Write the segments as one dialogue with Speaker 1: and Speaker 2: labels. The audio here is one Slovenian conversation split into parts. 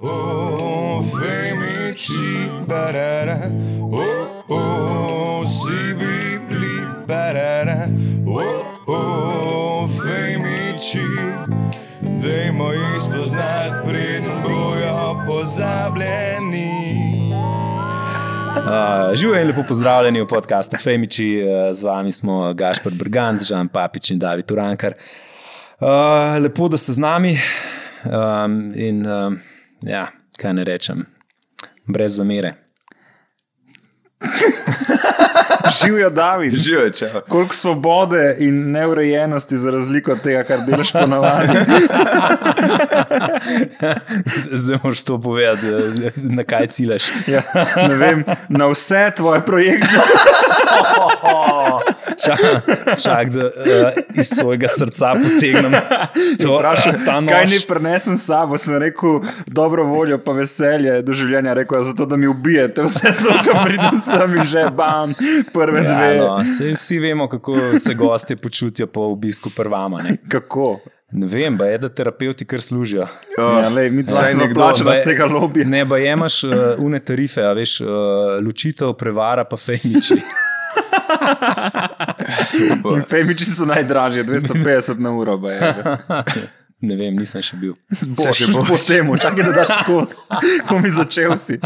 Speaker 1: Oh, reči, barara, o, o, si bi bili, barara, o, o, fejmiči. Dajmo jih spoznati, preden bojo pozabljeni.
Speaker 2: Uh, Živijo in lepo pozdravljeni v podkastu Femiči, uh, z vami smo Gašpor Brigant, Žan Papič in David Urankar. Uh, lepo, da ste z nami um, in um, ja, kaj ne rečem, brez zamere.
Speaker 3: Živijo, David.
Speaker 1: Živijo, čau.
Speaker 3: Koliko svobode in neurejenosti, za razliko od tega, kar delaš ponavadi.
Speaker 2: Zdaj moraš to povedati, eh, na kaj ciljaš.
Speaker 3: Ja, ne vem, na vse tvoje projekte.
Speaker 2: Čak, čak da uh, iz svojega srca potegnem to,
Speaker 3: Vprašal,
Speaker 2: ta noč.
Speaker 3: kaj ni prenesem s sabo, sem rekel, dobro voljo, pa veselje do življenja, rekel je, zato da mi ubijete vse to, kar pridem sem in že bam, prve ja, dve.
Speaker 2: Ja,
Speaker 3: No.
Speaker 2: no, saj vsi vemo, kako se gostje počutijo po obisku prvama. Ne,
Speaker 3: Kako?
Speaker 2: ne vem, ba je, da terapeuti kar služijo.
Speaker 3: Ja, lej, mi dva
Speaker 1: Saj
Speaker 3: smo
Speaker 1: nekdo,
Speaker 3: plačali
Speaker 2: baje-
Speaker 3: z tega lobija.
Speaker 2: Ne, pa imaš uh, une tarife, a veš, uh, ločitev, prevara, pa fejmiči.
Speaker 3: In Femiči so najdražje, 250 na uro. baje.
Speaker 2: ne vem, nisem še bil.
Speaker 3: Boš,
Speaker 1: še
Speaker 3: še
Speaker 1: boš.
Speaker 3: boš. Po temu, čakaj, da daš skozi, ko mi začel si.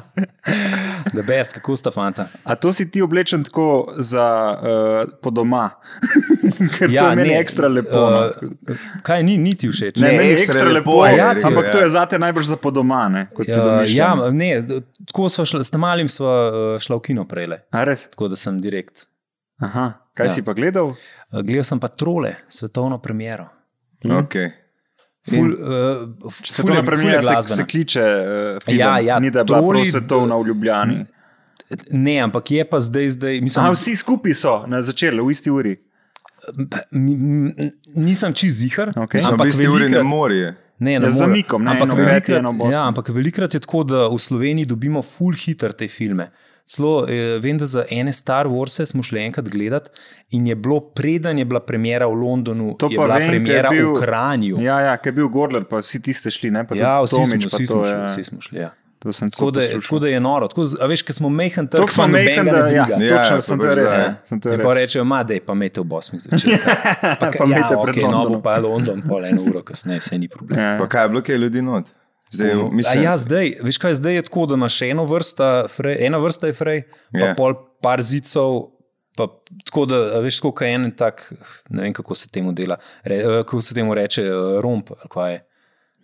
Speaker 2: Da bes, kako sta fanta.
Speaker 3: A to si ti oblečen tako za uh, po doma, ker ja, to je meni ne, ekstra lepo. Uh,
Speaker 2: Uh, eh, kaj ni, niti všeč.
Speaker 3: ne, ne, meni
Speaker 1: ekstra
Speaker 3: ekstra, ekstra lepo,
Speaker 1: lepo
Speaker 3: lepo
Speaker 1: je,
Speaker 3: ja,
Speaker 1: rekel,
Speaker 3: ampak
Speaker 1: ja.
Speaker 3: ja. to je zate najbrž za po doma, ne, kot si
Speaker 2: Ja,
Speaker 3: domišljen.
Speaker 2: ja, ne, d- tako sva šla, s malim sva eh, šla v kino prejle,
Speaker 3: A res?
Speaker 2: tako da sem direkt.
Speaker 3: Aha, kaj
Speaker 2: Ja.
Speaker 3: ja. si pa gledal?
Speaker 2: Eh, Gledal sem pa trole, svetovno premjero.
Speaker 1: Okay.
Speaker 2: Ful, uh,
Speaker 3: Svetovna premijera se, se kliče, uh, film,
Speaker 2: Ja, ja,
Speaker 3: ja,
Speaker 2: Hm,
Speaker 3: ja, ni da je bila
Speaker 2: troli-
Speaker 3: prav svetovna v Ljubljani.
Speaker 2: Ne, ampak je pa zdaj, zdaj mislim,
Speaker 3: A, vsi skupaj so na začeli v isti uri.
Speaker 2: mi- mi- nisem čist zihar,
Speaker 3: Okej.
Speaker 1: Smo
Speaker 2: ampak
Speaker 1: bili ste uri na
Speaker 2: velikrat-
Speaker 1: morju.
Speaker 2: Ne, ne
Speaker 3: Ja, z
Speaker 2: more.
Speaker 3: zamikom, ne,
Speaker 2: Ampak
Speaker 3: eno pet, eno
Speaker 2: velikrat,
Speaker 3: bosno.
Speaker 2: ja, ampak velikrat je tako, da v Sloveniji dobimo full hitar te filme. Celo, eh, vem, da za ene Star Warse smo šli enkrat gledati in je bilo, preden je bila premjera v Londonu,
Speaker 3: To
Speaker 2: je
Speaker 3: pa
Speaker 2: bila
Speaker 3: vem, ker je
Speaker 2: premjera
Speaker 3: bil-
Speaker 2: v Kranju.
Speaker 3: Ja, ja, ker je bil Gordler, pa vsi tiste šli, ne pa
Speaker 2: Ja, vsi
Speaker 3: tudi Tomič,
Speaker 2: smo,
Speaker 3: pa
Speaker 2: vsi
Speaker 3: to
Speaker 2: smo šli.
Speaker 3: je-
Speaker 2: Vsi smo šli ja.
Speaker 3: To sem
Speaker 2: tako, da, je-
Speaker 3: poslušal.
Speaker 2: tako da je noro. Tako, z- a veš, ker smo mehen, tako
Speaker 3: Tako smo mehki, da
Speaker 1: Ja,
Speaker 3: ja, točno,
Speaker 1: pa
Speaker 3: sem to
Speaker 1: brž
Speaker 3: res.
Speaker 1: zdaj.
Speaker 3: ne, sem to
Speaker 2: In
Speaker 3: res.
Speaker 2: pa rečejo, ma, da je pamet v Bosni začel. Pa,
Speaker 3: Pa
Speaker 2: ja,
Speaker 3: imejte pred
Speaker 2: okay, no, bo
Speaker 3: Londonom.
Speaker 2: pa London, pol eno uro kasneje, se ni problem.
Speaker 3: Ja.
Speaker 1: Pa kaj je bilo, kaj je ljudi not? Zdaj,
Speaker 2: Ono,
Speaker 1: mislim,
Speaker 2: a Ja, zdaj, veš kaj, zdaj je tako, da imaš eno vrsta, frej, ena vrsta je frej, pa
Speaker 1: Ja.
Speaker 2: yeah. pol par zicov. Pa, tako da, a veš, kot je en tak, ne vem kako se temu dela, re, eh, kako se temu reče, eh, romp ali kaj je.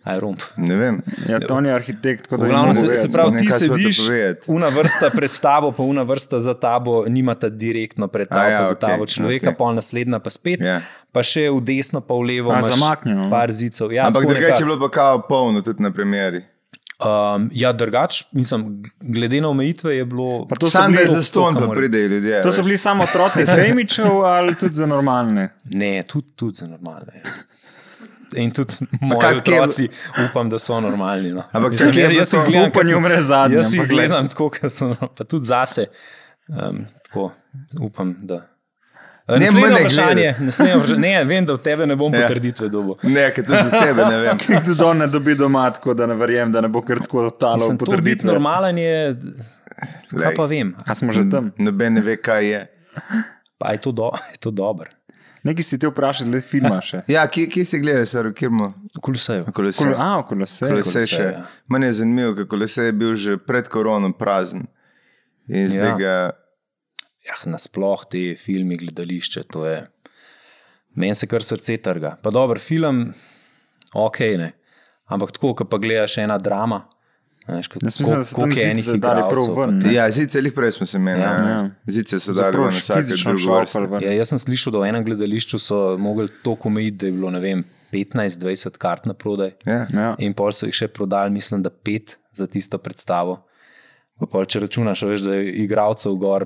Speaker 2: Aj, romp.
Speaker 1: Ne vem.
Speaker 3: Ja, Toni je arhitekt, tako da
Speaker 2: V
Speaker 3: je
Speaker 2: glavnem,
Speaker 1: moram
Speaker 2: se,
Speaker 1: povedati,
Speaker 2: se pravi,
Speaker 1: ne,
Speaker 2: ti
Speaker 1: kaj sva ti
Speaker 2: sediš,
Speaker 1: povedati.
Speaker 2: una vrsta pred tabo, pa una vrsta za tabo, nimata direktno pred tabo,
Speaker 1: A
Speaker 2: ja,
Speaker 1: ja,
Speaker 2: pa za
Speaker 1: okej,
Speaker 2: tabo človeka,
Speaker 1: okej.
Speaker 2: okay. pol naslednja pa spet,
Speaker 1: Ja.
Speaker 2: pa še v desno, pa v levo.
Speaker 3: A,
Speaker 2: imaš
Speaker 3: zamaknjeno, no.
Speaker 2: Par zicov. Ja,
Speaker 1: Ja, Ampak
Speaker 2: tako
Speaker 1: drugače
Speaker 2: nekako.
Speaker 1: je bilo pa kao polno, tudi na premjeri.
Speaker 2: Um, ja, drugač, mislim, glede na omejitve je bilo.
Speaker 3: Pa to so
Speaker 1: Sam da je
Speaker 3: bili,
Speaker 1: za ston,
Speaker 2: kamor-
Speaker 1: pa pridejo ljudje.
Speaker 3: to so bili samo otroci Femičev ali tudi za normalne.
Speaker 2: Ne, tudi, tudi za normalne. ja. In tudi
Speaker 1: kak
Speaker 2: moji
Speaker 1: kje-
Speaker 2: otroci, upam, da so normalni. No.
Speaker 1: Ampak
Speaker 2: Mislim,
Speaker 1: kak je
Speaker 2: jaz-
Speaker 1: bilo
Speaker 2: jaz
Speaker 1: to?
Speaker 2: jih gledam,
Speaker 3: Upanje
Speaker 2: kako-
Speaker 3: umre zadnje,
Speaker 2: Jaz jih
Speaker 3: ampak glej.
Speaker 2: gledam tako, kot so, pa tudi zase. Um, tako, upam, da. Eh,
Speaker 1: Ne,
Speaker 2: naslednje
Speaker 1: mene
Speaker 2: vprašanje,
Speaker 1: gledati.
Speaker 2: naslednje vprašanje. Ne, vem, da v tebe ne bom
Speaker 1: Ja.
Speaker 2: potrditve dobil.
Speaker 1: Ne, ker to za sebe ne vem.
Speaker 3: Ker Tudi on ne dobi doma, tako da ne verjamem, da ne bo kar tako talo
Speaker 2: Sem to biti
Speaker 3: potrditve.
Speaker 2: normalen, je, kaj
Speaker 1: Glej,
Speaker 2: pa vem.
Speaker 3: A smo že tam?
Speaker 1: Noben ne ve, kaj je.
Speaker 2: Pa je to, do, je to dobro.
Speaker 3: Nekaj si ti vprašal, le filma še.
Speaker 1: Ja, kje, kje si gledal, sar, kjer mu?
Speaker 2: Kulsejo.
Speaker 1: Kolesej.
Speaker 3: Kolo, a, okolo se.
Speaker 1: Kolesej še.
Speaker 2: ja.
Speaker 1: Mene je zanimivo, ker kolesej je bil že pred koronom prazen. In zdaj
Speaker 2: Ja.
Speaker 1: ga...
Speaker 2: ja, nasploh te filme, gledališče, to je. Meni se kar srce trga. Pa dober film, ok, ne. Ampak tako, ko pa gledaš ena drama, a veš, kako
Speaker 3: Jaz mislim, da so tam
Speaker 2: je enih
Speaker 3: zice dali prav
Speaker 2: igralcev, pa-
Speaker 3: ven. ne.
Speaker 1: Ja, zice lih prej smo se menili.
Speaker 2: Ja,
Speaker 1: Ja,
Speaker 3: ja.
Speaker 1: Zice so dali
Speaker 3: Zapravo
Speaker 1: na vsake
Speaker 3: fizično
Speaker 1: drugo
Speaker 3: šlopal
Speaker 1: vrste.
Speaker 3: ven.
Speaker 2: Ja, jaz sem slišal, da v enem gledališču so mogli toliko omejiti, da je bilo ne vem, 15-20 kart na prodaj.
Speaker 1: Ja.
Speaker 3: Ja.
Speaker 2: In pol so jih še prodali, mislim, da pet za tisto predstavo. Pa pol, če računaš, a veš, da je igralcev gor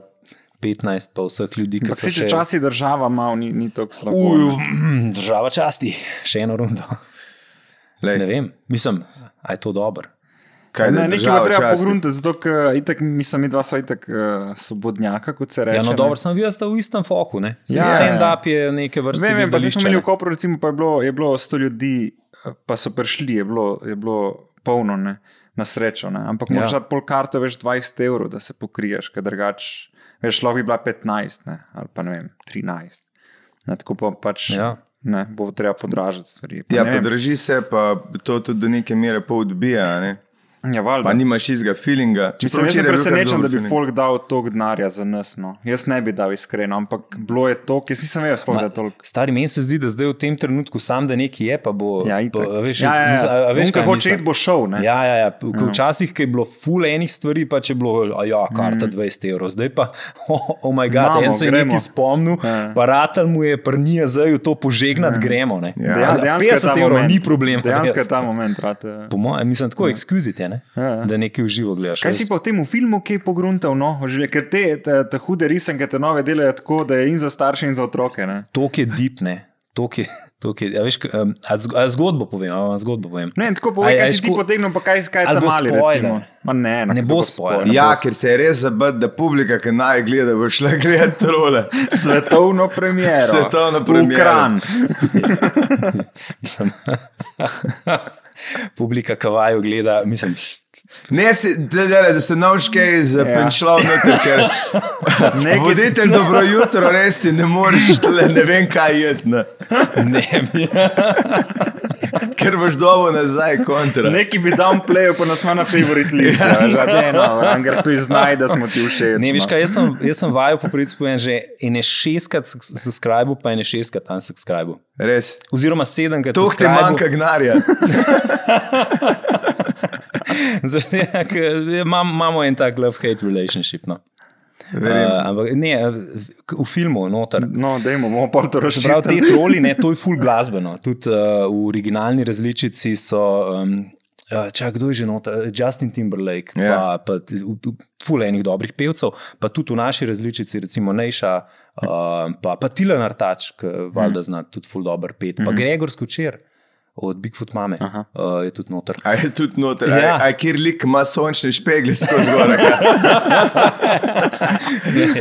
Speaker 2: 15, pa vseh ljudi, ki
Speaker 3: Ampak
Speaker 2: so
Speaker 3: si
Speaker 2: še
Speaker 3: če časi država mal, ni, ni tako slabo.
Speaker 2: Uj, država časti, še eno rundo.
Speaker 1: Lej,
Speaker 2: Ne vem, mislim, da je to dobro.
Speaker 1: kaj
Speaker 3: ne,
Speaker 1: ne,
Speaker 3: nekaj bo
Speaker 1: država
Speaker 3: treba
Speaker 1: časti.
Speaker 3: pogruntati, zato ker eh, itak, mislim, mi dva sva itak uh, svobodnjaka, kot se reče.
Speaker 2: Ja, no,
Speaker 3: ne.
Speaker 2: dobro, sem videl, da ste v istem foku. Ja,
Speaker 3: Ja,
Speaker 2: Stand-up je neke vrste.
Speaker 3: Vem, vem, pa zdaj
Speaker 2: gledališče,
Speaker 3: smo imeli
Speaker 2: ne.
Speaker 3: eh, v Kopru, recimo, pa je bilo, je bilo 100 ljudi, pa so prišli, je bilo, je bilo polno, ne? na srečo. Ne? Ampak
Speaker 2: Ja.
Speaker 3: moraš ja. pol karto, veš 20 evrov, da se pokriješ, ker drugače, veš, lahko bi bila 15 ne? ali pa ne vem, 13. Ne, tako pa pač
Speaker 2: Ja.
Speaker 3: ja. ne, bo treba podražiti stvari. Pa,
Speaker 1: Ja,
Speaker 3: ne vem,
Speaker 1: podrži se, pa to tudi do neke mere pa odbija. a Ne?
Speaker 3: ja, valjda.
Speaker 1: Pa nimaš istega feelinga. Čeprav
Speaker 3: Mislim, jaz
Speaker 1: včeraj
Speaker 3: sem
Speaker 1: je bil kar
Speaker 3: presenečen, da
Speaker 1: dober
Speaker 3: bi
Speaker 1: feeling.
Speaker 3: folk dal toliko denarja za nas. No. Jaz ne bi dal iskreno, ampak bilo je toliko, jaz nisem vedel, sploh, da je toliko.
Speaker 2: Stari meni se zdi, da zdaj v tem trenutku sam, da nekaj je, pa bo.
Speaker 3: Ja,
Speaker 2: pa,
Speaker 3: itak.
Speaker 2: a veš,
Speaker 3: ja, ja,
Speaker 2: mislim, a- a
Speaker 3: ja.
Speaker 2: veš,
Speaker 3: Vem,
Speaker 2: kaj
Speaker 3: kako hoče
Speaker 2: mislim?
Speaker 3: iti, bo šel. Ne?
Speaker 2: Ja, ja, ja. Ko Včasih ko je bilo ful enih stvari, pa če je bilo, a ja, karta 20 evrov, zdaj pa, oh, oh my god,
Speaker 3: Mm. Imamo,
Speaker 2: en se je
Speaker 3: gremo.
Speaker 2: nekaj spomnil,
Speaker 3: Ja.
Speaker 2: pa ratal mu je prnija zdaj to požegnati, gremo. Ne.
Speaker 1: Ja.
Speaker 3: Dejan-
Speaker 2: Dejan,
Speaker 3: Dejansko je ta
Speaker 2: 50 evrov
Speaker 3: moment.
Speaker 2: ni problem.
Speaker 3: Dejansko je
Speaker 2: res.
Speaker 3: ta moment. Brate. ja.
Speaker 2: Po mojem, mislim, tako ekskluzite, ne?
Speaker 3: Ja, ja.
Speaker 2: da nekaj uživo gledaš.
Speaker 3: Kaj
Speaker 2: res.
Speaker 3: si pa v tem filmu, ki je pogruntal, no, o življenju? ker te, te, te hude risanke, te nove delajo tako, da je in za starše, in za otroke. Ne,
Speaker 2: Tok je dipne. Tok je, tok je, a veš, k- em, a zg- a zgodbo povem, a vam zgodbo povem.
Speaker 3: ne tako povej,
Speaker 2: Aj,
Speaker 3: kaj
Speaker 2: aj,
Speaker 3: si ti
Speaker 2: ško-
Speaker 3: potegnil, pa kaj, kaj je
Speaker 2: Ali
Speaker 3: tam
Speaker 2: bo
Speaker 3: mali.
Speaker 2: spoiler?
Speaker 3: recimo. Ma Ne, na
Speaker 2: Ne
Speaker 3: kako
Speaker 2: bo
Speaker 3: bo
Speaker 2: spoiler.
Speaker 3: spoiler.
Speaker 1: Ja,
Speaker 2: Napos-
Speaker 1: ker se je res zabad, da publika, ki naj gleda, bo šla gledati trole.
Speaker 3: Svetovno premiero.
Speaker 1: Svetovno
Speaker 3: V
Speaker 1: premiero.
Speaker 3: Kranj.
Speaker 2: Mislim, publika kavajo gleda, mislim,
Speaker 1: Ne, si, da, da, da se naučke zapenčla ja. noter, ker
Speaker 3: Nekaj-
Speaker 1: voditelj dobro jutro res si ne moreš, tle, ne vem kaj jedno,
Speaker 2: ne, mi-
Speaker 1: ker boš dobo nazaj kontra.
Speaker 3: Neki bi downplayal, pa nas ima na favorit listi. Ja, no, Anger tu iznaj, da smo ti všeč.
Speaker 2: Ne, veš
Speaker 3: no.
Speaker 2: kaj, jaz sem, jaz sem vajo po principu že ene šestkrat s- subscribe, pa ene šestkrat tam subscribe.
Speaker 1: Res.
Speaker 2: Oziroma sedemkrat.
Speaker 1: Tu ti manjka
Speaker 2: subscribe.
Speaker 1: gnarja.
Speaker 2: Zaradi tega, ker ja, imam- Imamo en tak love-hate relationship. No.
Speaker 1: Verjemem.
Speaker 2: Eh, ampak ne, eh, v filmu, noter.
Speaker 3: No, dajmo, bomo pa to
Speaker 2: Se pravi,
Speaker 3: razumeli.
Speaker 2: te troli, ne, to je full glasbeno. Tudi uh, v originalni različici so. Um, Uh, čak, kdo je že noter? Justin Timberlake, yeah.
Speaker 1: Ja.
Speaker 2: pa, pa fulej enih dobrih pevcev, pa tudi v naši različici, recimo Neša, uh, pa, pa Tilan Artač, ki valjda
Speaker 1: Mhm.
Speaker 2: zna tudi fulej dober pet, pa Gregor Skučer od Bigfoot Mame uh, je tudi noter.
Speaker 1: A je tudi noter,
Speaker 2: Ja.
Speaker 1: ja. a, a kjer lik ima sončne špegle skozi gore.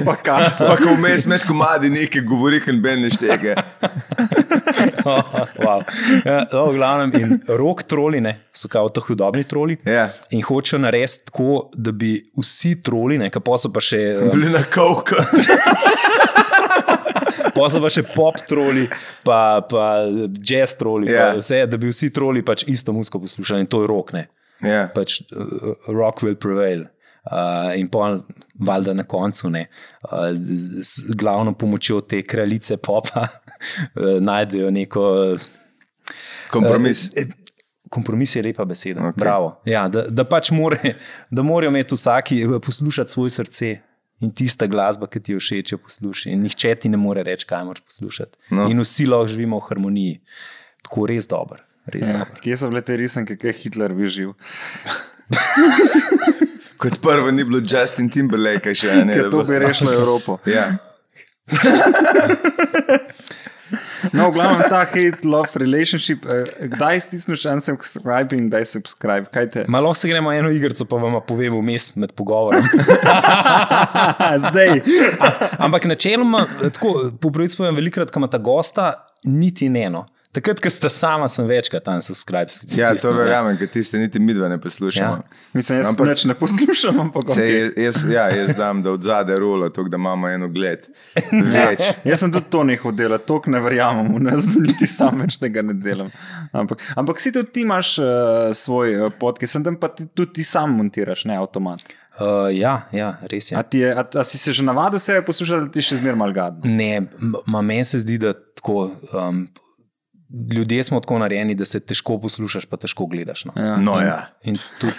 Speaker 3: Pa kaj?
Speaker 1: Pa ko vmes med komadi nekaj govori, ker ben ne štege.
Speaker 2: wow. ja, no, v glavnem, in rok troli ne, so kao to hudobni troli.
Speaker 1: Ja.
Speaker 2: In hočejo narediti tako, da bi vsi troli, ne, pa so pa še, eh,
Speaker 1: Bili na kavku.
Speaker 2: pol so pa še pop troli, pa, pa jazz troli, yeah.
Speaker 1: Ja.
Speaker 2: pa vse, da bi vsi troli pač isto muziko poslušali in to je rok, ne.
Speaker 1: Ja.
Speaker 2: Pač uh, rock will prevail. Uh, in pol, valjda na koncu, ne, uh, z, z glavno pomočjo te kraljice popa, uh, najdejo neko. Uh,
Speaker 1: Kompromis.
Speaker 2: Eh, eh, Kompromis je lepa beseda.
Speaker 1: Okej.
Speaker 2: Okay. Ja, da, da pač more, da morajo imeti vsaki eh, poslušati svoje srce. In tista glasba, ki ti jo všeč, jo poslušaj. In nihče ti ne more reči, kaj moraš poslušati. No.
Speaker 1: No.
Speaker 2: In vsi lahko živimo v harmoniji. Tako res dobro. Res ja. dobro.
Speaker 3: Kje so bile te risanke, kaj je Hitler vižil?
Speaker 1: Kot prvo ni bilo Justin Timberlake, še a ne.
Speaker 3: Ker
Speaker 1: da
Speaker 3: to
Speaker 1: bo-
Speaker 3: bi rešilo Evropo.
Speaker 1: Ja.
Speaker 3: No, v glavnem ta hate-love relationship, eh, kdaj stisneš en subscribe in kdaj subscribe? Kaj te?
Speaker 2: Malo se gremo eno igrico, pa vam povem vmes med pogovorom.
Speaker 3: Zdaj.
Speaker 2: Ampak načeloma, tako popraviti povem, velikrat, ko imata gosta, niti ne eno. Takrat, ko sta sama, sem večkrat tam subscribe.
Speaker 1: ja, to
Speaker 2: stisnil, ne.
Speaker 1: verjamem, ker tiste niti midva ne poslušamo.
Speaker 2: Ja.
Speaker 3: Mislim, jaz
Speaker 1: No, Ampak-
Speaker 3: ampak, neč ne poslušam, ampak
Speaker 1: Se,
Speaker 3: okej.
Speaker 1: jaz, jaz, ja, jaz dam, da od zadaj rola, tako da imamo eno gled.
Speaker 3: Ja.
Speaker 1: Več.
Speaker 3: Jaz sem tudi to nehal delati, to ne verjamem, v nas, da niti sam več tega ne delam. Ampak, ampak si tudi ti imaš uh, svoj uh, podcast, sem tam pa ti, tudi ti sam montiraš, ne avtomat.
Speaker 2: Uh, ja, ja, res je.
Speaker 3: A, ti je, a, a si se že navadil sebe poslušati, da ti še zmeraj malo gadno?
Speaker 2: Ne, m- ma meni se zdi, da tako. Um, ljudje smo tako narejeni, da se težko poslušaš, pa težko gledaš. No.
Speaker 3: Ja.
Speaker 1: No, ja.
Speaker 2: In tudi,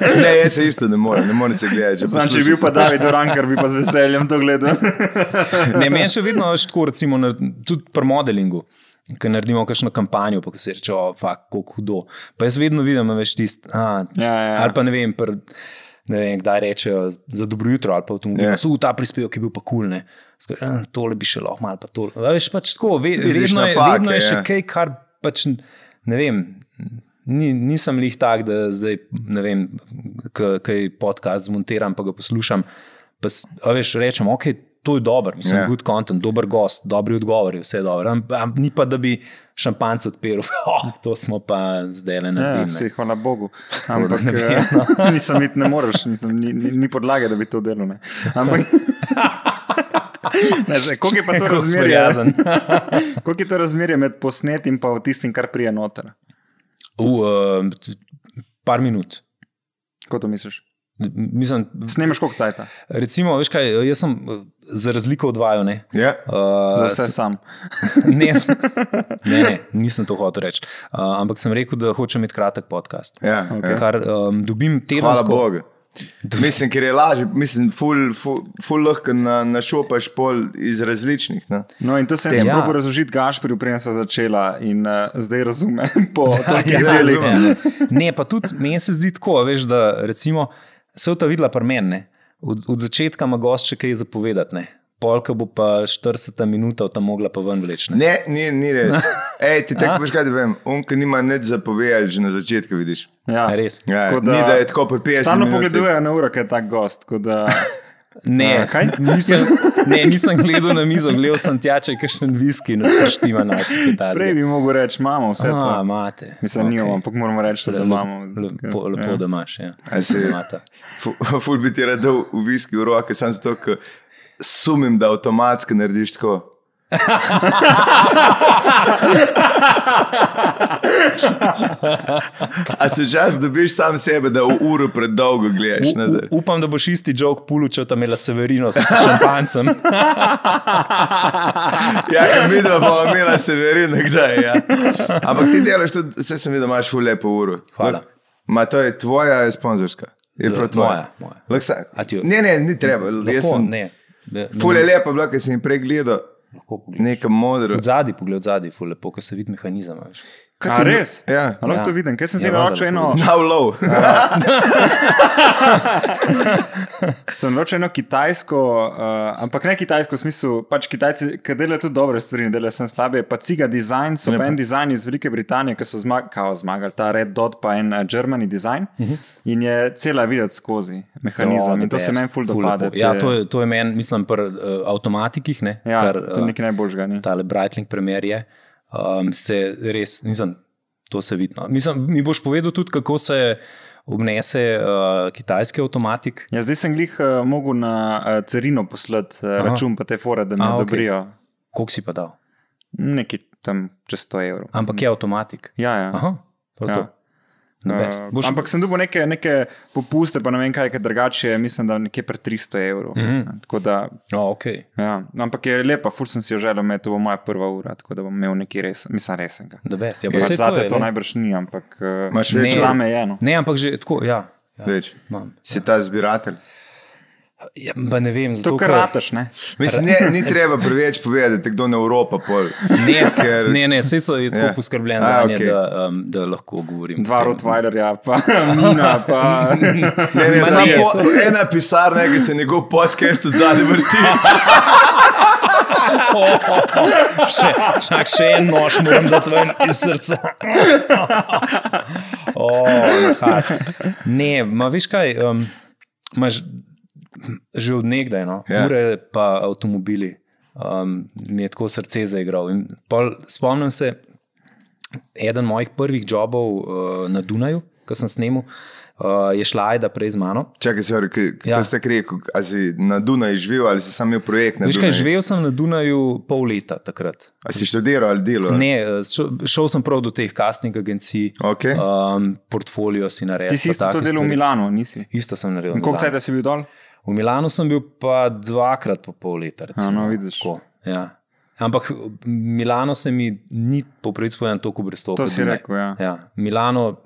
Speaker 1: Ne, jaz se isto ne morem, ne morem se gledati.
Speaker 3: Znam, če bi bil pa David Oran, ker bi pa z veseljem to gledal.
Speaker 2: ne, meni še vedno je tako, recimo, na, tudi pri modelingu. Ker naredimo kakšno kampanjo, pa ko se reče, oh, fuck, kako hudo. Pa jaz vedno vidim, veš, tisti.
Speaker 3: Ja, ja, ja.
Speaker 2: Ali pa ne vem, pr, ne vem, kdaj rečejo za dobro jutro ali pa avtomobil.
Speaker 1: Ja.
Speaker 2: Yeah. So v ta prispevek je bil pa kul, ne. Skor, ah, tole bi še lahko, malo pa tole. A Veš, pač tako, ve,
Speaker 1: Vidiš
Speaker 2: vedno, je,
Speaker 1: napake,
Speaker 2: vedno je še
Speaker 1: ja.
Speaker 2: kaj, kar pač n- ne vem. Ni, nisem lih tak, da zdaj, ne vem, k- kaj podcast zmontiram, pa ga poslušam. Pa, s- a veš, rečem, ok, to je dobro, mislim,
Speaker 1: Ja.
Speaker 2: yeah. good content, dober gost, dobri odgovori, vse je dobro. Am, am, ni pa, da bi šampanc odpiral, oh, to smo pa zdaj le
Speaker 3: Ja,
Speaker 2: naredili.
Speaker 3: vsi, hvala Bogu. Ampak eh, nisem iti, ne moreš, nisem, ni, ni, ni podlage, da bi to delal. Ne. Ampak. Ne, zdaj, Koliko je pa to
Speaker 2: Kako smo
Speaker 3: razmerje?
Speaker 2: jazen.
Speaker 3: Koliko je to razmerje med posnetim in tistim, kar prije noter?
Speaker 2: V uh, par minut.
Speaker 3: Kako to misliš?
Speaker 2: Mislim,
Speaker 3: Snemaš koliko cajt?
Speaker 2: recimo, veš kaj, jaz sem eh, za razliko od vaju, ne.
Speaker 1: Ja.
Speaker 2: Uh,
Speaker 3: Za vse sam.
Speaker 2: ne, sem- ne, ne, nisem to hotel reči. Uh, ampak sem rekel, da hočem imeti kratek podcast.
Speaker 1: ja,
Speaker 3: Okej.
Speaker 1: ja.
Speaker 2: Kar um, dobim
Speaker 1: Hvala
Speaker 2: tedensko.
Speaker 1: Bogu. Mislim, ker je lažje, mislim, ful, ful, ful lahko na, našopaš pol iz različnih. Ne?
Speaker 3: No, in to sem jim
Speaker 2: Ja.
Speaker 3: ja. razložil Gašpriju, preden sem začela in uh, zdaj razume. Po tolikih
Speaker 1: ja,
Speaker 3: delih.
Speaker 1: razumem.
Speaker 2: Ne, ne, pa tudi meni se zdi tako, a veš, da recimo, se je ta videla pri meni. ne. Od, od začetka ima gost še kaj zapovedati. Ne. Polka bo pa 40 minut tam mogla pa ven vleči. ne.
Speaker 1: Ne, ni, ni res. Ej, ti
Speaker 2: A?
Speaker 1: tako veš, kaj ti vem. On, ki nima nič zapovedati, že na začetku vidiš.
Speaker 3: Ja.
Speaker 2: A res?
Speaker 1: Ja, ni, da je tako pri 50
Speaker 3: Stalno
Speaker 1: minuti.
Speaker 3: pogledujejo na uro, ker je tak gost. tako Da,
Speaker 2: Ne,
Speaker 3: A, kaj?
Speaker 2: nisem, ne, nisem gledal na mizo, gledal sem tja, če je kakšen viski, ne štima na
Speaker 3: prej
Speaker 2: kitajskem.
Speaker 3: bi mogel reči, imamo vse
Speaker 2: Ah,
Speaker 3: to.
Speaker 2: imate.
Speaker 3: Mislim, okay. nimamo, ampak moramo reči, da
Speaker 2: Lep-
Speaker 3: imamo.
Speaker 2: Lepo, lepo
Speaker 3: Ja.
Speaker 2: da imaš. Ja.
Speaker 1: A si-
Speaker 2: Imata.
Speaker 1: Fu- Ful bi ti rad dal v viski v roke, sem zato, ker sumim, da avtomatsko narediš tako. A se čas dobiš sam sebe, da v uro predolgo gledaš?
Speaker 2: U,
Speaker 1: ne,
Speaker 2: u,
Speaker 1: da-
Speaker 2: upam, da boš isti jok pulučil tam imela Severino s šampancem.
Speaker 1: Ja, ker videl bom imela severin nekdaj. Ja. Ampak ti delaš tudi, vse sem videl, imaš ful lepo uro.
Speaker 2: Hvala.
Speaker 1: Ma to je tvoja, je sponzorska. Je
Speaker 2: Ja,
Speaker 1: prav tvoja.
Speaker 2: moja, moja.
Speaker 1: Lahko sa-
Speaker 2: A ti jo-
Speaker 1: Ne, ne, ni treba. Jaz
Speaker 2: Lepo,
Speaker 1: sem-
Speaker 2: ne. Ne,
Speaker 1: Ful je lepa bila, ker sem jih prej gledal,
Speaker 2: Lahko pogledaš.
Speaker 1: nekam modro.
Speaker 2: Od zadaj, pogled od zadaj, ful lepo, ko se vidi mehanizem. a veš.
Speaker 3: Kaj ti res?
Speaker 1: Ja.
Speaker 3: A Lahko
Speaker 2: Ja.
Speaker 3: to vidim, ker sem
Speaker 2: Ja,
Speaker 3: zdaj
Speaker 2: valjda
Speaker 3: naročil
Speaker 2: lahko
Speaker 3: eno,
Speaker 1: Now low.
Speaker 2: Ja.
Speaker 3: sem naročil eno kitajsko, uh, ampak ne kitajsko v smislu, pač kitajci, ki delajo tudi dobre stvari, ne delajo sem slabe, pa ciga design, so
Speaker 1: Lepo.
Speaker 3: pa en dizajn iz Velike Britanije, ki so zmag kao zmagali, ta Red Dot pa en uh, Germany design
Speaker 2: Mhm.
Speaker 3: uh -huh. in je cela videti skozi mehanizem
Speaker 2: Oh,
Speaker 3: in to se
Speaker 2: best,
Speaker 3: meni ful
Speaker 2: ful
Speaker 3: dopade.
Speaker 2: lepo. Ja, to je, to je meni, mislim, pri uh, avtomatikih, ne,
Speaker 3: Ja,
Speaker 2: kar eh,
Speaker 3: to je nekaj najboljšega. Ne?
Speaker 2: tale Brightling primer je, um, se res, nisem, to se vidi. no. Mislim, mi boš povedal tudi, kako se obnese uh, kitajski avtomatik.
Speaker 3: Ja, zdaj sem jih uh, mogel na uh, carino poslati uh,
Speaker 2: Aha.
Speaker 3: račun, pa te fore, da mi
Speaker 2: A, okej.
Speaker 3: odobrijo
Speaker 2: Koliko si pa dal?
Speaker 3: nekaj tam čez 100 evrov.
Speaker 2: Ampak je avtomatik.
Speaker 3: Ja, ja.
Speaker 2: Aha, prav
Speaker 3: Ja.
Speaker 2: to. Na
Speaker 3: Eh,
Speaker 2: best. Boš-
Speaker 3: ampak sem dobil neke, neke popuste, pa ne vem kaj, ker drugače, je, mislim, da nekje pri 300 evrov.
Speaker 2: Mhm.
Speaker 3: Tako Da,
Speaker 2: Oh, okay.
Speaker 3: ja. Ampak je lepa, ful sem si jo želel, imeti, to bo moja prva ura, tako da bom imel nekaj res, mislim, resenega.
Speaker 2: The best. Ja, pa
Speaker 3: Ja,
Speaker 2: saj
Speaker 3: Zate
Speaker 2: je,
Speaker 3: to, to
Speaker 2: ne.
Speaker 3: najbrž ni, ampak eh,
Speaker 1: Imaš
Speaker 2: več ur?
Speaker 3: zame je no. eno.
Speaker 2: Ne, ampak že tako, ja. ja.
Speaker 1: Več.
Speaker 2: Imam.
Speaker 1: Si ta zbiratelj.
Speaker 2: Ja, pa ne vem, zato
Speaker 3: To, kar
Speaker 2: ker-
Speaker 3: rataš, ne?
Speaker 1: Mislim, ne, ni treba preveč povedati, da te kdo ne Evropa pol.
Speaker 2: Ne,
Speaker 1: Ker-
Speaker 2: ne, ne vse so je tako
Speaker 1: Ja.
Speaker 2: yeah. poskrbljeni
Speaker 1: A,
Speaker 2: za nje,
Speaker 1: okej.
Speaker 2: okay. da, um, da lahko govorim. o
Speaker 3: Dva
Speaker 2: tem.
Speaker 3: Rottweilerja, pa Mina, pa
Speaker 1: Ne, ne,
Speaker 2: Ma
Speaker 1: samo
Speaker 2: res.
Speaker 1: po, ena pisarna, ki se njegov podcast od zadaj
Speaker 2: Ja.
Speaker 1: vrti.
Speaker 2: O, o, o, Oh, še, čak, še en nož moram dati ven iz srca. O, nahat. ne, ma veš kaj, um, imaš že odnegdaj, no?
Speaker 1: Ja.
Speaker 2: yeah. ure pa avtomobili. Um, mi je tako srce zaigral. In pol Spomnim se, eden mojih prvih jobov uh, na Dunaju, ko sem snemal, uh, je šla Aida prej z mano.
Speaker 1: Čakaj, sorry, kaj, ja.
Speaker 2: Ja.
Speaker 1: to ste rekel, a si na Dunaju živel ali si sam imel projekt na
Speaker 2: Veš kaj,
Speaker 1: Dunaju?
Speaker 2: živel sem na Dunaju pol leta takrat.
Speaker 1: A si študiral ali delal?
Speaker 2: Ne, eh, šo- šel sem prav do teh casting agencij,
Speaker 1: Okej.
Speaker 2: um, portfolio si naredil.
Speaker 3: ti si isto to delal v Milano, nisi.
Speaker 2: Isto sem naredil. v
Speaker 3: In koliko
Speaker 2: Milanu.
Speaker 3: cajt si bil dol?
Speaker 2: V Milanu sem bil pa dvakrat po pol leta. Recimo,
Speaker 3: A, no, vidiš.
Speaker 2: Tako, ja. Ampak Milano se mi ni poprečko povedano toliko brestov.
Speaker 3: To si rekel, ja.
Speaker 2: ja. Milano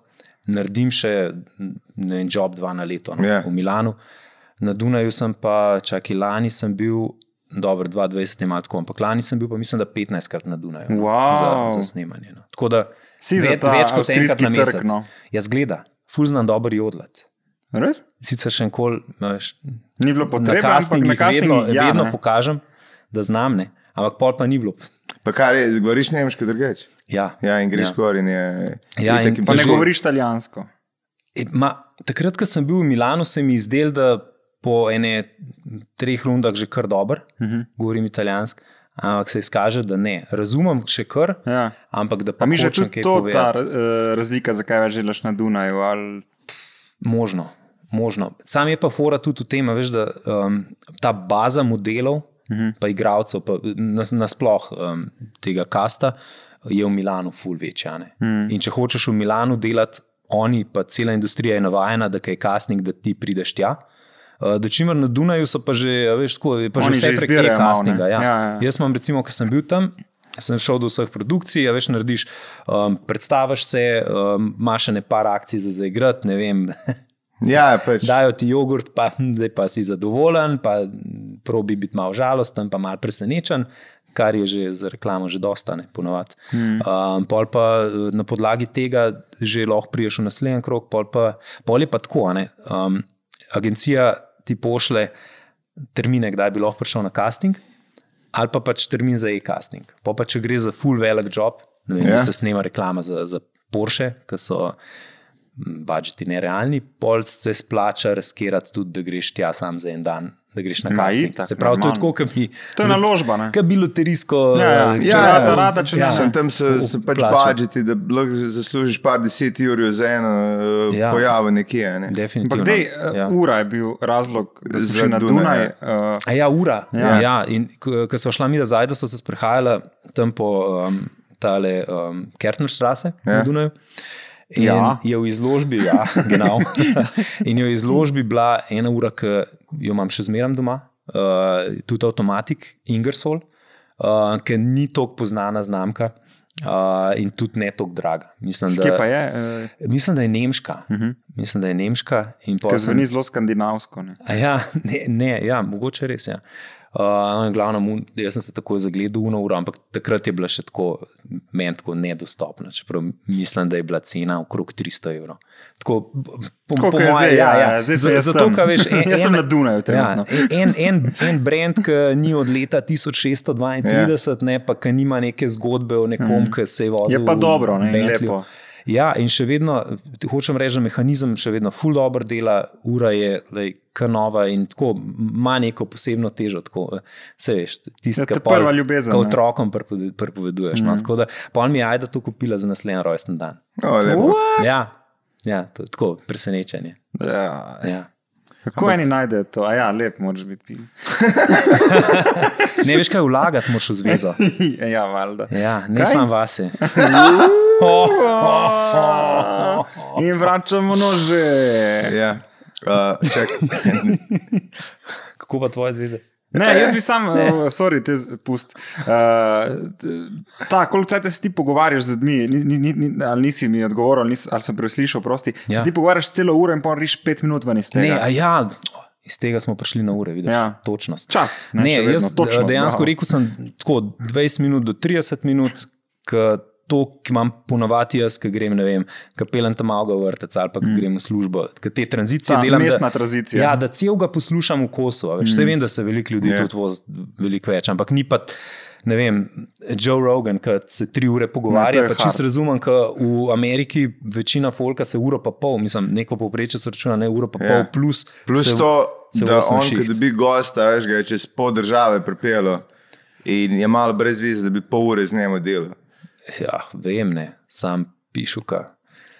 Speaker 2: naredim še ne vem, job dva na leto no,
Speaker 1: Ja.
Speaker 2: yeah. v Milanu. Na Dunaju sem pa, čakaj, lani sem bil, dobro, 22 je malo tako, ampak lani sem bil pa mislim, da 15 krat na Dunaju no,
Speaker 3: Wow.
Speaker 2: za, za snemanje. No. Tako da
Speaker 3: Si za
Speaker 2: ve-
Speaker 3: ta avstrijski trg, no.
Speaker 2: Jaz gleda, fuznan dobro jodlat.
Speaker 3: Res?
Speaker 2: Sicer še nikoli, no, š-
Speaker 3: Ni bilo
Speaker 2: na
Speaker 3: potrebno, ampak na
Speaker 2: castingih vedno,
Speaker 3: castingih ja,
Speaker 2: vedno
Speaker 3: ne.
Speaker 2: pokažem, da znam, ne. ampak pol pa ni bilo.
Speaker 1: Pa kar je, govoriš nemško drugače?
Speaker 2: Ja.
Speaker 1: Ja, in greš ja.
Speaker 2: Ja.
Speaker 1: gor in je.
Speaker 2: Ja,
Speaker 1: itak
Speaker 2: in-
Speaker 1: jim
Speaker 3: Pa ne
Speaker 1: težko.
Speaker 3: govoriš italijansko.
Speaker 2: E, ma, takrat, ko sem bil v Milanu, se mi je zdelo, da po ene treh rundah že kar dober, uh -huh. govorim italijansko, ampak se izkaže, da ne. Razumem še kar,
Speaker 3: Ja.
Speaker 2: ampak da
Speaker 3: Pa
Speaker 2: pa
Speaker 3: mi že
Speaker 2: hočem
Speaker 3: tudi
Speaker 2: kaj
Speaker 3: to je ta
Speaker 2: povedati.
Speaker 3: eh, razlika, zakaj več delaš na Dunaju. Ali,
Speaker 2: Možno, možno. Sam je pa fora tudi v tem, a veš, da um, ta baza modelov, uh
Speaker 3: Mhm.
Speaker 2: -huh. pa igralcev, pa nas- nasploh um, tega kasta, je v Milanu ful večja. Uh
Speaker 3: Mhm.
Speaker 2: -huh. In če hočeš v Milanu delati, oni pa cela industrija je navajena, da kaj je kasnik, da ti prideš tja. Uh, Dočimer na Dunaju so pa že, a veš, tako, je pa že
Speaker 3: Oni
Speaker 2: vse
Speaker 3: že
Speaker 2: prek
Speaker 3: izbirajo malo, ne?
Speaker 2: e-castinga. Ja.
Speaker 3: Ja,
Speaker 2: Ja,
Speaker 3: ja.
Speaker 2: ja. Jaz imam, recimo, ko sem bil tam. Sem šel do vseh produkcij, a veš, narediš, um, predstaviš se, um, imaš še nekaj akcij za zaigrati, ne vem,
Speaker 1: Ja, pač.
Speaker 2: dajo ti jogurt, pa hm, zdaj pa si zadovoljen, pa hm, probi biti malo žalosten, pa malo presenečen, kar je že za reklamo že dostane, ponavadi.
Speaker 1: Hmm.
Speaker 2: Mm. Um, pol pa eh, na podlagi tega že lahko priješ v naslednji krok, pol, pa, pol je pa tako. a ne, Um, agencija ti pošle termine, kdaj bi lahko prišel na casting, ali pa pač termin za e-casting. Pa pa če gre za full velik job, ne vem,
Speaker 1: Ja.
Speaker 2: yeah. se snema reklama za, za Porsche, ki so budžeti nerealni, pol se splača riskirati tudi, da greš tja sam za en dan, da greš na
Speaker 3: Ma,
Speaker 2: casting.
Speaker 3: itak,
Speaker 2: Se pravi, to je
Speaker 3: normalno.
Speaker 2: tako, kot bi.
Speaker 3: to je naložba. Ne?
Speaker 2: Kaj bi loterijsko,
Speaker 3: Ja, ja.
Speaker 2: eh,
Speaker 3: Ja,
Speaker 2: če-
Speaker 1: rada,
Speaker 3: rada, če ne, ne.
Speaker 1: Sem tam se, se pač
Speaker 2: Plača.
Speaker 1: budžeti, da lahko zaslužiš par deset ur za eno ja.
Speaker 2: Ja.
Speaker 1: pojavo nekje. Ne?
Speaker 2: Definitivno.
Speaker 3: Ampak, dej,
Speaker 2: ja.
Speaker 3: ja. ura je bil razlog, da si
Speaker 1: Za
Speaker 3: šel na Dunaj.
Speaker 1: Dunaj,
Speaker 3: Uh,
Speaker 2: A ja, ura.
Speaker 1: Ja.
Speaker 2: Ja. Ja, in ko ko sva šla mi nazaj, da so se sprehajala tam po um, tale um, Kertnerstrasse ja.
Speaker 1: Ja.
Speaker 2: na Dunaju. In
Speaker 3: Ja.
Speaker 2: ja. je v izložbi, ja, genau. in je v izložbi bila ena ura, ki jo imam še zmeraj doma, uh, tudi avtomatik Ingersoll, uh, ki ni tako poznana znamka uh, in tudi ne tako draga. Mislim,
Speaker 3: kje
Speaker 2: da,
Speaker 3: pa je? eh,
Speaker 2: mislim, da je nemška.
Speaker 3: Uh, uh
Speaker 2: Mislim, da je nemška. in pol
Speaker 3: -huh. Ker
Speaker 2: sem-
Speaker 3: zveni zelo skandinavsko. Ne?
Speaker 2: A Ja, ne, ne ja, mogoče res. Ja. Uh, glavno, jaz sem se tako zagledal v uro, ampak takrat je bila še tako meni tako nedostopna. Čeprav mislim, da je bila cena okrog 300 evrov. Tako, po,
Speaker 3: Tako kot je zdaj, ja, ja. zdaj sem jaz
Speaker 2: zato,
Speaker 3: tam.
Speaker 2: ker veš, en,
Speaker 3: jaz sem
Speaker 2: en-
Speaker 3: na Dunaju.
Speaker 2: Ja,
Speaker 3: trenutno.
Speaker 2: en, en, en brand, ki ni od leta 1632, ja. ne, pa ki nima neke zgodbe o nekom, ki se je vozil.
Speaker 3: Ja. Je pa
Speaker 2: v
Speaker 3: dobro, ne, in
Speaker 2: Bentleyju.
Speaker 3: lepo.
Speaker 2: Ja, in še vedno, ti hočem reči, da mehanizem še vedno ful dobro dela, ura je lej, kanova in tako ima neko posebno težo. Tako, se veš,
Speaker 3: Ja,
Speaker 2: tisto,
Speaker 3: to je
Speaker 2: kar pol-
Speaker 3: prva ljubezen,
Speaker 2: ko
Speaker 3: ne. Mhm.
Speaker 2: Otrokom prepove- prepoveduješ. Mm -hmm. no, tako da, pa mi je ajda to kupila za naslednji rojsten dan.
Speaker 1: O, No, lepo.
Speaker 2: Ja, ja to, je tako presenečenje.
Speaker 3: Ja,
Speaker 2: Ja.
Speaker 3: Kako eni najdejo to? A ja, lep moraš biti. pi.
Speaker 2: Ne veš, kaj vlagati moraš v zvezo.
Speaker 3: ja, valjda.
Speaker 2: Ja, ne
Speaker 3: Kaj?
Speaker 2: samo vase.
Speaker 3: In vračamo nože.
Speaker 1: ja. Uh, čak,
Speaker 2: Kako pa tvoje zveze? Ja.
Speaker 3: Ne, jaz bi sam, uh, sorry, te z- pust. Uh, t- ta, koliko cajt se ti pogovarjaš z ljudmi, ni, ni, ni- ni, ali nisi mi odgovoril, ali, nis, ali sem preslišal, prosti. Ja. Se
Speaker 2: Ja.
Speaker 3: ti pogovarjaš celo uro in pa riš pet minut ven iz tega.
Speaker 2: Ne, a ja, iz tega smo prišli na ure, vidiš.
Speaker 3: Ja.
Speaker 2: Ja. Točnost.
Speaker 3: Čas.
Speaker 2: Ne,
Speaker 3: še vedno,
Speaker 2: ne jaz
Speaker 3: točnost,
Speaker 2: točno, dejansko bravo.
Speaker 3: bravo.
Speaker 2: rekel sem tako 20 minut do 30 minut, ker to, ki imam ponovadi jaz, ki grem, ne vem, kapelem tam avga vrtec ali pa mm. grem v službo, ker te tranzicije
Speaker 3: Ta
Speaker 2: delam.
Speaker 3: mestna
Speaker 2: da,
Speaker 3: tranzicija.
Speaker 2: Ja, da cel ga poslušam v kosu, a veš. Mm. Se vem, da se veliko ljudi
Speaker 1: Ja.
Speaker 2: yeah. tudi vozi, veliko več, ampak ni pa. Ne vem, Joe Rogan, ki se tri ure
Speaker 3: Ne,
Speaker 2: pogovarja,
Speaker 3: to je
Speaker 2: pa čisto
Speaker 3: hard.
Speaker 2: razumem, da v Ameriki večina folka se uro pa pol, mislim, neko povprečje se računa, ne uro pa
Speaker 1: Ja.
Speaker 2: pol, yeah. plus,
Speaker 1: plus
Speaker 2: se,
Speaker 1: to,
Speaker 2: se
Speaker 1: da
Speaker 2: osem
Speaker 1: on,
Speaker 2: šiht.
Speaker 1: ki dobi gosta, veš, ga je čez pol države pripeljal in je malo brez vize, da bi pol ure z njim delal.
Speaker 2: Ja, vem, ne, sam pišuka.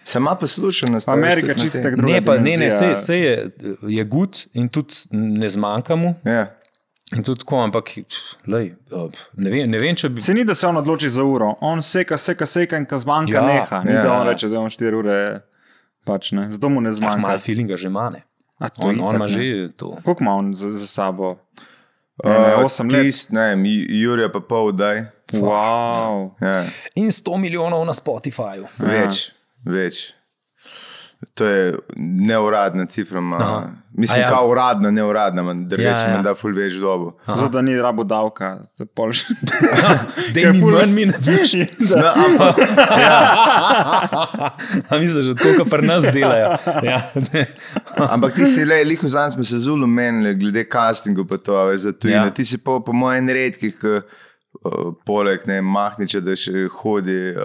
Speaker 1: Sem malo poslušal na stvari.
Speaker 3: Amerika čista druga.
Speaker 2: Ne, pa, ne,
Speaker 3: dimenzija.
Speaker 2: ne, se, se je, je gut in tudi ne zmanjka mu.
Speaker 1: Ja.
Speaker 2: in Tudi tako, ampak lej, ne, vem, ne vem, če bi.
Speaker 3: Se ni, da se on odloči za uro, on seka, seka, seka in ko zmanjka, ja,
Speaker 2: Ja,
Speaker 3: neha. Ni, ja,
Speaker 1: ja,
Speaker 3: da on
Speaker 2: ja.
Speaker 3: reče, da on 4 ure, pač ne, zato mu ne
Speaker 2: Ah,
Speaker 3: zmanjka.
Speaker 2: malo feelinga že mane.
Speaker 3: Ah,
Speaker 2: On, on ima že to.
Speaker 3: Koliko ima on za, za sabo? Ne, ne,
Speaker 1: Uh,
Speaker 3: Osem let.
Speaker 1: Tist, ne vem, Ju- Jurija pa pol daj.
Speaker 3: Wow.
Speaker 1: Ja.
Speaker 2: In 100 milijonov na Spotifyju.
Speaker 1: Več, več. To je neuradna cifra.
Speaker 2: Aha.
Speaker 1: Ma, mislim,
Speaker 2: A
Speaker 1: ja.
Speaker 2: ja.
Speaker 1: kao uradna, neuradna, ma, da
Speaker 2: Ja,
Speaker 1: rečem,
Speaker 2: ja.
Speaker 1: ja, ja. da ful več dobo.
Speaker 3: Zato, da ni rabo davka, za pol še
Speaker 2: Dej mi manj, mi ne veš.
Speaker 1: No, ampak,
Speaker 2: Ja. A misliš, da tako, kot pri nas delajo. Ja.
Speaker 1: ampak ti si le, liho zanj smo se zelo menili, glede castingu, pa to, a veš, za tujino. Ja.
Speaker 2: Ja.
Speaker 1: Ti si po, po mojem en redkih, k, uh, poleg ne, Mahniča, da še hodi, uh,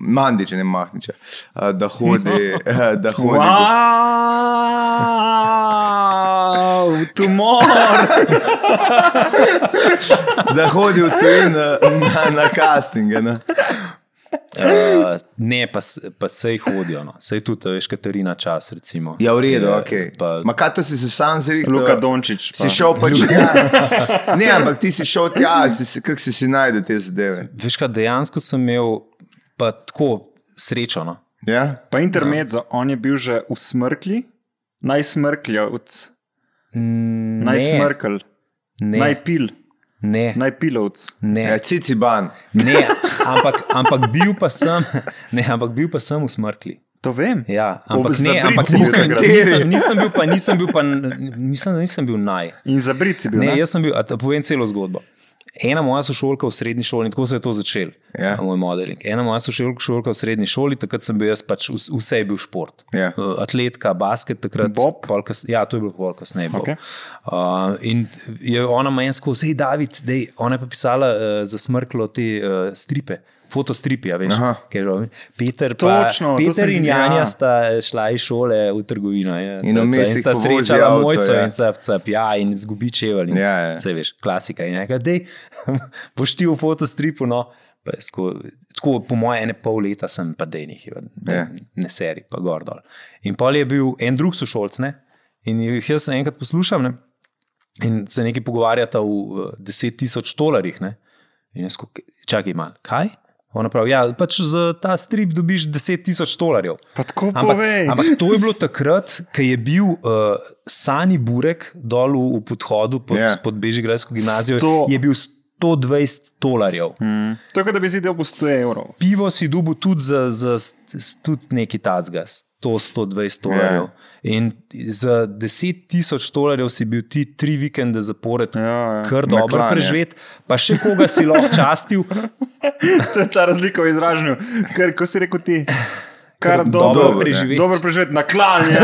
Speaker 1: Mandiča, ne Mahniča, uh, eh, da hodi, uh, da hodi.
Speaker 3: Wow! v tumor.
Speaker 1: da hodi v tujino na, na castinge. Ne?
Speaker 2: Uh, ne, pa, s- pa sej hodijo. No. Sej tudi, a veš, Katarina čas. Recimo,
Speaker 1: Ja, v redu,
Speaker 2: Je,
Speaker 1: ok.
Speaker 2: pa-
Speaker 1: Ma kaj to si se sam zrihtal?
Speaker 3: Luka Dončić.
Speaker 1: Si šel pač tja. Ne, ampak ti si šel tja, si se- kako si si najdel te zadeve.
Speaker 2: Veš, kaj dejansko sem imel pa tako srečo. No.
Speaker 1: Ja?
Speaker 3: Pa intermezzo, on je bil že v smrkli, najsmrkljavc,
Speaker 2: Ne,
Speaker 3: najsmrkl,
Speaker 2: ne,
Speaker 3: najpil,
Speaker 2: ne,
Speaker 3: najpilovc.
Speaker 1: Ja,
Speaker 2: ne,
Speaker 1: cici ban.
Speaker 2: ne. Ampak, ampak bil pa sem, ne, ampak bil pa sem v smrkli.
Speaker 3: To vem.
Speaker 2: Ja,
Speaker 3: Ob
Speaker 2: ampak ne,
Speaker 3: Zabrici
Speaker 2: ampak
Speaker 3: bil
Speaker 2: nisem,
Speaker 3: takrat.
Speaker 2: nisem, nisem bil pa, nisem bil pa, nisem, nisem bil naj.
Speaker 3: In za brici bil.
Speaker 2: Ne,
Speaker 3: Ne,
Speaker 2: jaz sem bil, a da povem celo zgodbo. Ena moja sošolka v srednji šoli, in tako se je to začelo,
Speaker 1: Ja.
Speaker 2: moj modeling. Ena moja sošolka sošolka v srednji šoli, takrat sem bil jaz pač, vs- vse je bil šport.
Speaker 1: Ja.
Speaker 2: Uh, Atletka, basket, takrat.
Speaker 3: Bob?
Speaker 2: pol kas- Ja, to je bilo pol kasneje. Bob.
Speaker 3: Okej.
Speaker 2: Uh, in je ona meni skozi, hej, David, dej, ona je pa pisala uh, za smrklo te uh, stripe. Fotostripi, a veš,
Speaker 1: Aha.
Speaker 2: kaj je bilo. Peter, pa,
Speaker 3: Točno, to sem
Speaker 2: Peter in
Speaker 3: videl, ja.
Speaker 2: Janja sta eh, šla iz šole v trgovino. Je,
Speaker 1: In vmes jih
Speaker 2: sta
Speaker 1: povozi
Speaker 2: srečala
Speaker 1: avto,
Speaker 2: mojco
Speaker 1: ja.
Speaker 2: in cap, cap, ja, in zgubi čevelj. In,
Speaker 1: Ja, ja.
Speaker 2: Vse veš, klasika. In rekel, dej, pošti v fotostripu. No. Pa jaz Tako, tako, po mojem, ene pol leta sem pa denih,
Speaker 1: Ja.
Speaker 2: ne, ne seri, pa gor dol. In pol je bil en drug sošolc, ne? in jih jaz enkrat poslušam, ne? in se nekaj pogovarjata v eh, 10.000 dolarjih. Ne? In jaz, ko- čakaj malo, kaj? Ona pravi, ja, pač za ta strip dobiš 10.000 dolarjev.
Speaker 3: pa tako
Speaker 2: Ampak,
Speaker 3: povej.
Speaker 2: ampak to je bilo takrat, ko je bil uh, Sani Burek dol v, v podhodu pod,
Speaker 1: Ja.
Speaker 2: yeah. pod Bežigradsko gimnazijo, Sto...
Speaker 3: Sto-
Speaker 2: je bil 120 dolarjev.
Speaker 3: Mm. To je, kot da bi zidel po 100 evrov.
Speaker 2: Pivo si dubu tudi za, za s- s- tudi neki tacga, 100-120 dolarjev.
Speaker 3: Ja.
Speaker 2: Yeah. In za 10 tisoč dolarjev si bil ti tri vikende zapored.
Speaker 3: Ja,
Speaker 2: Yeah.
Speaker 3: ja.
Speaker 2: Kar
Speaker 1: Na
Speaker 2: dobro
Speaker 1: klanje.
Speaker 2: preživeti, pa še koga si lahko častil,
Speaker 3: To je ta razlika v izražanju. Ker, ko si rekel ti, kar
Speaker 2: Kar
Speaker 3: dobro,
Speaker 2: dobro
Speaker 3: dobro preživeti.
Speaker 2: preživeti.
Speaker 3: Dobro preživeti na klanje.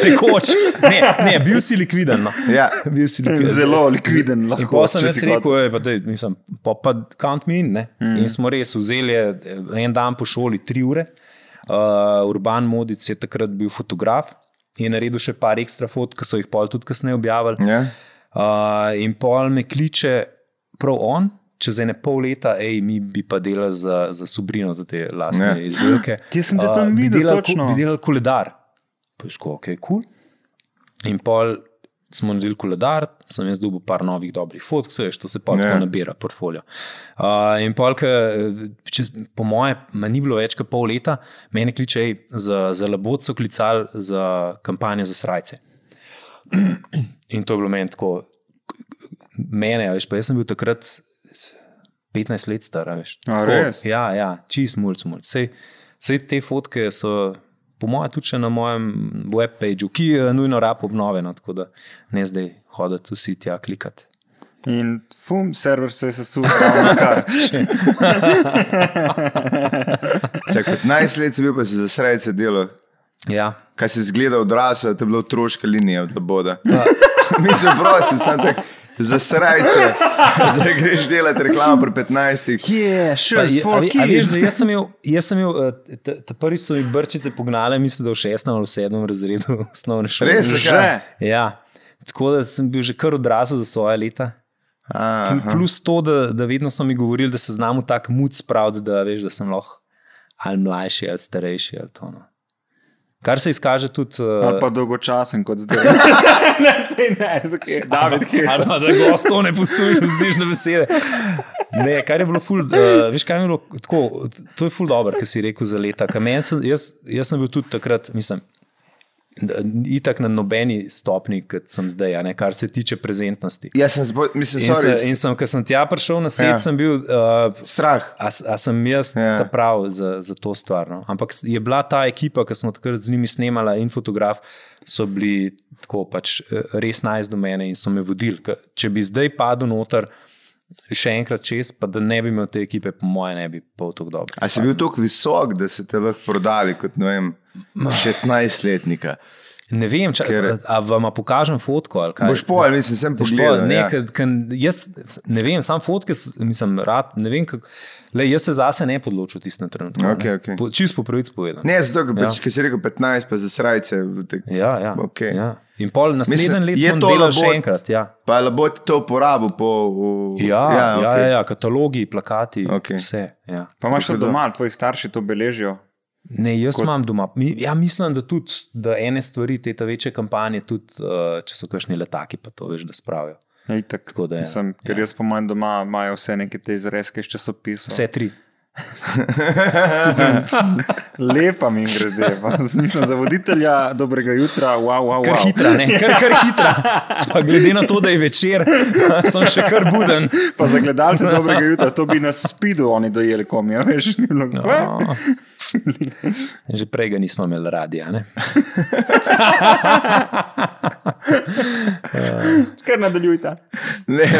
Speaker 2: tekoč. Ne, ne, bil si likviden. No.
Speaker 1: Ja.
Speaker 2: Bil si likviden.
Speaker 3: Zelo likviden lahko.
Speaker 2: In pa sem
Speaker 3: če
Speaker 2: jaz
Speaker 3: si Hmm. hotel.
Speaker 2: rekel, "Ej, pa daj, mislim, pa, pa count me in ne. Mm. In smo res vzeli eh, en dan po šoli, tri ure. Uh, Urban Modic je takrat bil fotograf in naredil še par ekstra fotk, ki so jih pol tudi kasneje objavili.
Speaker 1: Ja?
Speaker 2: Uh, in pol me kliče prav on. Čez ene pol leta, ej, mi bi pa delali za, za Subrino, za te lastne
Speaker 1: Ja.
Speaker 2: yeah. izdelke.
Speaker 3: Kje sem te
Speaker 2: A,
Speaker 3: tam
Speaker 2: bi
Speaker 3: videl,
Speaker 2: delali ko-
Speaker 3: točno?
Speaker 2: Bi delali koledar. Poiskal, ok, kul. Cool. In pol smo naredili koledar, sem jaz dobil par novih dobrih fotk, se veš, to se pa
Speaker 1: Ja.
Speaker 2: yeah. nabira portfolio. Uh, in pol, ke, eh, če, po moje, ma ni bilo več kot pol leta, mene kliče, ej, za, za labod so klicali za kampanjo za srajce. In to je bilo meni tako, mene, a veš, pa jaz sem bil takrat 15 let star, a veš.
Speaker 3: A,
Speaker 2: Tako,
Speaker 3: res?
Speaker 2: Ja, ja, čist mulj, mulj. Sej, sej te fotke so, po mojem, tudi še na mojem webpageu, ki je nujno rab obnovljeno, tako da ne zdaj hoditi vsi tja klikati.
Speaker 3: In fum, server se je sesul, ravno kar.
Speaker 1: Čak, 15 let si bil, pa si za srce delo.
Speaker 2: Ja.
Speaker 1: Kaj si zgledal odrasel, to je bila otroška linija od boda. Mislim, prosim, sem tak za srce, da greš delati reklamo pri 15.
Speaker 2: Pa
Speaker 3: Yeah, sure,
Speaker 2: je-
Speaker 3: it's
Speaker 2: a
Speaker 3: for
Speaker 2: ve- a veš,
Speaker 3: kids.
Speaker 2: zdaj, Jaz sem imel, jaz sem imel eh, ta- ta prvič so mi brčice pognale, mislim, da v šestem ali v sedmem razredu osnovne šole.
Speaker 1: Res?
Speaker 3: Že.
Speaker 2: Ja. Tako da sem bil že kar odrasel za svoje leta. Pl-
Speaker 1: Aha.
Speaker 2: Plus to, da, da vedno so mi govorili, da se znam v tak mud spraviti, da veš, da sem lahko ali mlajši ali starejši. Ali to, no. Kar se izkaže tudi. eh,
Speaker 1: No,
Speaker 3: Ali pa dolgočasen kot zdaj. ne, zdaj ne, zakaj? David Hesa.
Speaker 2: da da gostov ne pustiš, vzdiš na besede. Ne, kar je bilo ful, uh, veš, kaj je bilo tako, to je ful dobro, kar si rekel za leta. Ker meni Sem, jaz, jaz sem bil tudi takrat, mislim, da- itak na nobeni stopni, kot sem zdaj, a ne, kar se tiče prezentnosti.
Speaker 1: Jaz Ja, sem, zbo, mislim,
Speaker 2: In, se,
Speaker 1: sorry,
Speaker 2: in sem, ko sem tja prišel na svet,
Speaker 1: Ja.
Speaker 2: ja. sem bil uh,
Speaker 1: strah.
Speaker 2: A, s- a sem jaz
Speaker 1: Ja.
Speaker 2: yeah. ta prav za, za to stvar. No? Ampak s- je bila ta ekipa, ki smo takrat z njimi snemali, in fotograf, so bili tako pač eh, res najz do mene in so me vodili. Ke Če bi zdaj padel noter, še enkrat čez, pa da ne bi imel te ekipe, po mojem, ne bi pol tako dobro.
Speaker 1: A si bil tako visok, da so te lahko prodali kot ne vem, 16-letnika?
Speaker 2: Ne vem, če
Speaker 1: Ker-
Speaker 2: a- a vam pokažem fotko ali kaj.
Speaker 1: Boš pol, mislim, sem
Speaker 2: Boš
Speaker 1: pogledal.
Speaker 2: pol, ne,
Speaker 1: ja.
Speaker 2: kad- kan- Jaz ne vem, sam fotke, s- mislim, rad, ne vem, kako. Le, jaz se zase ne podločil v tistem trenutku. ne.
Speaker 1: Okej, okej.
Speaker 2: Po, čist po pravici povedano.
Speaker 1: Ne, zato, ker
Speaker 2: Ja.
Speaker 1: pač, ja. si rekel 15, pa za srajce. tak-
Speaker 2: Ja, ja,
Speaker 1: Okej.
Speaker 2: ja. In pol naslednji
Speaker 1: Mislim,
Speaker 2: let
Speaker 1: je
Speaker 2: sem
Speaker 1: to
Speaker 2: delal
Speaker 1: labod-
Speaker 2: še enkrat. Ja,
Speaker 1: Pa labo ti to uporabil po. V...
Speaker 2: ja, ja,
Speaker 1: okej.
Speaker 2: okay. ja, ja katalogi, plakati,
Speaker 1: Okej.
Speaker 2: okay. vse. Ja.
Speaker 3: Pa imaš še
Speaker 1: Tako da-
Speaker 3: doma, ali tvoji starši to beležijo.
Speaker 2: Ne, jaz Kot...
Speaker 3: Kot-
Speaker 2: imam doma. Mi, ja, mislim, da tudi da ene stvari, te ta večje kampanje, tudi uh, če so kakšni letaki, pa to veš, da spravijo.
Speaker 3: Ja, itak.
Speaker 2: Tako da, ja.
Speaker 3: Mislim, ker
Speaker 2: Ja.
Speaker 3: jaz po mojem doma imajo vse neke te izrezke iz časopisov.
Speaker 2: Vse tri.
Speaker 3: Lepa mi grede, pa nisem za voditelja, dobrega jutra, wow, wow.
Speaker 2: Kar
Speaker 3: wow.
Speaker 2: hitra, ne, kar, kar hitra. Pa glede na to, da je večer, sem še kar buden.
Speaker 3: Pa za gledalce dobrega jutra, to bi na spidu oni dojeli, kom je, veš, ni bilo no.
Speaker 2: No. Že prej ga nismo imeli radi. a ne?
Speaker 3: Kar nadaljujte.
Speaker 1: Ne,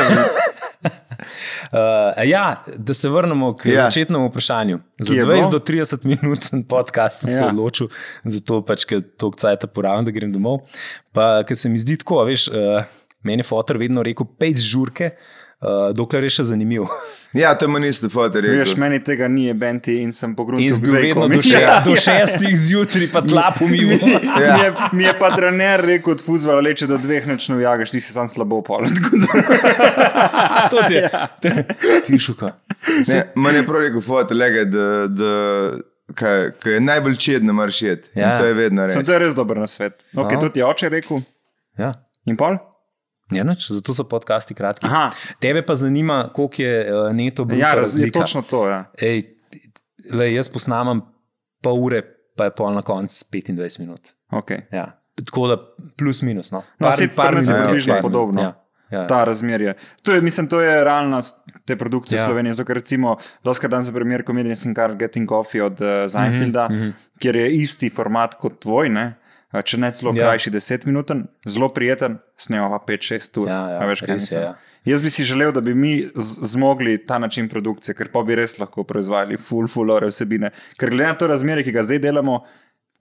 Speaker 2: Uh, ja, da se vrnemo k
Speaker 1: Ja.
Speaker 2: ja. začetnemu vprašanju. Za
Speaker 3: Ki je
Speaker 2: 20
Speaker 3: bilo?
Speaker 2: do 30 minut sem podcast sem ja. se
Speaker 3: Ja.
Speaker 2: odločil, zato pač, ker toliko cajt porabim, da grem domov. Pa, ker se mi zdi tako, a veš, uh, meni je fotor vedno rekel, pej žurke, uh, dokler je še zanimiv.
Speaker 1: ja, to meni isto fotor.
Speaker 3: Veš, meni tega ni benti in sem pogrunil.
Speaker 2: In zbil vedno do, še,
Speaker 1: Ja.
Speaker 2: do šestih zjutraj, pa tlapu mi v
Speaker 1: Ja.
Speaker 3: Ja. Mi, je, mi je pa trener rekel, od fuzbala leče do dveh noč navijagaš, ti si sam slabo pol. Tako da-
Speaker 2: Ja, To ti je.
Speaker 3: Ja.
Speaker 2: Pišuka.
Speaker 1: Ne, meni je prav rekel fotor, lega, da, da kaj, kaj je najbolj čedno, moraš jeti.
Speaker 2: Ja.
Speaker 1: Ja. To je vedno res.
Speaker 3: Sem to je res dober na svet. Okay,
Speaker 2: No.
Speaker 3: to ti je oče rekel.
Speaker 2: Ja.
Speaker 3: In pol?
Speaker 2: Ja, nič, zato so podcasti kratki.
Speaker 3: Aha,
Speaker 2: Tebe pa zanima, koliko je uh, neto bilo.
Speaker 3: ja, raz, je točno to. Ja.
Speaker 2: Ej, le, jaz posnamem pol ure, pa je pol na koncu 25 minut.
Speaker 3: Okay.
Speaker 2: Ja. Tako da plus minus. No.
Speaker 3: No, saj pri nas je
Speaker 2: minut je
Speaker 1: približno
Speaker 2: par-
Speaker 3: podobno.
Speaker 2: Ja, ja.
Speaker 3: Ta razmerje. To je, mislim, to je realnost te produkcije ja.
Speaker 2: Ja.
Speaker 3: Slovenije. Zato, ker recimo, doskrat dan za primer komedije sem kar Getting Coffee od uh, Zajnfilda, mm
Speaker 2: Mhm,
Speaker 3: -hmm.
Speaker 2: mhm.
Speaker 3: kjer je isti format kot tvoj, ne? Eh, če ne celo ja.
Speaker 2: Ja.
Speaker 3: krajši desetminuten, zelo prijeten, snemava 5-6 ur.
Speaker 2: Ja, ja,
Speaker 3: A veš, kaj
Speaker 2: res je,
Speaker 3: mislim?
Speaker 2: ja.
Speaker 3: Jaz bi si želel, da bi mi z- zmogli ta način produkcije, ker pa bi res lahko proizvajali full, full ore vsebine. Ker glede na to razmerje, ki ga zdaj delamo,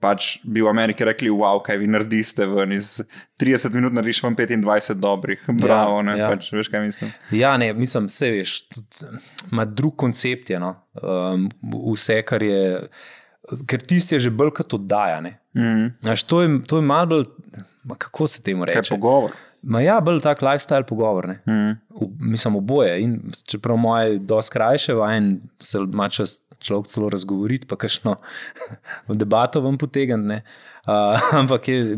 Speaker 3: pač bi v Ameriki rekli, wow, kaj vi narediste ven iz 30 minut, narediš vam 25 dobrih, bravo, ne, ja.
Speaker 2: ja.
Speaker 3: pač, veš kaj mislim.
Speaker 2: Ja, ne, mislim, vse veš, tudi, ima drug koncept. Je, no. um, vse, kar je, ker tisti je že bolj kot oddaja. ne.
Speaker 3: Mm.
Speaker 2: Znaš, to, je, to je malo bolj, ma kako se temu
Speaker 3: Kaj je
Speaker 2: reče.
Speaker 3: pogovor?
Speaker 2: Ma ja, bolj tak lifestyle pogovor. Ne.
Speaker 3: Mm.
Speaker 2: v, mislim, oboje. In čeprav moje je dosti krajše, vajen se ima čas človek celo razgovoriti, pa kakšno debato vam potegne. Uh, ampak je,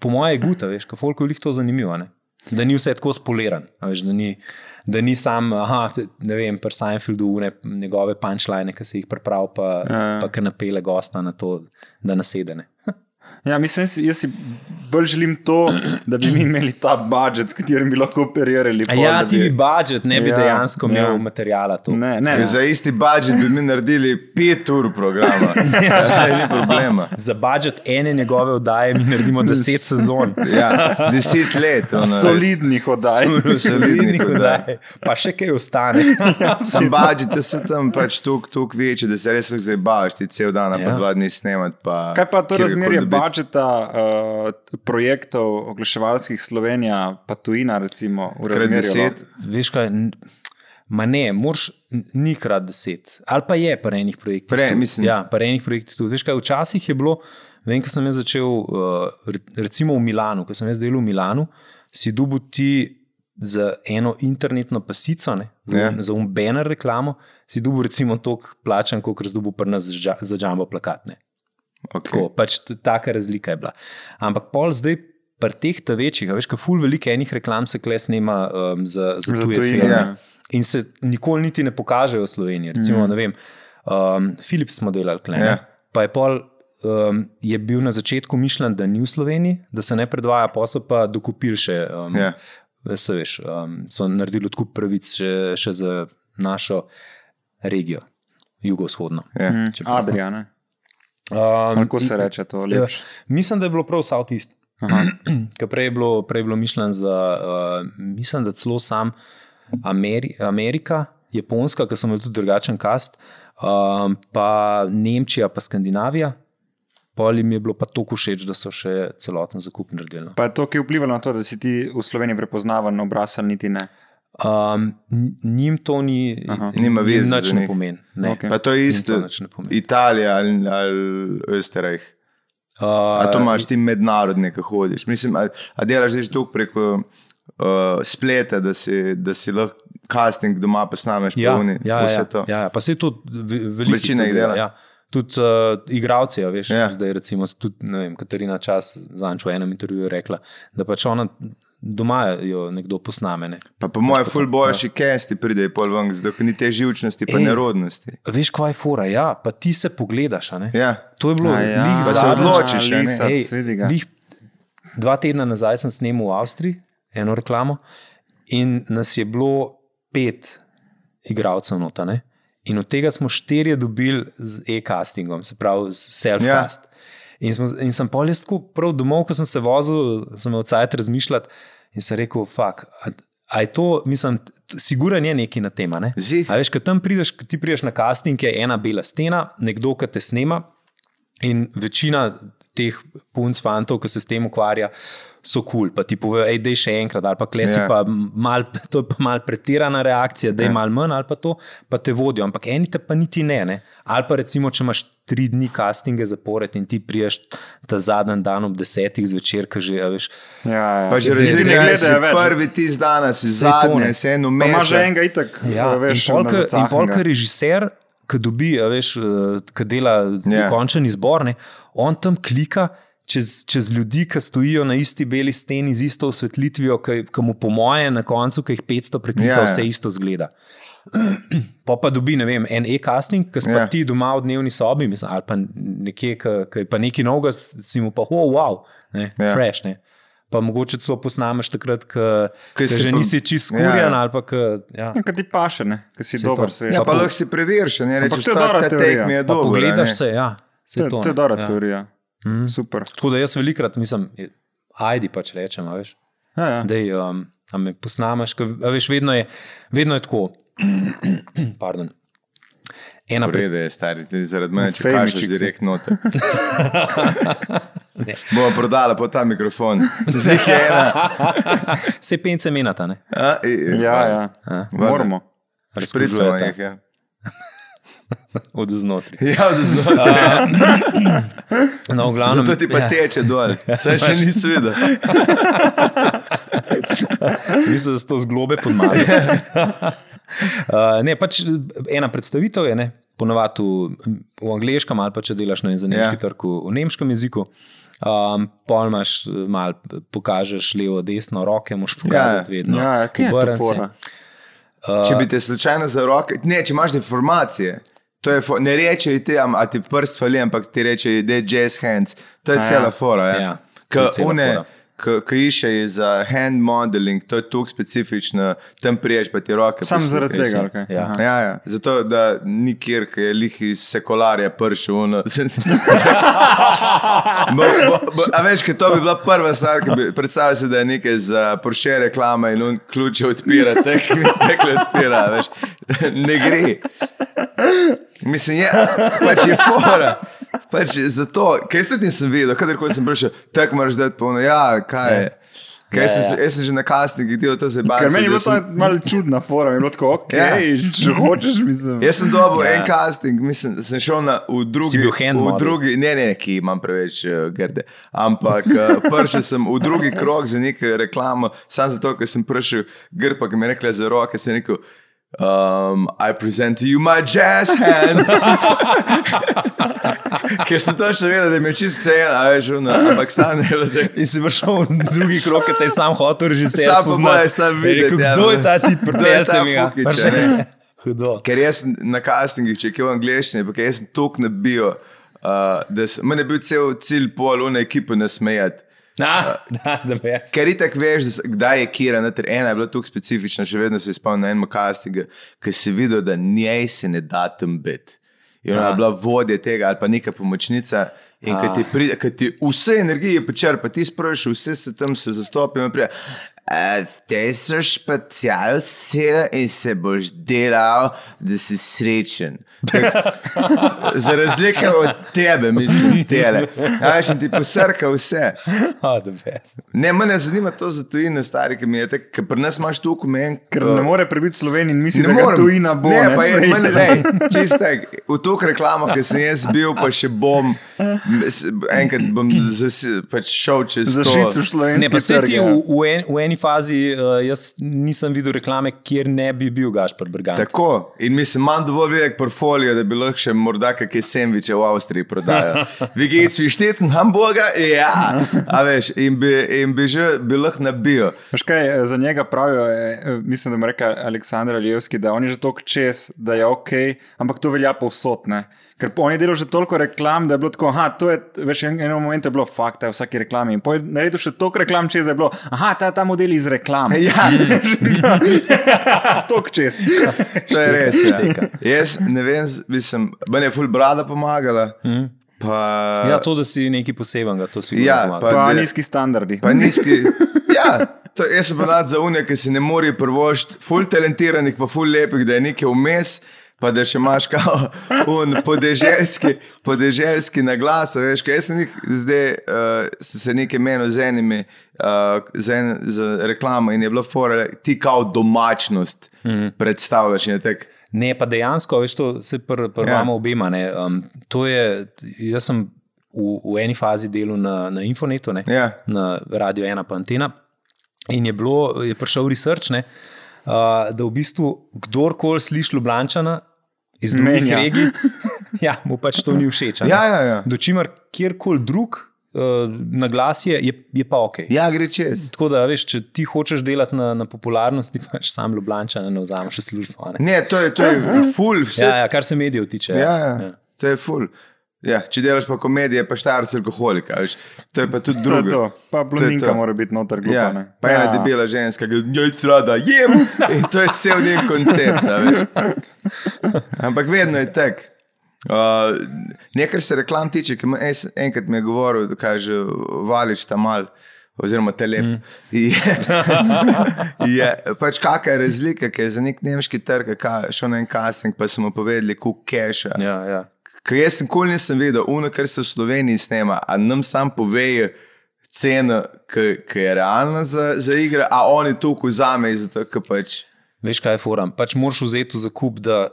Speaker 2: po mojem, je guta, veš, kako je jih to zanimivo. a Ne? Da ni vse tako spoliran, a veš, da, ni, da ni sam, aha, ne vem, pri Seinfeldu, une, njegove punčline, ki se jih pripravi, pa,
Speaker 3: Ja.
Speaker 2: pa ki napele gosta na to, da nasedene.
Speaker 3: Ja, mislim, jaz si- jaz si bolj želim to, da bi mi imeli ta budžet, s katerim bi lahko operirali.
Speaker 2: A
Speaker 3: pol,
Speaker 2: Ja,
Speaker 3: da
Speaker 2: ti bi budžet, ne bi
Speaker 3: Ja,
Speaker 2: ja, dejansko imel
Speaker 3: ja.
Speaker 2: ja. materijala. To.
Speaker 3: Ne, ne,
Speaker 1: Ker Za isti budžet bi mi naredili 5 ur programa.
Speaker 2: Ja.
Speaker 1: Saj ni problema.
Speaker 2: Za budžet ene njegove oddaje mi naredimo 10 sezon.
Speaker 1: Ja, 10 let. ono, res.
Speaker 3: solidnih oddaj.
Speaker 1: Solidnih
Speaker 2: Solidnih oddaj. Pa še kaj ostane.
Speaker 1: Sam budžet, da se tam pač tuk, tuk večji, da se res lahko zabavaš, ti cel dan, ali pa
Speaker 2: Ja.
Speaker 1: dva dni snemati. Pa
Speaker 3: Kaj pa to
Speaker 1: kjerkoli
Speaker 3: razmerje
Speaker 1: dobiti.
Speaker 3: budžeta, uh, projektov oglaševalskih Slovenija, pa tujina, recimo, v
Speaker 1: Krat
Speaker 3: razmerju?
Speaker 1: deset.
Speaker 3: no?
Speaker 2: Veš kaj, n- ma ne, moraš n- ni krat 10. Ali pa je pri enih projektih.
Speaker 1: Pre,
Speaker 2: tudi.
Speaker 1: mislim.
Speaker 2: Ja, pri enih projektih tudi. Veš kaj, včasih je bilo, vem, ko sem jaz začel, uh, re- recimo v Milanu, ko sem jaz delal v Milanu, si dubu ti. Za eno internetno pasico, ne, za,
Speaker 1: Ja.
Speaker 2: yeah. za um banner reklamo, si dubu recimo toliko plačan, kot razdubu pri nas za dža- za jumbo plakatne.
Speaker 1: Okay.
Speaker 2: Tako, pač t- taka razlika je bila. Ampak pol zdaj. Pri teh ta večjih, a veš, kaj ful veliko enih reklam se kles nema um, za, za,
Speaker 3: Za
Speaker 2: za tuje
Speaker 3: tujine,
Speaker 2: filme.
Speaker 1: ja.
Speaker 2: Ja. In se nikoli niti ne pokažejo v Sloveniji. Recimo,
Speaker 3: Mhm.
Speaker 2: mm. ne vem, um, Philips smo delali klene.
Speaker 1: Ja.
Speaker 2: Ja. Pa je pol, um, je bil na začetku mišljen, da ni v Sloveniji, da se ne predvaja, pa so pa dokupili še. Um,
Speaker 1: Ja.
Speaker 2: Se veš, um, so naredili odkup pravic še, še za našo regijo, jugovzhodno.
Speaker 1: Ja.
Speaker 3: Mm,
Speaker 2: Čeprav-
Speaker 3: Adrian,
Speaker 2: Um,
Speaker 3: kako se
Speaker 2: in-
Speaker 3: reče to?
Speaker 2: Ja.
Speaker 3: Lepš.
Speaker 2: Mislim, da je bilo prav Southeast.
Speaker 3: Aha.
Speaker 2: Ker prej je bilo, prej je bilo mišljeno za, uh, mislim, da celo sam Ameri Amerika, Japonska, ki so eh, imeli tudi drugačen kast, um, pa Nemčija, pa Skandinavija. Pol jim je bilo pa tako všeč, da so še celoten zakup naredili. no.
Speaker 3: Pa je to, ki vpliva na to, da si ti v Sloveniji prepoznavan, obraz ali niti ne.
Speaker 2: Um, n- njim to ni,
Speaker 3: Aha.
Speaker 2: jim
Speaker 1: Nima veze
Speaker 2: nič
Speaker 1: za
Speaker 2: ne
Speaker 1: njih.
Speaker 2: pomeni. Ne.
Speaker 3: Okej.
Speaker 1: Pa to je
Speaker 2: Jim
Speaker 1: isto.
Speaker 2: to nič ne pomeni.
Speaker 1: Italija ali, ali Österreich.
Speaker 2: Uh,
Speaker 1: A to imaš ti mednarodne, ki hodiš. Mislim, a, a delaš že tu preko uh, spleta, da si, da si lahko casting doma posnameš,
Speaker 2: ja,
Speaker 1: polni.
Speaker 2: ja,
Speaker 1: vse
Speaker 2: ja,
Speaker 1: to.
Speaker 2: Ja, ja, pa se tudi ve- veliko
Speaker 1: Večina jih
Speaker 2: tudi,
Speaker 1: dela.
Speaker 2: Ja. Tudi uh, igravci, ja, veš,
Speaker 1: Ja.
Speaker 2: ja. zdaj recimo, tudi, ne vem, Katarina Čas, zanč v enem intervjuju je rekla, da pač ona doma jo nekdo posname. Ne.
Speaker 1: Pa po mojem, ful boljši
Speaker 2: ja.
Speaker 1: kesti pridejo pol ven, zato ker ni te živčnosti, pa
Speaker 2: Ej.
Speaker 1: nerodnosti.
Speaker 2: Veš, kaj je fora, ja, pa ti se pogledaš, a ne.
Speaker 1: Ja.
Speaker 2: To je bilo
Speaker 3: A ja.
Speaker 2: lih
Speaker 1: Pa se
Speaker 2: zadnjič-
Speaker 1: odločiš, a ne?
Speaker 3: Lisac,
Speaker 2: Ej,
Speaker 3: vidi ga.
Speaker 2: lih- Dva tedna nazaj sem snemal v Avstriji eno reklamo in nas je bilo pet igralcev nota. Ne? In od tega smo štirje dobili z e-castingom, se pravi s self-cast. Ja. In, smo, in sem pol jaz tako prav domov, ko sem se vozil, sem od cajt razmišljal in sem rekel, fuk. A je to, mislim, t- siguren je neki na tema. Ne?
Speaker 1: Zih.
Speaker 2: A veš, ko tam prideš, ko ti prideš na casting, je ena bela stena, nekdo, ki te snema, In večina teh punc, fantov, ki se s tem ukvarja, so kul. Cool. Pa ti povejo, hej, dej še enkrat, ali pa klesi,
Speaker 1: Ja.
Speaker 2: yeah. pa mal, to je pa mal pretirana reakcija, dej
Speaker 1: Ja.
Speaker 2: yeah. mal manj, ali pa to, pa te vodijo. Ampak eni te pa niti ne. ne. Ali pa recimo, če imaš tri dni castinge zapored in ti priješ ta zadnji dan ob desetih zvečer, ki že, a veš.
Speaker 3: Ja, ja.
Speaker 1: Pa že
Speaker 3: Ne
Speaker 1: razumeli,
Speaker 3: gledajo
Speaker 1: da si
Speaker 3: več.
Speaker 1: prvi ti z danes, si
Speaker 2: Saj to
Speaker 1: zadnji,
Speaker 2: ne.
Speaker 1: si eno
Speaker 3: Pa Imaš že
Speaker 1: mesto.
Speaker 3: enega itak,
Speaker 2: Ja,
Speaker 3: veš,
Speaker 2: in polka, in polka
Speaker 3: polka
Speaker 2: režiser, ki dobi, a veš, ki dela
Speaker 1: Ja.
Speaker 2: yeah. končen izbor, ne, on tam klika. Čez, čez ljudi, ki stojijo na isti beli steni z isto osvetlitvijo, ki ki mu, po moje, na koncu, ki jih 500 preklika,
Speaker 1: Ja, ja.
Speaker 2: yeah. vse isto zgleda. Pa pa dobi, ne vem, en e-casting, ki si
Speaker 1: Ja.
Speaker 2: yeah. ti doma v dnevni sobi, mislim, ali pa nekje, ki ki je pa neki novega, si mu pa, oh, wow, ne,
Speaker 1: Ja.
Speaker 2: yeah. fresh. Ne. Pa mogoče celo posnameš takrat,
Speaker 1: Ko
Speaker 2: ko
Speaker 1: si
Speaker 2: že
Speaker 1: pa-
Speaker 2: nisi
Speaker 1: Ja,
Speaker 2: čist skurjen.
Speaker 1: ja.
Speaker 2: Yeah. Ali pa, k, ja.
Speaker 3: No, Kaj ti paše, ne? Kaj si
Speaker 2: Saj
Speaker 3: dober,
Speaker 2: to.
Speaker 3: se
Speaker 1: Ja, pa lahko si preveriš, a ne
Speaker 3: Ampak
Speaker 1: rečeš,
Speaker 3: to je
Speaker 1: ta,
Speaker 3: dobra
Speaker 1: ta tek
Speaker 3: teorija.
Speaker 1: mi je
Speaker 2: Pa
Speaker 1: dobro.
Speaker 2: Pogledaš
Speaker 1: ne.
Speaker 2: se, ja.
Speaker 3: To,
Speaker 2: saj
Speaker 3: je- to je
Speaker 2: ne,
Speaker 3: dobra
Speaker 2: ja.
Speaker 3: teorija.
Speaker 2: Mhm.
Speaker 3: Super.
Speaker 2: Tako da jaz velikrat mislim, je- ajdi pač rečem, a veš.
Speaker 3: Ja, ja.
Speaker 2: Dej, um, a me posnameš, ka, a veš, vedno je, vedno je tako. Pardon. Ena predstava.
Speaker 1: Prede je stari, ti zaradi mene, če
Speaker 3: Fejmiček
Speaker 1: kažeš
Speaker 3: si.
Speaker 1: direkt noter. Bomo prodala po ta mikrofon. Zdaj je ena.
Speaker 2: Se pence menata, ne?
Speaker 1: A, i- i-
Speaker 3: Ja, ja.
Speaker 2: A,
Speaker 3: Moramo.
Speaker 1: Špricamo jih, ja.
Speaker 2: Od znotraj.
Speaker 1: Ja, od znotraj.
Speaker 2: No, v glavnem,
Speaker 1: Zato ti pa teče dol. Saj še nisi videl.
Speaker 2: Smisel, da se to zglobe podmaže. uh, ne, pač ena predstavitev je, ne, ponovadi v, v angliškem ali pa če delaš na
Speaker 1: Ja.
Speaker 2: nemški yeah. trg, v nemškem jeziku. Um, pol imaš, mal, pokažeš levo, desno, roke, moš pokazati
Speaker 1: Ja.
Speaker 2: yeah. vedno.
Speaker 3: Ja, kaj je to
Speaker 2: obrnci.
Speaker 3: fora?
Speaker 1: Če bi te slučajno za roke, ne, če imaš informacije. To je, fo- ne rečejo ti, am- a ti prst fali, ampak ti rečejo, da je jazz hands. To je
Speaker 3: A ja.
Speaker 1: cela fora. Ja.
Speaker 2: Ja, to je
Speaker 1: K-
Speaker 2: cela
Speaker 1: une,
Speaker 2: fora.
Speaker 1: k- Ki išče za hand modeling, to je tu specifično, tam priješ pa ti roke.
Speaker 3: Sam
Speaker 1: poslušajo.
Speaker 3: zaradi tega, ali kaj?
Speaker 2: Ja.
Speaker 3: Aha.
Speaker 1: Ja, ja. Zato, da nikjer, ki je lih iz sekularja pršil. ono. Bo- bo- bo- A veš, kaj to bi bila prva stvar, ki bi predstavljal si, da je nekaj za Porsche reklama in on ključe odpira, tek mi stekle odpira, a veš. Ne gre. Mislim, je, pač je fora. Pač je zato, kaj tudi nisem videl, kadarkoli sem prišel, tako moraš dati polno, ja, kaj je. Kaj, sem, se- jaz sem že na kasnikih delal to zabavno.
Speaker 3: Ker meni je bilo to malo čudna fora, mi je bilo tako, ok,
Speaker 1: Ja.
Speaker 3: če hočeš, mislim.
Speaker 1: Jaz sem dobil
Speaker 2: Ja.
Speaker 1: en casting, mislim, sem šel na v drugi.
Speaker 2: Si bil hand
Speaker 1: v
Speaker 2: model?
Speaker 1: drugi, ne, ne, ki imam preveč uh, grde. Ampak uh, prišel sem v drugi krog za neko reklamo, samo zato, ker sem prišel grpa, ki mi je rekla za roke, sem rekel. Um, I present to you my jazz hands. Ker sem točno vedel, da mi je čisto vse eno, a veš, ono, ampak sam ne vedel.
Speaker 2: In si prišel v drugi krog, ki te je sam hotel, že se
Speaker 1: Sam po moje, sam videti, ja.
Speaker 2: Kdo je ta tip,
Speaker 1: Kdo je
Speaker 2: pripeljte
Speaker 1: ta ja.
Speaker 2: mi ga.
Speaker 1: Fukič, a ne?
Speaker 2: Hudo.
Speaker 1: Ker jaz sem na castingih, če je kje v angleščini, pa ker jaz sem tok nabijo, uh, da sem, meni je bil cel cilj pol une ekipe nasmejati.
Speaker 2: Na, da, da bi jaz.
Speaker 1: Ker ti tako veš, da, se- kdaj je Kira, noter, ena je bila tu specifična, še vedno se spomnim na enem castingu, ki si videl, da njej se ne da tam biti. In ona je
Speaker 2: Aha.
Speaker 1: bila vodja tega ali pa neka pomočnica. In ko ti, pride, ko ti vse energije počrpa, ti sprašuješ, vse se tam se zastopi. in pride, "A, Te so špacialci in se boš delal, da si srečen. Tak, za razliko od tebe, mislim, tele. Ajš in ti posrka vse.
Speaker 2: Oh, the best.
Speaker 1: Ne, mene zanima to za tujine, stari, ki mi je tako, ker pri nas imaš tu okumen,
Speaker 3: Ker ne more prebiti Slovenije in misli,
Speaker 1: eh, Ne
Speaker 3: No, da ga
Speaker 1: morem.
Speaker 3: tujina bo.
Speaker 1: Ne, pa je,
Speaker 3: Slovenija.
Speaker 1: meni, lej, čistek, v tok reklamo, ki sem jaz bil, pa še bom, m, s- enkrat bom zas, pač šel čez
Speaker 3: Za šico
Speaker 1: to.
Speaker 3: šlovenske.
Speaker 2: Ne, pa se ti
Speaker 3: trge, ja.
Speaker 2: v, v, en, v eni fazi, uh, jaz nisem videl reklame, kjer ne bi bil Gašpor Brgan.
Speaker 1: Tako, in mislim, imam dovolj velik portfolio, da bi lahko še morda kakšne sendviče v Avstriji prodajal. Vigec, vi šteten hamburger, ja, a veš, in bi, in bi že bi lahko nabil.
Speaker 3: Veš kaj, eh, za njega pravijo, eh, eh, mislim, da mu reka Aleksandr Aljevski, da on je že toliko čez, da je ok, ampak to velja povsod. Ne? Ker po- on je delal že toliko reklam, da je bilo tako, aha, to je, veš, en, eno moment je bilo fakt, da je v vsaki reklami. In potem je naredil še toliko reklam čez, da je bilo, aha, ta, ta model je iz reklam.
Speaker 1: Ja,
Speaker 3: toliko čez.
Speaker 1: to je res. Ja. Jaz ne vem, z- mislim, meni je full brada pomagala. Pa,
Speaker 2: Ja, to, da si nekaj posebenega, to si
Speaker 1: eh, Ja,
Speaker 2: pomaga.
Speaker 1: Pa
Speaker 3: Pa
Speaker 1: ne.
Speaker 3: nizki standardi.
Speaker 1: Pa nizki. Ja, to, jaz sem pa za unijo, ki si ne more prvošiti, ful talentiranih, pa ful lepih, da je nekaj vmes. Pa da še imaš kao un podeželski, podeželski na glas, a veš, kaj jaz sem jih zdaj, uh, sem se nekaj menil z enimi, uh, z, en, z reklamo in je bilo fora, ti kao domačnost mm -hmm. predstavljaš in je tako.
Speaker 2: Ne, pa dejansko, veš, to se prvamo
Speaker 1: Ja.
Speaker 2: ja. obema. ne, Um, to je, jaz sem v, v eni fazi delal na, na Infonetu, ne,
Speaker 1: Ja.
Speaker 2: na Radio 1 pa Antena. In je, bilo, je prišel research, ne, uh, da v bistvu kdorkoli sliši Ljubljančana iz drugih
Speaker 3: Menja.
Speaker 2: regij, ja, mu pač to ni všeč. a ne.
Speaker 1: Ja, ja, ja.
Speaker 2: Dočimer kjerkoli drug uh, na glas je, je, je pa ok.
Speaker 1: ja, gre čez.
Speaker 2: Tako da, veš, če ti hočeš delati na, na popularnosti, pač sam Ljubljančana ne vzameš v službo. a Ne.
Speaker 1: Ne, to je, to je ful, vse
Speaker 2: Ja, ja, kar se medijev tiče.
Speaker 1: Ja, ja. To je ful. Ja, če delaš pa komedije, pa štarc alkoholika. Veš. To je pa tudi
Speaker 3: To je
Speaker 1: drugo.
Speaker 3: to. Pa blondinka
Speaker 1: to.
Speaker 3: mora biti noter, glupa.
Speaker 1: Ja,
Speaker 3: ne.
Speaker 1: pa ena ja. debela ženska, ki jo rada jem. In to je cel njen koncept. a veš. Ampak vedno je tak. Uh, nekaj se reklam tiče, ki me enkrat mi je govoril, da kaže valič tam mal. Oziroma, telep. Mm. Je, je, pač kakšna je razlika, ker je za nek nemški trg, ka- šel na en casting, pa smo povedali, kako keša.
Speaker 2: ja, ja.
Speaker 1: Ker jaz sem kul nisem vedel, uno, kar se v Sloveniji snema, a nam sam povejo ceno, ki ki je realna za, za igre, a oni to vzame iz tega, kar pač.
Speaker 2: Veš, kaj je forum. Pač moraš vzeti v zakup, da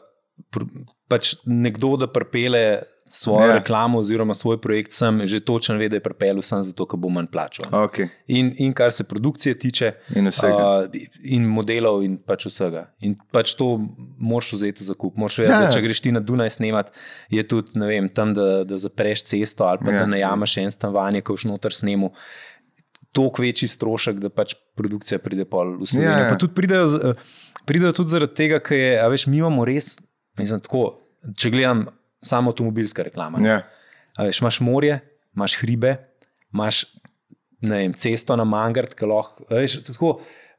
Speaker 2: pr- pač nekdo, da prepele svojo
Speaker 1: Ja.
Speaker 2: ja. reklamo oziroma svoj projekt, sem že točen ve, da je prepel sem zato, ker bo manj plačal. ne.
Speaker 1: Okay.
Speaker 2: In, in kar se produkcije tiče,
Speaker 1: In vsega.
Speaker 2: Uh, in modelov, in pač vsega. In pač to moraš vzeti za kup. Moraš vedeti,
Speaker 1: Ja,
Speaker 2: ja.
Speaker 1: ja.
Speaker 2: da če greš ti na Dunaj snemati, je tudi ne vem, tam, da, da zapreš cesto ali pa
Speaker 1: Ja.
Speaker 2: ja. da najameš en stanovanje, ko už noter snemu. Tok večji strošek, da pač produkcija pride pol v Slovenijo.
Speaker 1: Ja, ja.
Speaker 2: Ja, ja. Tudi pridejo, z- eh, pridejo tudi zaradi tega, ker je, a veš, mi imamo res, mislim, tako, če gledam samo avtomobilska reklama. ne.
Speaker 1: Ja.
Speaker 2: A Veš, imaš morje, imaš hribe, imaš ne vem, cesto na Mangard, ki lahko. a Veš, tako,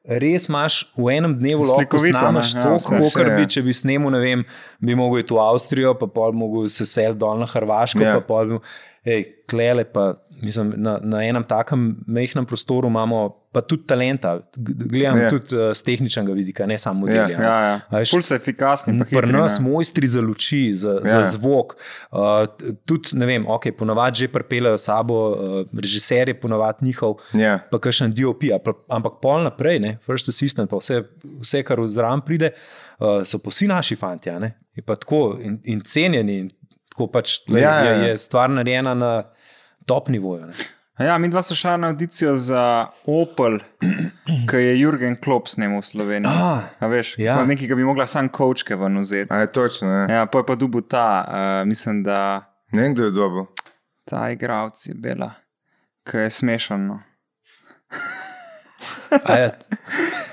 Speaker 2: res imaš v enem dnevu lahko
Speaker 3: Slikovito,
Speaker 2: snamaš
Speaker 3: ne, ja,
Speaker 2: to,
Speaker 3: vse,
Speaker 1: vse,
Speaker 2: kar
Speaker 1: ja.
Speaker 2: bi, če bi snemal, ne vem, bi mogel iti v Avstrijo, pa pol mogel se sel dol na Hrvaško,
Speaker 1: Ja.
Speaker 2: yeah. pa pol bi, hej, klele pa. Mislim, na, na enem takem mehkem prostoru imamo pa tudi talenta, G- gledam
Speaker 1: Ja.
Speaker 2: yeah. tudi uh, z tehničnega vidika, ne samo
Speaker 1: Ja,
Speaker 2: modelja.
Speaker 3: Ja, ja.
Speaker 2: A veš,
Speaker 3: Ful so efikasni. pa hitri,
Speaker 2: Pri nas
Speaker 3: ne.
Speaker 2: mojstri za luči, za, ja. za zvok. Uh, t- tudi, ne vem, ok, ponavadi že pripeljejo s sabo, uh, režiser je ponavadi njihov,
Speaker 1: Ja.
Speaker 2: pa kakšen DOP, a pa- ampak pol naprej, ne, first assistant, pa vse, vse kar vzram pride, uh, so pa vsi naši fanti, a ne? je pa tako in, in cenjeni, in tako pač le,
Speaker 1: Ja,
Speaker 2: ja,
Speaker 1: ja,
Speaker 2: je,
Speaker 1: ja.
Speaker 2: je stvar narejena na top nivoju. ne.
Speaker 3: A Ja, mi dva smo šla na audicijo za Opel, ki je Jurgen Klopp snemal v Sloveniji.
Speaker 2: Ah,
Speaker 3: A veš,
Speaker 2: ja.
Speaker 3: ja. nekaj, ki bi mogla sam kočke ven vzeti.
Speaker 1: A je točno. Ja.
Speaker 3: Ja, pa je pa dubu ta, uh, mislim, da
Speaker 1: Ne vem, kdo je dobil.
Speaker 3: ta igravc je bila, ki je no. smešano.
Speaker 2: A je-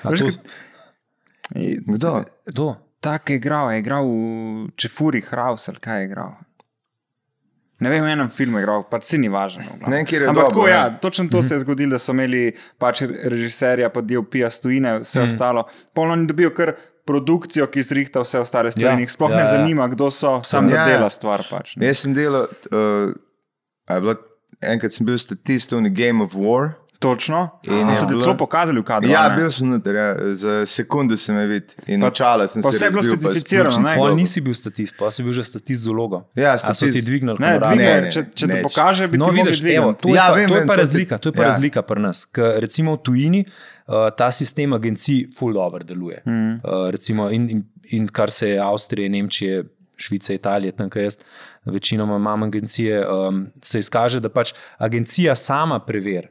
Speaker 2: a
Speaker 3: Veš,
Speaker 2: to-
Speaker 3: kaj-
Speaker 1: Kdo?
Speaker 2: Kdo?
Speaker 3: Tako je igral, je igral v Čefuri Hraus ali kaj je igral. Ne vem, v enem filmu je igral, pač se ni važno. v glavnem.
Speaker 1: Ne vem, kjer je
Speaker 3: Ampak
Speaker 1: dobro,
Speaker 3: tako,
Speaker 1: ne.
Speaker 3: ja, točno to se je zgodilo, da so imeli pač režiserja, pa DOP-ja, stojine, vse mm. ostalo. Polno ni dobil kar produkcijo, ki zrihta vse ostale stvari.
Speaker 2: Ja,
Speaker 3: Ja, Njih sploh
Speaker 2: ja,
Speaker 3: ja, ne
Speaker 2: ja.
Speaker 3: zanima, kdo so, sam
Speaker 1: Ja,
Speaker 3: ja,
Speaker 1: ja.
Speaker 3: dela stvar. Pač, ne.
Speaker 1: eh, Jaz sem delal, uh, a je bilo, enkrat sem bil statist v Game of War.
Speaker 3: Točno.
Speaker 1: In
Speaker 3: In
Speaker 1: je
Speaker 3: so ti
Speaker 1: bilo-
Speaker 3: celo pokazali, v kadru.
Speaker 1: Ja,
Speaker 3: a ne?
Speaker 1: bil sem noter, ja. za sekunde sem je videl in
Speaker 3: Pa-
Speaker 1: očala sem
Speaker 3: pa
Speaker 1: se
Speaker 3: vse je bilo
Speaker 1: razbil, pač pa
Speaker 3: specificirano,
Speaker 1: izključen
Speaker 3: ne?
Speaker 1: zvok.
Speaker 2: Pol nisi bil statist, pa si bil že statist z ulogo.
Speaker 1: Ja,
Speaker 2: A so ti
Speaker 1: statist.
Speaker 2: dvignili
Speaker 3: Ne,
Speaker 2: honorarje?
Speaker 1: dvigne-
Speaker 3: dvigne,
Speaker 1: Ne, ne,
Speaker 3: če, če
Speaker 1: ne,
Speaker 3: ne,
Speaker 1: če-
Speaker 3: pokaže, bi
Speaker 2: No,
Speaker 3: ti
Speaker 2: vidiš,
Speaker 3: videl,
Speaker 2: evo, to je,
Speaker 1: Ja,
Speaker 2: pa,
Speaker 1: vem,
Speaker 2: to je
Speaker 1: vem,
Speaker 2: pa
Speaker 1: to ti-
Speaker 2: razlika, to je pa
Speaker 1: ja.
Speaker 2: ja. razlika pri nas. Ker recimo v tujini uh, ta sistem agencij full dobro deluje.
Speaker 1: Hm.
Speaker 3: Mhm.
Speaker 2: Mm. Uh, recimo in, in, in kar se je Avstrije, Nemčije, Švice, Italije, tam kaj jaz, večinoma imam agencije, um, se izkaže, da pač agencija sama preveri.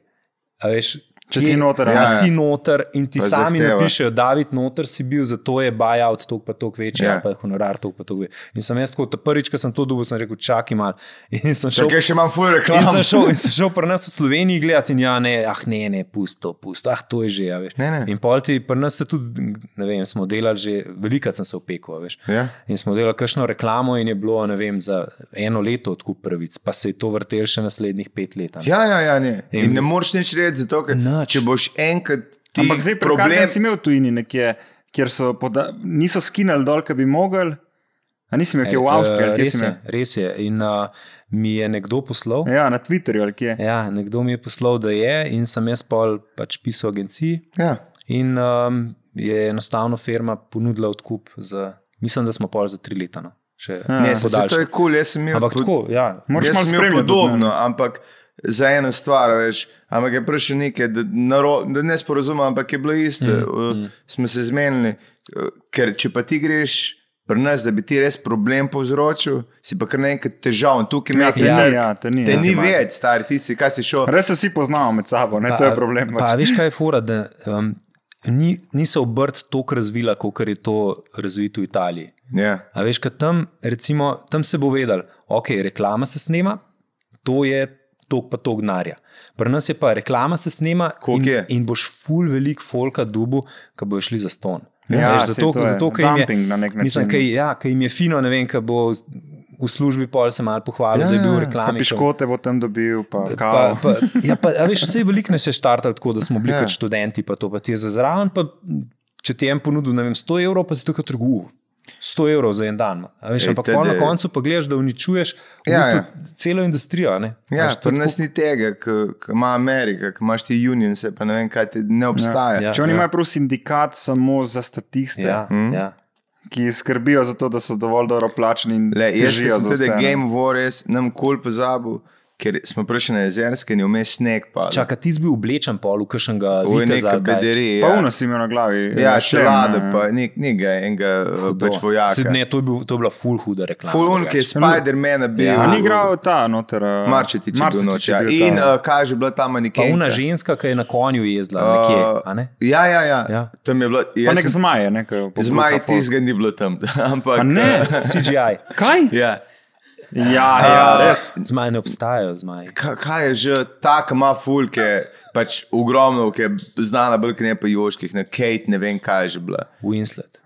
Speaker 2: a Veš,
Speaker 3: Če
Speaker 2: kje-
Speaker 3: si noter,
Speaker 1: Ja,
Speaker 2: Ja,
Speaker 3: ja.
Speaker 2: si noter in ti
Speaker 1: Pa
Speaker 2: sami
Speaker 1: zahteva.
Speaker 2: zahteva. napišejo, da je noter si bil, zato je buyout tok pa tok večji,
Speaker 1: Ja.
Speaker 2: yeah. pa je honorar tok pa tok večji. In sem jaz tako, ta prvič, ko sem to dobil, sem rekel, čakaj malo. In sem šel
Speaker 1: Čakaj, še imam fuj
Speaker 2: In
Speaker 1: reklam.
Speaker 2: sem šel, in sem šel pri nas v Sloveniji gledati, in ja, ne, ah, ne, ne, pusto, pusto, ah, to je že. a veš.
Speaker 1: Ne, ne.
Speaker 2: In pol ti, pri nas se tudi, ne vem, smo delali že, velikrat sem se opekel, a veš.
Speaker 1: Ja.
Speaker 2: In smo delali kakšno reklamo, in je bilo, ne vem, za eno leto odkup pravic, pa se je to vrtelo še naslednjih pet let. a ne.
Speaker 1: Ja, ja, ja, ne. In
Speaker 2: In-
Speaker 1: ne moreš nič reči, zato ker
Speaker 2: Nič.
Speaker 1: če boš enkrat ti
Speaker 3: Ampak zdaj problem
Speaker 1: problem,
Speaker 3: si imel tujini nekje, kjer so poda... niso skinali dol, ki bi mogel. A nisi imel kje v
Speaker 2: Eh,
Speaker 3: Avstriji, ali kje
Speaker 2: res
Speaker 3: si
Speaker 2: je,
Speaker 3: imel?
Speaker 2: res je. In uh, mi je nekdo poslal.
Speaker 3: Ja, na Twitterju ali kje.
Speaker 2: Ja, nekdo mi je poslal, da je, in sem jaz pol pač pisal agenciji.
Speaker 1: ja.
Speaker 2: In um, je enostavno firma ponudila odkup, za, mislim, da smo pol za tri leta. No. Še
Speaker 3: Ja.
Speaker 1: ne, se, se
Speaker 2: podaljšek.
Speaker 1: to je kul, cool, jaz sem imel
Speaker 2: Ampak
Speaker 1: pod-
Speaker 2: tako, ja.
Speaker 3: Moraš
Speaker 1: Jaz
Speaker 3: malo
Speaker 1: sem imel
Speaker 3: spremljati.
Speaker 1: podobno, ampak za eno stvar, a veš. Ampak je prišel nekaj, da, naro, da ne sporozumem, ampak je bilo isto. Mm, mm. Smo se zmenili, eh, ker če pa ti greš pri nas, da bi ti res problem povzročil, si pa kar naenkrat težav. In Tukaj
Speaker 3: Ja,
Speaker 1: me
Speaker 3: te ni, ja, te ni.
Speaker 1: Te
Speaker 3: ja.
Speaker 1: ni več, stari, ti si, kaj si šel.
Speaker 3: Res se vsi poznamo med sabo, ne, to je problem.
Speaker 2: Pa,
Speaker 3: pač.
Speaker 2: pa, veš, kaj je fora, da um, ni, ni se obrt toliko razvila, kot je to razvito v Italiji.
Speaker 1: Ja.
Speaker 2: A veš, kaj tam, recimo, tam se bo vedel, ok, reklama se snema, to je tok pa tok denarja. Pri nas je pa reklama se snema
Speaker 1: Koliko
Speaker 2: in,
Speaker 1: je?
Speaker 2: in boš full velik folka dubu, ki bojo šli za ston.
Speaker 3: Ja,
Speaker 2: A
Speaker 3: saj
Speaker 2: zato,
Speaker 3: to je
Speaker 2: zato ker jim je,
Speaker 3: dumping na nek
Speaker 2: mislim,
Speaker 3: način.
Speaker 2: kaj, ja, kaj jim je fino, ne vem, kaj bo z- v službi pol se mal pohvalil,
Speaker 1: Ja,
Speaker 2: ja, da je bil
Speaker 1: ja, ja.
Speaker 2: v
Speaker 3: Pa
Speaker 2: reklami. ko-
Speaker 3: piškote bo tam dobil, pa
Speaker 2: Pa,
Speaker 3: kavo.
Speaker 2: pa, ja, pa, a veš, vse je veliko nas je štartalo tako, da smo bili
Speaker 1: Ja.
Speaker 2: ja. kot študenti, pa to pa ti je za zraven. Pa, če ti je en ponudil, ne vem, 100 evrov, pa si tukaj trgu. 100 evrov za en dan. a Veš,
Speaker 1: Ej,
Speaker 2: ampak
Speaker 1: tede-
Speaker 2: pol na koncu pa gledaš, da uničuješ v
Speaker 1: Ja,
Speaker 2: ja, bistvu
Speaker 1: ja.
Speaker 2: ja. celo industrijo. a ne. A
Speaker 1: Ja,
Speaker 2: veš, Pač to
Speaker 1: pri
Speaker 2: je
Speaker 1: nas
Speaker 2: tako-
Speaker 1: ni tega, ki ima Amerika, ki imaš ti union, se pa ne vem, kaj ti ne obstaja.
Speaker 2: Ja,
Speaker 3: Če oni
Speaker 2: ja.
Speaker 3: imajo prav sindikat samo za statiste,
Speaker 2: Ja,
Speaker 1: Mm.
Speaker 2: mm. ja.
Speaker 3: ki skrbijo za to, da so dovolj dobro plačeni in
Speaker 1: Le, jaz ki
Speaker 3: težijo
Speaker 1: sem
Speaker 3: za
Speaker 1: tudi
Speaker 3: vse. ne.
Speaker 1: Game of War, jaz nam kul pozabil, ker smo prišli na jezerske in je vmes sneg pa.
Speaker 2: Čaka, ti si bil oblečen pol v
Speaker 1: v
Speaker 2: kakšnega
Speaker 1: neke
Speaker 2: viteza. ali kaj.
Speaker 1: bederije.
Speaker 3: Pa uno si imel na glavi.
Speaker 1: Ja,
Speaker 3: eh,
Speaker 1: še
Speaker 3: šlem,
Speaker 1: lade,
Speaker 3: ne.
Speaker 1: pa ni, ni ga enega eh,
Speaker 2: Hudo.
Speaker 1: pač vojaka.
Speaker 2: Saj Ne, to je, bil, to je bila full huda reklama.
Speaker 1: Fulun, ki je
Speaker 2: drugače.
Speaker 1: Spider-Man bil.
Speaker 2: Ja,
Speaker 3: A ni igral ta noter. eh,
Speaker 1: Marčetič je bil noč.
Speaker 3: Marčetič je
Speaker 1: Ja.
Speaker 3: bil ta.
Speaker 1: In uh, kaj je že bila tam
Speaker 2: Pa una
Speaker 1: nekaj.
Speaker 2: ženska, ki je na konju jezdila, uh, nekje. a Ne?
Speaker 1: ja, ja, ja. ja.
Speaker 2: Ja.
Speaker 1: Tam je bilo.
Speaker 3: Pa
Speaker 1: jaz
Speaker 3: nek
Speaker 1: sem-
Speaker 3: zmaj je nekaj.
Speaker 1: Zmaj tizga ni bilo tam. Ampak, eh,
Speaker 3: ne?
Speaker 2: CGI.
Speaker 3: Kaj?
Speaker 1: Ja.
Speaker 3: Ja, ja,
Speaker 1: A,
Speaker 3: res.
Speaker 2: Zmaj ne obstajajo, zmaj.
Speaker 1: Ka- Kaj je že ta, ki ima fulke, pač ogromno, ki je znana, bolj kot ne pa Joških, ne Kate, ne vem kaj je že bila.
Speaker 2: Winslet.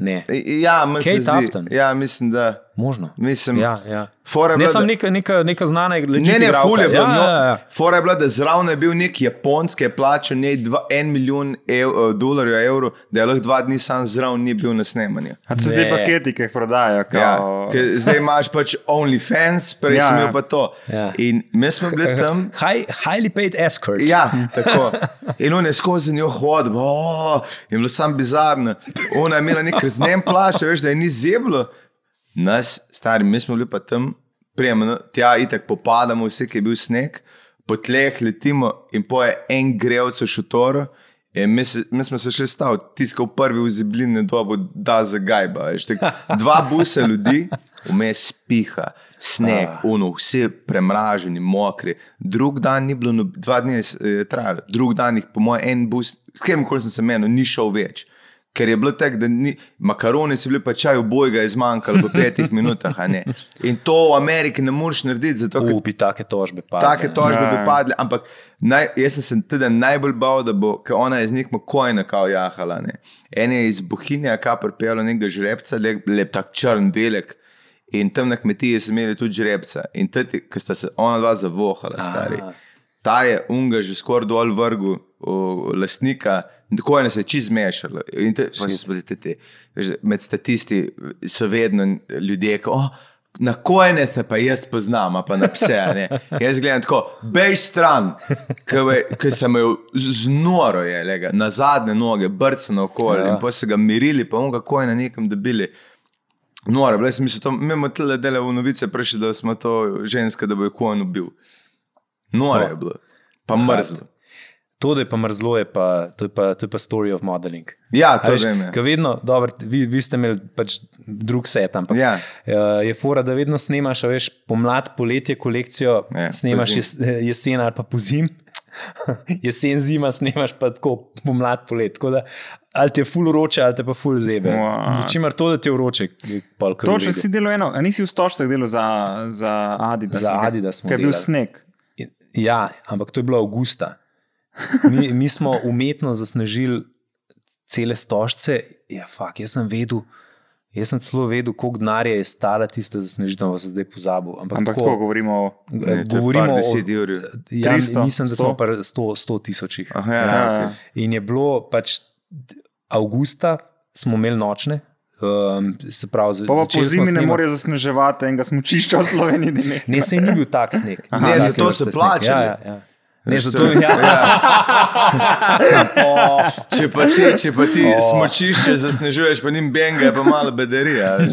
Speaker 2: Ne,
Speaker 1: I- Ja, mislim,
Speaker 2: Kate
Speaker 1: da.
Speaker 2: Upton?
Speaker 1: Ja, mislim, da.
Speaker 2: možno.
Speaker 1: Mislim,
Speaker 2: ja, ja.
Speaker 1: fora je
Speaker 2: Ne,
Speaker 1: bila,
Speaker 2: samo
Speaker 1: da-
Speaker 2: neka, neka, neka znana igra.
Speaker 1: Ne, ne, ful je no. bilo.
Speaker 2: Ja, ja, ja.
Speaker 1: Fora je bila, da zraven je bil nek japonski, je plačal njej 1 milijon ev, eh, dolarjev, evrov, da je lahko dva dni sam zraven ni bil na snemanju.
Speaker 3: A to so ti
Speaker 2: Ne.
Speaker 3: paketi, ki jih prodajajo.
Speaker 1: Ja,
Speaker 3: kao-
Speaker 1: ker zdaj imaš pač OnlyFans, prej
Speaker 3: Ja,
Speaker 1: ja, sem
Speaker 3: ja.
Speaker 1: imel pa to.
Speaker 2: Ja.
Speaker 1: In mi smo bili tam.
Speaker 2: High, highly paid escort.
Speaker 1: Ja, tako. In on je skozi njo hodil, oh, je bilo sam bizarno. Ona je imela nek znem plašč, veš, da je ni zeblo. Nas, stari, mi smo bili pa tam, prijemno, tja itak popadamo, vse, ki je bil sneg, po tleh letimo in poje en grevco šutoro. In mi, se, mi smo se še stavili, tiskal prvi v zibline dobo, da za gajba. veš, tako Dva busa ljudi, vmes piha, sneg,
Speaker 2: Ah.
Speaker 1: ono, vsi premraženi, mokri. Drug dan ni bilo, nob- dva dni je s- je trajalo, drug dan jih, po mojem, en bus, s katerim koli sem se menil, ni šel več. Ker je bilo tako, da ni, makaroni so bili pa čaj, obojga je zmanjkalo v petih minutah. a ne. In to v Ameriki ne moreš narediti, zato ker
Speaker 2: Upi take tožbe. Padne.
Speaker 1: Take tožbe
Speaker 3: Ja,
Speaker 1: bi
Speaker 3: ja.
Speaker 1: padle, ampak naj, jaz sem se teda najbolj bal, da bo, ker ona je z nekim kojna kao jahala. Ne. En je iz Bohinja, ka pripelo nekega žrebca, lep, lep tak črn delek. In tam na kmetiji so imeli tudi žrebca. In tudi, ki sta se ona dva zavohala, stari.
Speaker 2: Aha.
Speaker 1: Ta je unga že skoraj dol vrgu o, lastnika, tako je se čez mešalo. In te, pa so bili te, te, veš, med statisti so vedno ljudje, ki, oh, Na kojene se pa jaz poznam, a pa na pse. a ne. Jaz gledam tako, bež stran, ki sem jo znoro je, lega, na zadnje noge, brcno okoli
Speaker 2: Ja.
Speaker 1: ja. in pa se ga mirili, pa mu kako je na nekem dobili. Nora, bila sem mislil, to mimo tele dela v novice prišli, da smo to ženska, da bo jo kojen ubil. Nora je bilo, pa mrzlo.
Speaker 2: To, da je pa mrzlo, je pa, to je pa, to je pa story of modeling.
Speaker 1: Ja, to
Speaker 2: A veš,
Speaker 1: vem. ja.
Speaker 2: Ker vedno, dobro, vi, vi ste imeli pač drug set, ampak
Speaker 1: Ja.
Speaker 2: eh, je fora, da vedno snemaš, a veš, pomlad, poletje kolekcijo,
Speaker 1: Ja,
Speaker 2: ja, snemaš
Speaker 1: pozimi.
Speaker 2: jes, jesen ali pa pozim. Jesen, zima, snemaš pa tako pomlad, polet. Tako da, ali te je ful vroče, ali te pa ful zebe.
Speaker 3: What?
Speaker 2: Čimer to, da ti je vroče, je pol kar. v
Speaker 3: Točno
Speaker 2: redu.
Speaker 3: si delal eno, a nisi v stožcih delal za, za Adidas.
Speaker 2: Za
Speaker 3: nekaj?
Speaker 2: Adidas smo
Speaker 3: Ker je bil
Speaker 2: delali.
Speaker 3: sneg.
Speaker 2: Ja, ampak to je bilo avgusta. Mi, mi smo umetno zasnežili cele stožce. Ja, fak, jaz sem vedel, jaz sem celo vedel, koliko denarja je stala tista zasnežitev, pa sem zdaj pozabil. Ampak, eh,
Speaker 3: Ampak tako govorimo o.
Speaker 1: Ne, eh, to je
Speaker 2: govorimo
Speaker 1: par
Speaker 2: o
Speaker 1: deset ur.
Speaker 2: Ja,
Speaker 3: 300,
Speaker 2: mislim, da smo
Speaker 3: 100.
Speaker 2: pri 100, 100 tisočih.
Speaker 1: Aha, ja, ja. Okay.
Speaker 2: In je bilo pač d- avgusta, smo imeli nočne. Um, se pravi, za-
Speaker 3: Pa pa po
Speaker 2: začeli smo
Speaker 3: zimi ne
Speaker 2: snemati.
Speaker 3: morejo zasneževati enega smučišča v Sloveniji. da ne.
Speaker 2: Ne, sej ni bil tak sneg.
Speaker 1: Aha,
Speaker 2: Ja,
Speaker 1: ne,
Speaker 2: ni
Speaker 1: zato
Speaker 2: bil
Speaker 1: se
Speaker 2: tak sneg.
Speaker 1: plačali.
Speaker 2: Ja, ja, ja. Ne,
Speaker 1: Veš,
Speaker 2: zato
Speaker 1: to je-
Speaker 2: je ja. oh,
Speaker 1: Če pa ti, če pa ti
Speaker 2: O.
Speaker 1: oh. smočišče zasnežuješ, pa njim benga, je pa malo bederija. a veš.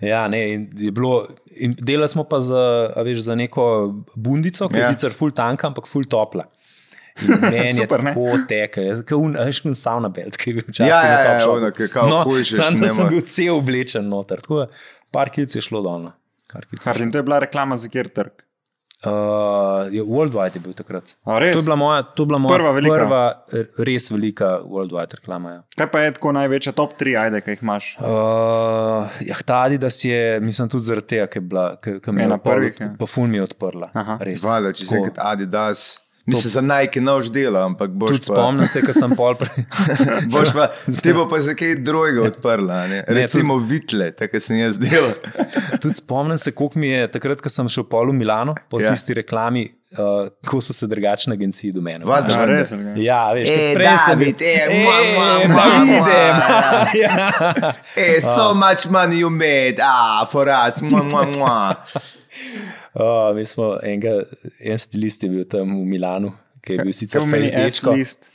Speaker 2: ja, ne, in je bilo, in delali smo pa za, a veš, za neko bundico, ki je
Speaker 1: Ja.
Speaker 2: ja. sicer ful tanka, ampak ful topla. In Meni je
Speaker 3: Super, ne?
Speaker 2: tako tekel, kot un sauna belt, ki je bil včasih
Speaker 1: Ja, ja,
Speaker 2: na
Speaker 1: ja,
Speaker 2: top
Speaker 1: ja,
Speaker 2: shopu.
Speaker 1: ono, ki je kao
Speaker 2: no,
Speaker 1: hujšeš,
Speaker 2: Sam
Speaker 1: ne
Speaker 2: da sem
Speaker 1: more.
Speaker 2: bil cel oblečen noter, tako da par kilc je šlo dolno. Par kilc je šlo.
Speaker 3: Hardin, to je bila reklama za kjer trg.
Speaker 2: Uh, je- Worldwide je bil takrat.
Speaker 3: A
Speaker 2: To
Speaker 3: res?
Speaker 2: je bila moja, to je bila moja
Speaker 3: Prva velika.
Speaker 2: prva r- res velika worldwide reklama. Ja.
Speaker 3: Kaj pa je tako največja top 3, ajde, ki jih imaš?
Speaker 2: Uh, ja, ta Adidas je, mislim, tudi zaradi tega, ker je bila, ker, ker mi je
Speaker 3: Ena
Speaker 2: na prvih,
Speaker 3: prvih, ja.
Speaker 2: pa ful mi je odprla.
Speaker 3: Aha.
Speaker 2: res.
Speaker 1: Zvala, če si
Speaker 2: Tako.
Speaker 1: enkrat Adidas. Mislim, za najki nož dela, ampak boš
Speaker 2: Tudi spomnim se, ker sem pol prej.
Speaker 1: pa, boš pa, ti bo pa za kaj drugega odprla. a Ne? Recimo ne, vitle, tako kot sem jaz delal.
Speaker 2: Tudi spomnim se, koliko mi je takrat, ko sem šel pol v Milano, po
Speaker 1: Ja.
Speaker 2: ja. tisti reklami, uh, ko so se drugačne agencije do mene.
Speaker 1: Valjda.
Speaker 3: A res?
Speaker 2: Ja, veš,
Speaker 1: E,
Speaker 2: kot prej sem bil-
Speaker 1: David, e,
Speaker 2: E,
Speaker 1: mua, mua, mua,
Speaker 2: Davide,
Speaker 1: mua.
Speaker 2: ja.
Speaker 1: E, so much money you made, ah, for us, mua, mua, mua.
Speaker 2: Uh, mi smo enega, en stilist je bil tam v Milanu, ki je bil sicer
Speaker 3: Kaj pomeni
Speaker 2: fejstečko.
Speaker 3: S-list?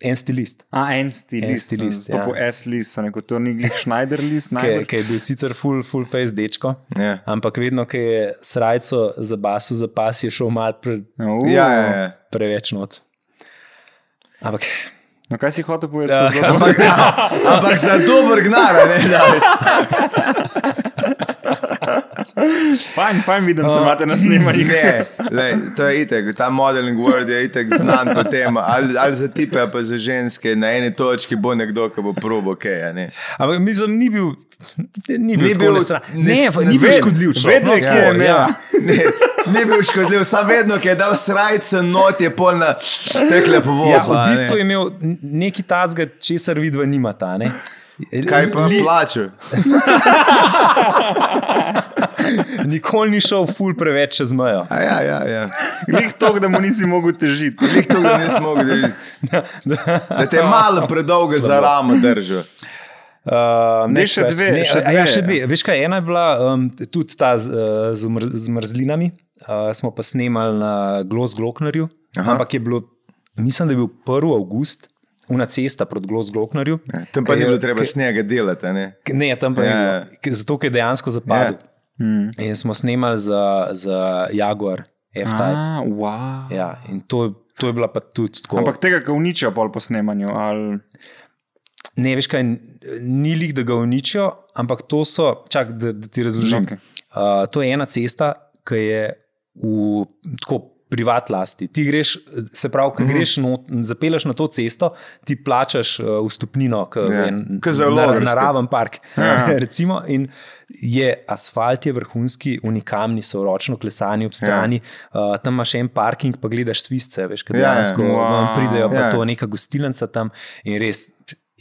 Speaker 2: En stilist.
Speaker 3: A, en
Speaker 2: En
Speaker 3: stilist.
Speaker 2: stilist,
Speaker 3: To
Speaker 2: ja.
Speaker 3: po S-list, sem rekel, to ni glih Schneider list.
Speaker 2: ki,
Speaker 3: najbrž.
Speaker 2: ki je bil sicer full, full face dečko,
Speaker 1: Ja.
Speaker 2: ampak vedno, ki je srajco za basu, za pas je šel malo pre,
Speaker 3: U,
Speaker 1: Ja, ja, ja.
Speaker 2: preveč not. Ampak,
Speaker 3: No, kaj si hotel
Speaker 2: Ja,
Speaker 3: povedati?
Speaker 2: kaj
Speaker 3: Ja,
Speaker 1: Ampak, a, ampak za dober gnar, a ne David?
Speaker 3: fajn, fajn vidim, se imate na snemanju.
Speaker 1: Ne, lej, to je itek, ta modeling world je itek znan po tem, ali, ali za tipe, ali pa za ženske. Na eni točki bo nekdo, ki bo probo, kaj je. Ne?
Speaker 2: ampak mislim, ni bil, ni bil,
Speaker 1: Ni
Speaker 2: tako
Speaker 1: bil
Speaker 2: nesra-
Speaker 1: nes-
Speaker 2: ne, pa ni bil
Speaker 1: ved-
Speaker 2: škodljiv. človek,
Speaker 3: vedel je,
Speaker 2: no,
Speaker 3: kje je
Speaker 1: Ja,
Speaker 2: tako,
Speaker 3: meja.
Speaker 1: Ne, ni bil škodljiv, samo vedno, ki je dal srajce, not je polna tekle po vodu.
Speaker 2: Ja, v bistvu je imel n- neki tacga, česar vidva nimata. ne.
Speaker 1: Kaj pa
Speaker 2: Li-
Speaker 1: plače?
Speaker 2: Nikoli ni šel ful preveč čez mejo.
Speaker 1: A ja, ja, ja.
Speaker 3: Glih to, da mu nisi mogel težiti.
Speaker 1: Lih to, da nismo mogli držati. Da te je malo predolgo za ramo držal.
Speaker 2: Uh,
Speaker 3: Ne, še dve,
Speaker 2: Ne,
Speaker 3: še
Speaker 2: še, dve, ja,
Speaker 3: dve.
Speaker 2: še dve. Veš kaj, ena je bila um, tudi ta z, eh, z, mr, z mrzlinami, uh, smo pa snemali na Gloss Glocknerju,
Speaker 1: Aha.
Speaker 2: ampak je bilo, mislim, da je bil 1. august, una cesta proti Gloss Glocknerju.
Speaker 1: Tam pa
Speaker 2: Ke
Speaker 1: ni
Speaker 2: je-
Speaker 1: bilo treba
Speaker 2: ke-
Speaker 1: snega delati. a Ne?
Speaker 2: K- Ne, tam pa
Speaker 1: Ja,
Speaker 2: je
Speaker 1: ja.
Speaker 2: bilo, K- zato ker je dejansko zapadel.
Speaker 3: Mm.
Speaker 2: In smo snemali za, za Jaguar, F-Type.
Speaker 3: A, Ah, wow.
Speaker 2: Ja, in to, je- to je bila pa tudi tako.
Speaker 3: Ampak tega, ki uničijo pol po snemanju. Ali...
Speaker 2: Ne, veš kaj, ni lih, da ga uničijo, ampak to so, čak, da, da ti razložim. Okay.
Speaker 3: Okej.
Speaker 2: Uh, to je ena cesta, ki je v tako privat lasti. Ti greš, eh, se pravi,
Speaker 1: Mhm.
Speaker 2: ko mm -hmm. greš, not, zapeleš na to cesto, ti plačaš uh, vstopnino, ki
Speaker 1: Ja,
Speaker 2: je
Speaker 1: ke za
Speaker 2: na,
Speaker 1: logarsko.
Speaker 2: naraven park.
Speaker 3: Ja.
Speaker 2: recimo, in je asfalt je vrhunski, unikamni so ročno klesani ob strani, ja. uh, tam imaš en parking, pa gledaš svisce, veš, kaj
Speaker 1: Ja, ja.
Speaker 2: dejansko ja, ja.
Speaker 3: Wow.
Speaker 2: pridejo, pa
Speaker 1: Ja.
Speaker 2: ja. to neka gostilnica tam in res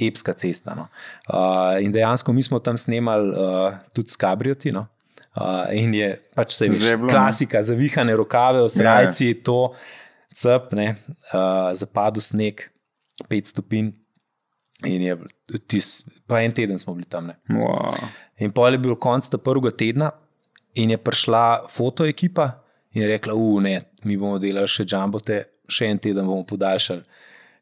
Speaker 2: epska cesta. No. Uh, in dejansko mi smo tam snemali uh, tudi s kabrioti. No. Uh, in je pač se je
Speaker 3: Zeblo, ne?
Speaker 2: klasika, zavihane rokave, osrajci, ja, ja. to, cep, ne, uh, zapadel sneg, pet stopinj. In je bil tis, pa en teden smo bili tam. Ne.
Speaker 3: Wow.
Speaker 2: In pol je bil konc tega prvega tedna, In je prišla fotoekipa in je rekla, uf, ne, mi bomo delali še džambote, še en teden bomo podaljšali.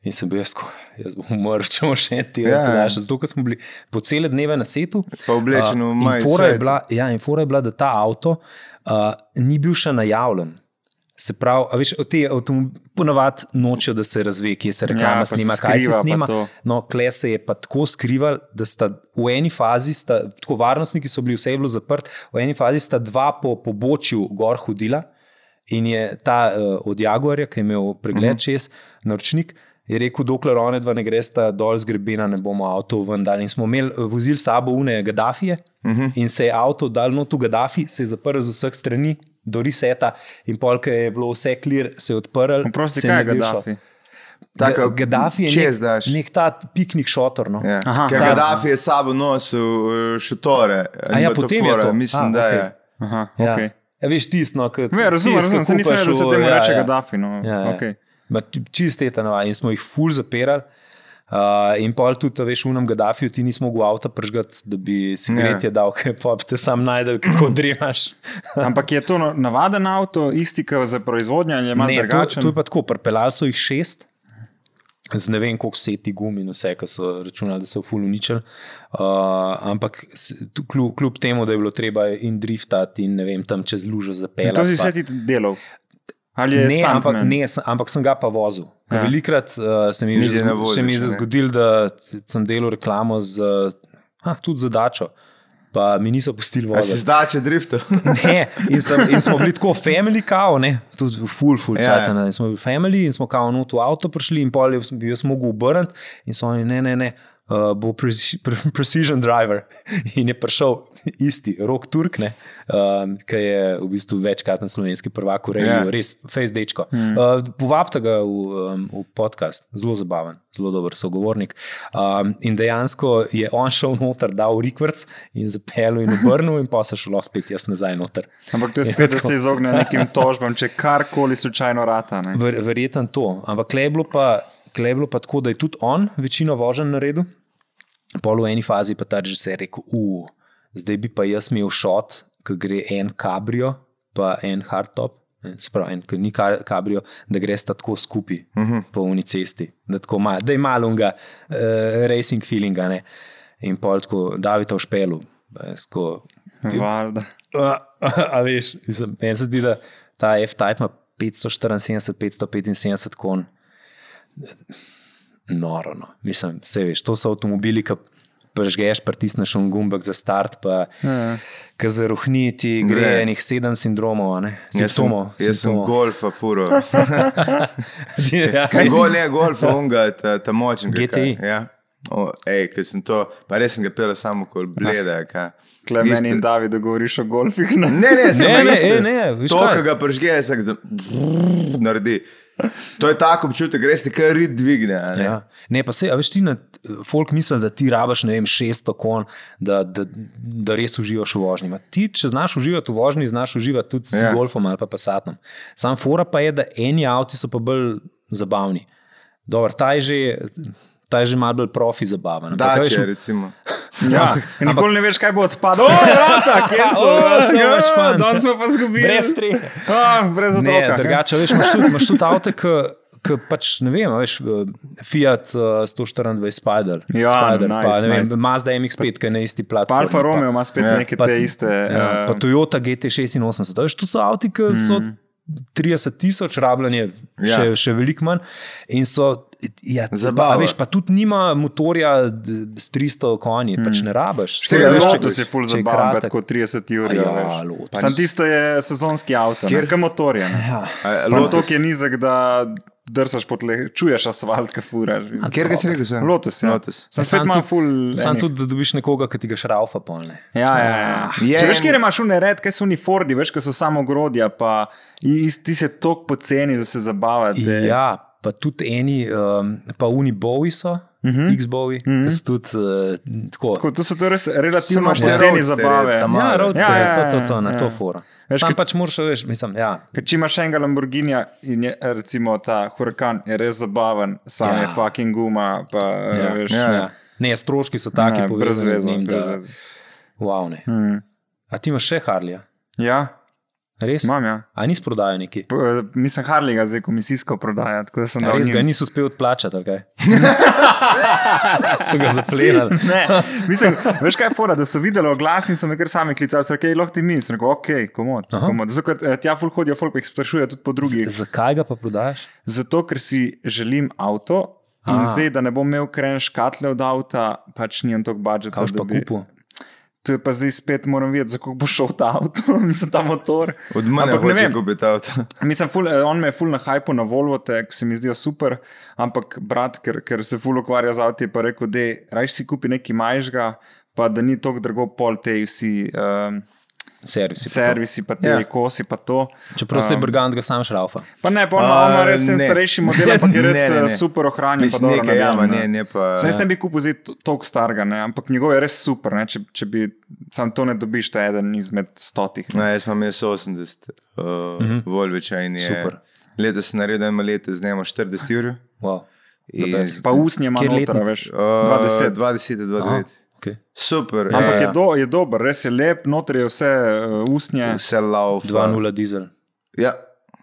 Speaker 2: In sem bil jaz, tako, jaz bom umrl, če bomo še en teden
Speaker 1: Ja, ja.
Speaker 2: yeah. podaljšali. Zato, ker smo bili po cele dneve na setu.
Speaker 1: Pa oblečen v
Speaker 2: Uh, in
Speaker 1: majico,
Speaker 2: fora je
Speaker 1: srajco.
Speaker 2: bila- Ja, in fora je bila, da ta avto uh, ni bil še najavljen. Se pravi, a veš, te avtomobile ponavadi nočejo, da se razve, kje se reklama
Speaker 3: Ja, pa
Speaker 2: ja,
Speaker 3: se
Speaker 2: snima, skriva, kaj se
Speaker 3: skriva, pa
Speaker 2: snima.
Speaker 3: to.
Speaker 2: No, kle se je pa tako skrival, da sta v eni fazi, sta, tako varnostniki so bili, vse je bilo zaprt, v eni fazi sta dva po pobočju gor hodila in je ta uh, od Jaguarja, ki je imel pregled uh
Speaker 3: Mhm.
Speaker 2: -huh. čez naročnik. Je rekel, dokler one dva ne gresta dol z grebena, ne bomo avto ven dali. In smo imeli eh, vozil s sabo une Gaddafije uh
Speaker 3: Mhm.
Speaker 2: -huh. in se je avto dal not v Gaddafi, se je zaprl z vseh strani do reseta in polk je bilo vse klir, se je odprl.
Speaker 3: Oprosti,
Speaker 2: se
Speaker 3: No, kaj je
Speaker 2: ni bil šel.
Speaker 3: Gaddafi?
Speaker 1: Taka
Speaker 2: Gaddafi je
Speaker 1: čez
Speaker 2: nek,
Speaker 1: daš.
Speaker 2: nek ta piknik šotor. No.
Speaker 1: Ja.
Speaker 3: Aha,
Speaker 1: Ker
Speaker 3: ta-
Speaker 1: Gaddafi je s sabo nosil eh, šotore.
Speaker 2: A ja, potem je to?
Speaker 1: Mislim,
Speaker 2: A,
Speaker 1: da
Speaker 2: okej.
Speaker 1: je.
Speaker 3: Aha,
Speaker 2: Ja.
Speaker 3: okay.
Speaker 2: Ja, veš, tisno, kot
Speaker 3: Ne, razumem, razumem, se nisem vedel, da se temu reče Gaddafi. No.
Speaker 2: Ja, ja.
Speaker 3: Okay.
Speaker 2: Ma ti- Čisto te tanova in smo jih ful zapirali. Uh, in pol tudi, a veš, v unem Gaddafiju ti nismo mogli avta pržgati, da bi
Speaker 1: Ja.
Speaker 2: si gretje dal, ker pop te sam najdel, kako dremaš.
Speaker 3: Ampak je to no, na- navaden avto, isti kot za proizvodnjo, ali je malo
Speaker 2: Ne, to,
Speaker 3: drugačen?
Speaker 2: to je pa tako, prepeljali so jih šest, z ne vem koliko seti gum in vse, ki so računali, da so ful uničili. Uh, ampak s- tu- kljub, kljub temu, da je bilo treba in driftati in ne vem, tam čez lužo
Speaker 3: In to si
Speaker 2: zapeljati. pa-
Speaker 3: vse ti tudi delal. Ali je
Speaker 2: Ne,
Speaker 3: stuntman?
Speaker 2: ampak, ne, sem, ampak sem ga pa vozil.
Speaker 3: Ja.
Speaker 2: Ja. Velikrat uh, se mi je
Speaker 1: Nigde
Speaker 2: že,
Speaker 1: ne
Speaker 2: zgo- se mi je
Speaker 1: voziš,
Speaker 2: že
Speaker 1: ne.
Speaker 2: zgodilo, da sem delal reklamo z, uh, ha, tudi za dačo, pa mi niso pustili
Speaker 1: A si
Speaker 2: voziti.
Speaker 1: zdače driftu?
Speaker 2: Ne, in, sem, in smo bili tako family, kao, ne, tudi full, full,
Speaker 1: Ja,
Speaker 2: ja, cajtana. In smo bili family in smo kao not v avto prišli in pol je sem bil jaz mogel obrniti in so oni, ne, ne, ne, uh, bo preci- pre- precision driver. In je prišel isti, rok Turk, ne, um, ki je v bistvu večkraten slovenski prvak v reju,
Speaker 1: Ja.
Speaker 2: yeah. res fejs dečko. Mm. Uh, povabite ga v, um, v podcast, zelo zabaven, zelo dober sogovornik. Um, in dejansko je on šel noter, dal rikvrc in zapeljal in obrnil in pa se šlo spet jaz nazaj noter.
Speaker 3: ampak to je
Speaker 2: Ja,
Speaker 3: spet, da
Speaker 2: tako.
Speaker 3: se izogne nekim tožbam, če karkoli slučajno rata. Ne.
Speaker 2: Ver, verjeten to. Ampak klej je bilo pa, tule je bilo pa tako, da je tudi on večino vožen naredil. Pol v eni fazi pa ta režiser je rekel, "U, zdaj bi pa jaz imel šot, ki gre en kabrio, pa en hardtop. ne, se Pravi, en, ki ni ka- kabrio, da greš tako skupaj uh -huh. po uni cesti, da, tako ma, da je malo unga, uh, racing feelinga. Ne. In pol tako, David v špelu, eh, tako,
Speaker 3: Hm. Valjda.
Speaker 2: A, a veš, mislim, meni se zdi, da ta F-Type ima 574, 575 kon. Noro, no. mislim, vse veš. To so avtomobili, ki prežgeš, pritisneš un gumbek za start, pa
Speaker 3: Ja.
Speaker 2: ki zaruhni ti
Speaker 1: Ne.
Speaker 2: gre enih sedem sindromov, a ne? simptomov.
Speaker 1: Jaz sem
Speaker 2: simptomov.
Speaker 1: golfa furo. Kaj
Speaker 2: ja, kaj si? E.
Speaker 1: Gol, ne, golf, onga, ta, ta močen. ga,
Speaker 2: GTI.
Speaker 1: kaj, Ja. O, ej, ker sem to, pa res sem ga pel samo kot bleda. kaj.
Speaker 3: Kle meni
Speaker 1: Isto-
Speaker 3: in Davidu govoriš o golfih. Ne? e,
Speaker 1: Ne, ne,
Speaker 2: Ne,
Speaker 1: sem
Speaker 2: ne,
Speaker 1: isto.
Speaker 2: ej, ne, viš
Speaker 1: To,
Speaker 2: kaj?
Speaker 1: ki ga pržge, se ga naredi. To je tako občutek, res ti kar rit dvigne. a Ne?
Speaker 2: Ja. Ne, pa se, a veš, ti na folk misli, da ti rabaš, ne vem, 600 kon, da, da, da res uživaš v vožnji. Ma Ti, če znaš uživati v vožnji, znaš uživati tudi s
Speaker 1: Ja.
Speaker 2: ja. golfom ali pa pasatom. Sam fora pa je, da eni avti so pa bolj zabavni. Dobar, ta je že, ta je že malo bolj profi zabaven. ampak, a
Speaker 1: Da,
Speaker 2: veš,
Speaker 1: če recimo.
Speaker 3: Ja, in nikoli ne veš, kaj bo odpadlo. O, vrata, kje so?
Speaker 2: O,
Speaker 3: Ja,
Speaker 2: Oh, so več fun.
Speaker 3: Danes smo pa zgubili.
Speaker 2: Brez strehe.
Speaker 3: A, brez
Speaker 2: Ne,
Speaker 3: otroka.
Speaker 2: drugače, veš, imaš tudi, imaš tudi avto, ki pač ne vem, a veš, eh, Fiat eh, 124 Spider,
Speaker 3: Ja,
Speaker 2: Spider pa
Speaker 3: nice,
Speaker 2: ne vem,
Speaker 3: nice.
Speaker 2: Mazda MX5, ki je na isti
Speaker 3: Pa
Speaker 2: platformi.
Speaker 3: Alfa Romeo ima spet
Speaker 1: Ja.
Speaker 3: neke
Speaker 2: Pa-
Speaker 3: te iste.
Speaker 2: Ja,
Speaker 3: eh,
Speaker 2: pa Toyota GT86, to, veš, to so avtomobili, ki so 30 tisoč, rabljanje še,
Speaker 1: Ja.
Speaker 2: ja. še veliko manj. In so, ja,
Speaker 1: Zabava.
Speaker 2: Zabava. Pa, a veš, pa tudi nima motorja d- s 300 konji, mm. pač ne rabiš.
Speaker 1: Saj
Speaker 3: Tega
Speaker 1: veš, če-
Speaker 3: loto si ful
Speaker 2: če je
Speaker 3: zabavam,
Speaker 2: kratek.
Speaker 3: tako 30 ur.
Speaker 2: Ja,
Speaker 3: Ja,
Speaker 2: Lotus.
Speaker 3: Sam tisto je sezonski avto,
Speaker 1: Kjer-
Speaker 3: kjer ga motorja.
Speaker 2: Ja.
Speaker 3: Loto je nizek, da drsaš po tleh, čuješ asfalt, ka furaš.
Speaker 1: Kjer ga si rekel? Sam?
Speaker 3: Lotus, ja.
Speaker 1: Lotus.
Speaker 3: Sam spet imam
Speaker 2: tudi-
Speaker 3: ful.
Speaker 2: Sam
Speaker 3: enih-
Speaker 2: tudi, da dobiš nekoga, ki ti ga šraufa polne.
Speaker 3: Ja, ja, ja.
Speaker 1: Je
Speaker 3: Je, Če veš,
Speaker 1: en-
Speaker 3: kje imaš unired, kaj so unifordi, veš, kaj so samo grodja, pa i- is- ti se tok poceni, da se zabavate.
Speaker 2: Ja, pa tudi eni, um, pa unibovi so, uh -huh. X-bovi, uh -huh. ki so tudi uh, tako.
Speaker 3: Tako, to so to res relativno
Speaker 1: imaš te
Speaker 3: poceni
Speaker 1: roadsterje
Speaker 3: zabave.
Speaker 1: tam.
Speaker 2: Ja,
Speaker 1: malo.
Speaker 2: roadster,
Speaker 3: Ja,
Speaker 2: ja,
Speaker 3: ja,
Speaker 2: ja, to, to,
Speaker 3: ja,
Speaker 2: to, na
Speaker 3: ja.
Speaker 2: ja. to fora.
Speaker 3: Veš,
Speaker 2: Sam
Speaker 3: kaj-
Speaker 2: pač moraš, veš, mislim, ja,
Speaker 3: Ker če imaš enega Lamborghinija in je eh, recimo ta Huracan, je res zabaven, sam ja.
Speaker 2: Ja.
Speaker 3: je fucking guma. Pa, ja.
Speaker 2: Ja,
Speaker 3: veš,
Speaker 1: ja.
Speaker 2: Ja. Ne, stroški so taki,
Speaker 3: ne,
Speaker 2: povezani z
Speaker 3: brez
Speaker 2: njim.
Speaker 3: veze, brez
Speaker 2: Da,
Speaker 3: veze.
Speaker 2: wow, ne.
Speaker 3: Hmm.
Speaker 2: A ti imaš še Harlija?
Speaker 3: Ja,
Speaker 2: Res?
Speaker 3: imam ja.
Speaker 2: A nisi prodajal neki?
Speaker 3: P- Mislim, Harley ga zdaj komisijsko prodaja, tako da sem
Speaker 2: Ja,
Speaker 3: dal
Speaker 2: res ga
Speaker 3: njim.
Speaker 2: niso uspeli odplačati, ali kaj? so ga zaplenili.
Speaker 3: Ne, mislim, veš kaj je fora, da so videli oglas in so me kar sami klicali, so rekli, lahko ti mi, sem rekel, ok, komod.
Speaker 2: Aha.
Speaker 3: komod. Zato, ker eh, tja ful hodijo, folk pa jih sprašuje tudi po drugih.
Speaker 2: Z- Zakaj ga pa prodajaš?
Speaker 3: Zato, ker si želim avto in
Speaker 2: A.
Speaker 3: A. zdaj, da ne bom imel kren škatle od avta, pač nimam toliko budžeta.
Speaker 2: Kaj boš
Speaker 3: da
Speaker 2: pa
Speaker 3: bi-
Speaker 2: kupil?
Speaker 3: To je pa zdaj spet moram vedeti, za kako bo šel ta avto, mislim, ta motor.
Speaker 1: Od mene
Speaker 3: Ampak ne
Speaker 1: hoče
Speaker 3: vem.
Speaker 1: kupiti avto.
Speaker 3: Mislim, ful, eh, on me je ful na hajpu na Volvo, te, ki se mi zdijo super, ampak brat, ker, ker se ful ukvarja z avti, je pa rekel, da raje si kupi nekaj majžga, pa da ni tako drago pol te vsi um,
Speaker 2: Servis. je pa to.
Speaker 3: servisi, pa te
Speaker 1: Ja.
Speaker 3: yeah. kosi, pa to.
Speaker 2: Čeprav se je
Speaker 3: Um,
Speaker 2: Brgant ga sam šraufa.
Speaker 3: Pa ne, pa no,
Speaker 1: A,
Speaker 3: on ima res en
Speaker 1: ne.
Speaker 3: starejši model, ampak je res
Speaker 1: Ne, ne, ne.
Speaker 3: eh, super ohranjen. pa
Speaker 1: Mislim,
Speaker 3: dobro
Speaker 1: nekaj, ja,
Speaker 3: narejen,
Speaker 1: ma ne,
Speaker 3: ne.
Speaker 1: ne pa. ja.
Speaker 3: Saj jaz ne bi kupil zdaj to- toliko starega, ne? ampak njegov je res super. Ne? Če, če bi sam to ne dobiš, to je eden izmed stotih. Ne?
Speaker 1: Ne, jaz imam jaz 80, uh, uh
Speaker 3: Mhm.
Speaker 1: -huh. Volvečajn je.
Speaker 2: Super.
Speaker 1: Leta sem naredil eno leto, z njima 40 ur.
Speaker 2: Wow.
Speaker 1: Iz,
Speaker 3: Pa usnje ima
Speaker 2: Kjer
Speaker 3: noter,
Speaker 2: letnik?
Speaker 3: veš.
Speaker 1: uh,
Speaker 3: 20.
Speaker 1: 20, 29.
Speaker 2: Aha, okay.
Speaker 1: Super.
Speaker 3: Ampak
Speaker 1: ja,
Speaker 3: je, do, je dober, res je lep, noter je vse uh,
Speaker 2: Ja.
Speaker 3: usnje.
Speaker 1: Vse laufa.
Speaker 2: 2-0 dizel,
Speaker 1: Ja.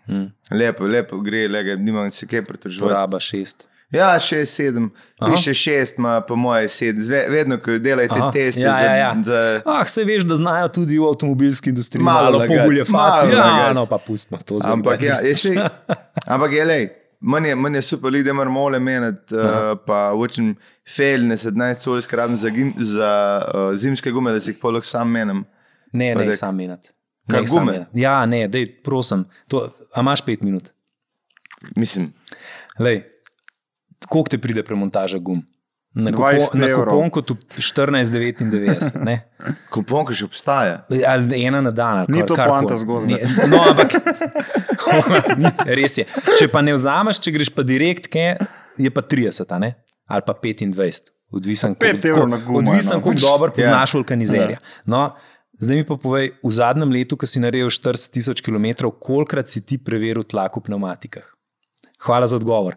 Speaker 2: Mm.
Speaker 1: Lepo, lepo gre, lega, nimam se kaj pritoževati.
Speaker 2: poraba 6.
Speaker 1: Ja, šest, sedem,
Speaker 2: Torej- Aha.
Speaker 1: piše šest, ima po moje sedem. Zve- Vedno, ko delajte
Speaker 2: Aha,
Speaker 1: teste,
Speaker 2: ja,
Speaker 1: za,
Speaker 2: ja, ja.
Speaker 1: za,
Speaker 2: Ah, se veš, da znajo tudi v avtomobilski industriji
Speaker 1: Malo
Speaker 2: malo
Speaker 1: lagati,
Speaker 2: pogulje fati.
Speaker 1: malo
Speaker 2: Ja,
Speaker 1: lagati.
Speaker 2: no, pa pustimo to za
Speaker 1: ampak
Speaker 2: zdaj.
Speaker 1: ja, je še. Ampak je le. Meni je, meni je super, ljudi, da moramo ole meniti, uh, pa učim felne 17 sol, skrabim za, gim, za uh, zimske gume, da si jih polog sam menim.
Speaker 2: Ne, ne,
Speaker 1: Padek.
Speaker 2: sam minut.
Speaker 1: Kaj, gume?
Speaker 2: Ja, ne, dej, prosim. To, a imaš 5 minut?
Speaker 1: Mislim,
Speaker 2: Lej, koliko te pride premontaža gum? Na, kupo,
Speaker 3: 20
Speaker 2: na
Speaker 3: evrov.
Speaker 2: kuponku tu 14,99. ne?
Speaker 1: kuponka še obstaja.
Speaker 2: Ali ena na dan. ali
Speaker 3: Ni
Speaker 2: kar-
Speaker 3: to
Speaker 2: karkoli.
Speaker 3: poanta zgodbe.
Speaker 2: Ni- No, ampak ni, res je. Če pa ne vzameš, če greš pa direkt, ke, je pa 30 a ne? ali pa 25. Odvisen,
Speaker 3: Pet
Speaker 2: koliko-
Speaker 3: evrov na gumo,
Speaker 2: odvisen
Speaker 3: no.
Speaker 2: kako dobro
Speaker 1: Ja.
Speaker 2: poznaš vulkanizerja. No, zdaj mi pa povej, v zadnjem letu, ko si naredil 40 tisoč km, kolikrat si ti preveril tlak v pneumatikah? Hvala za odgovor.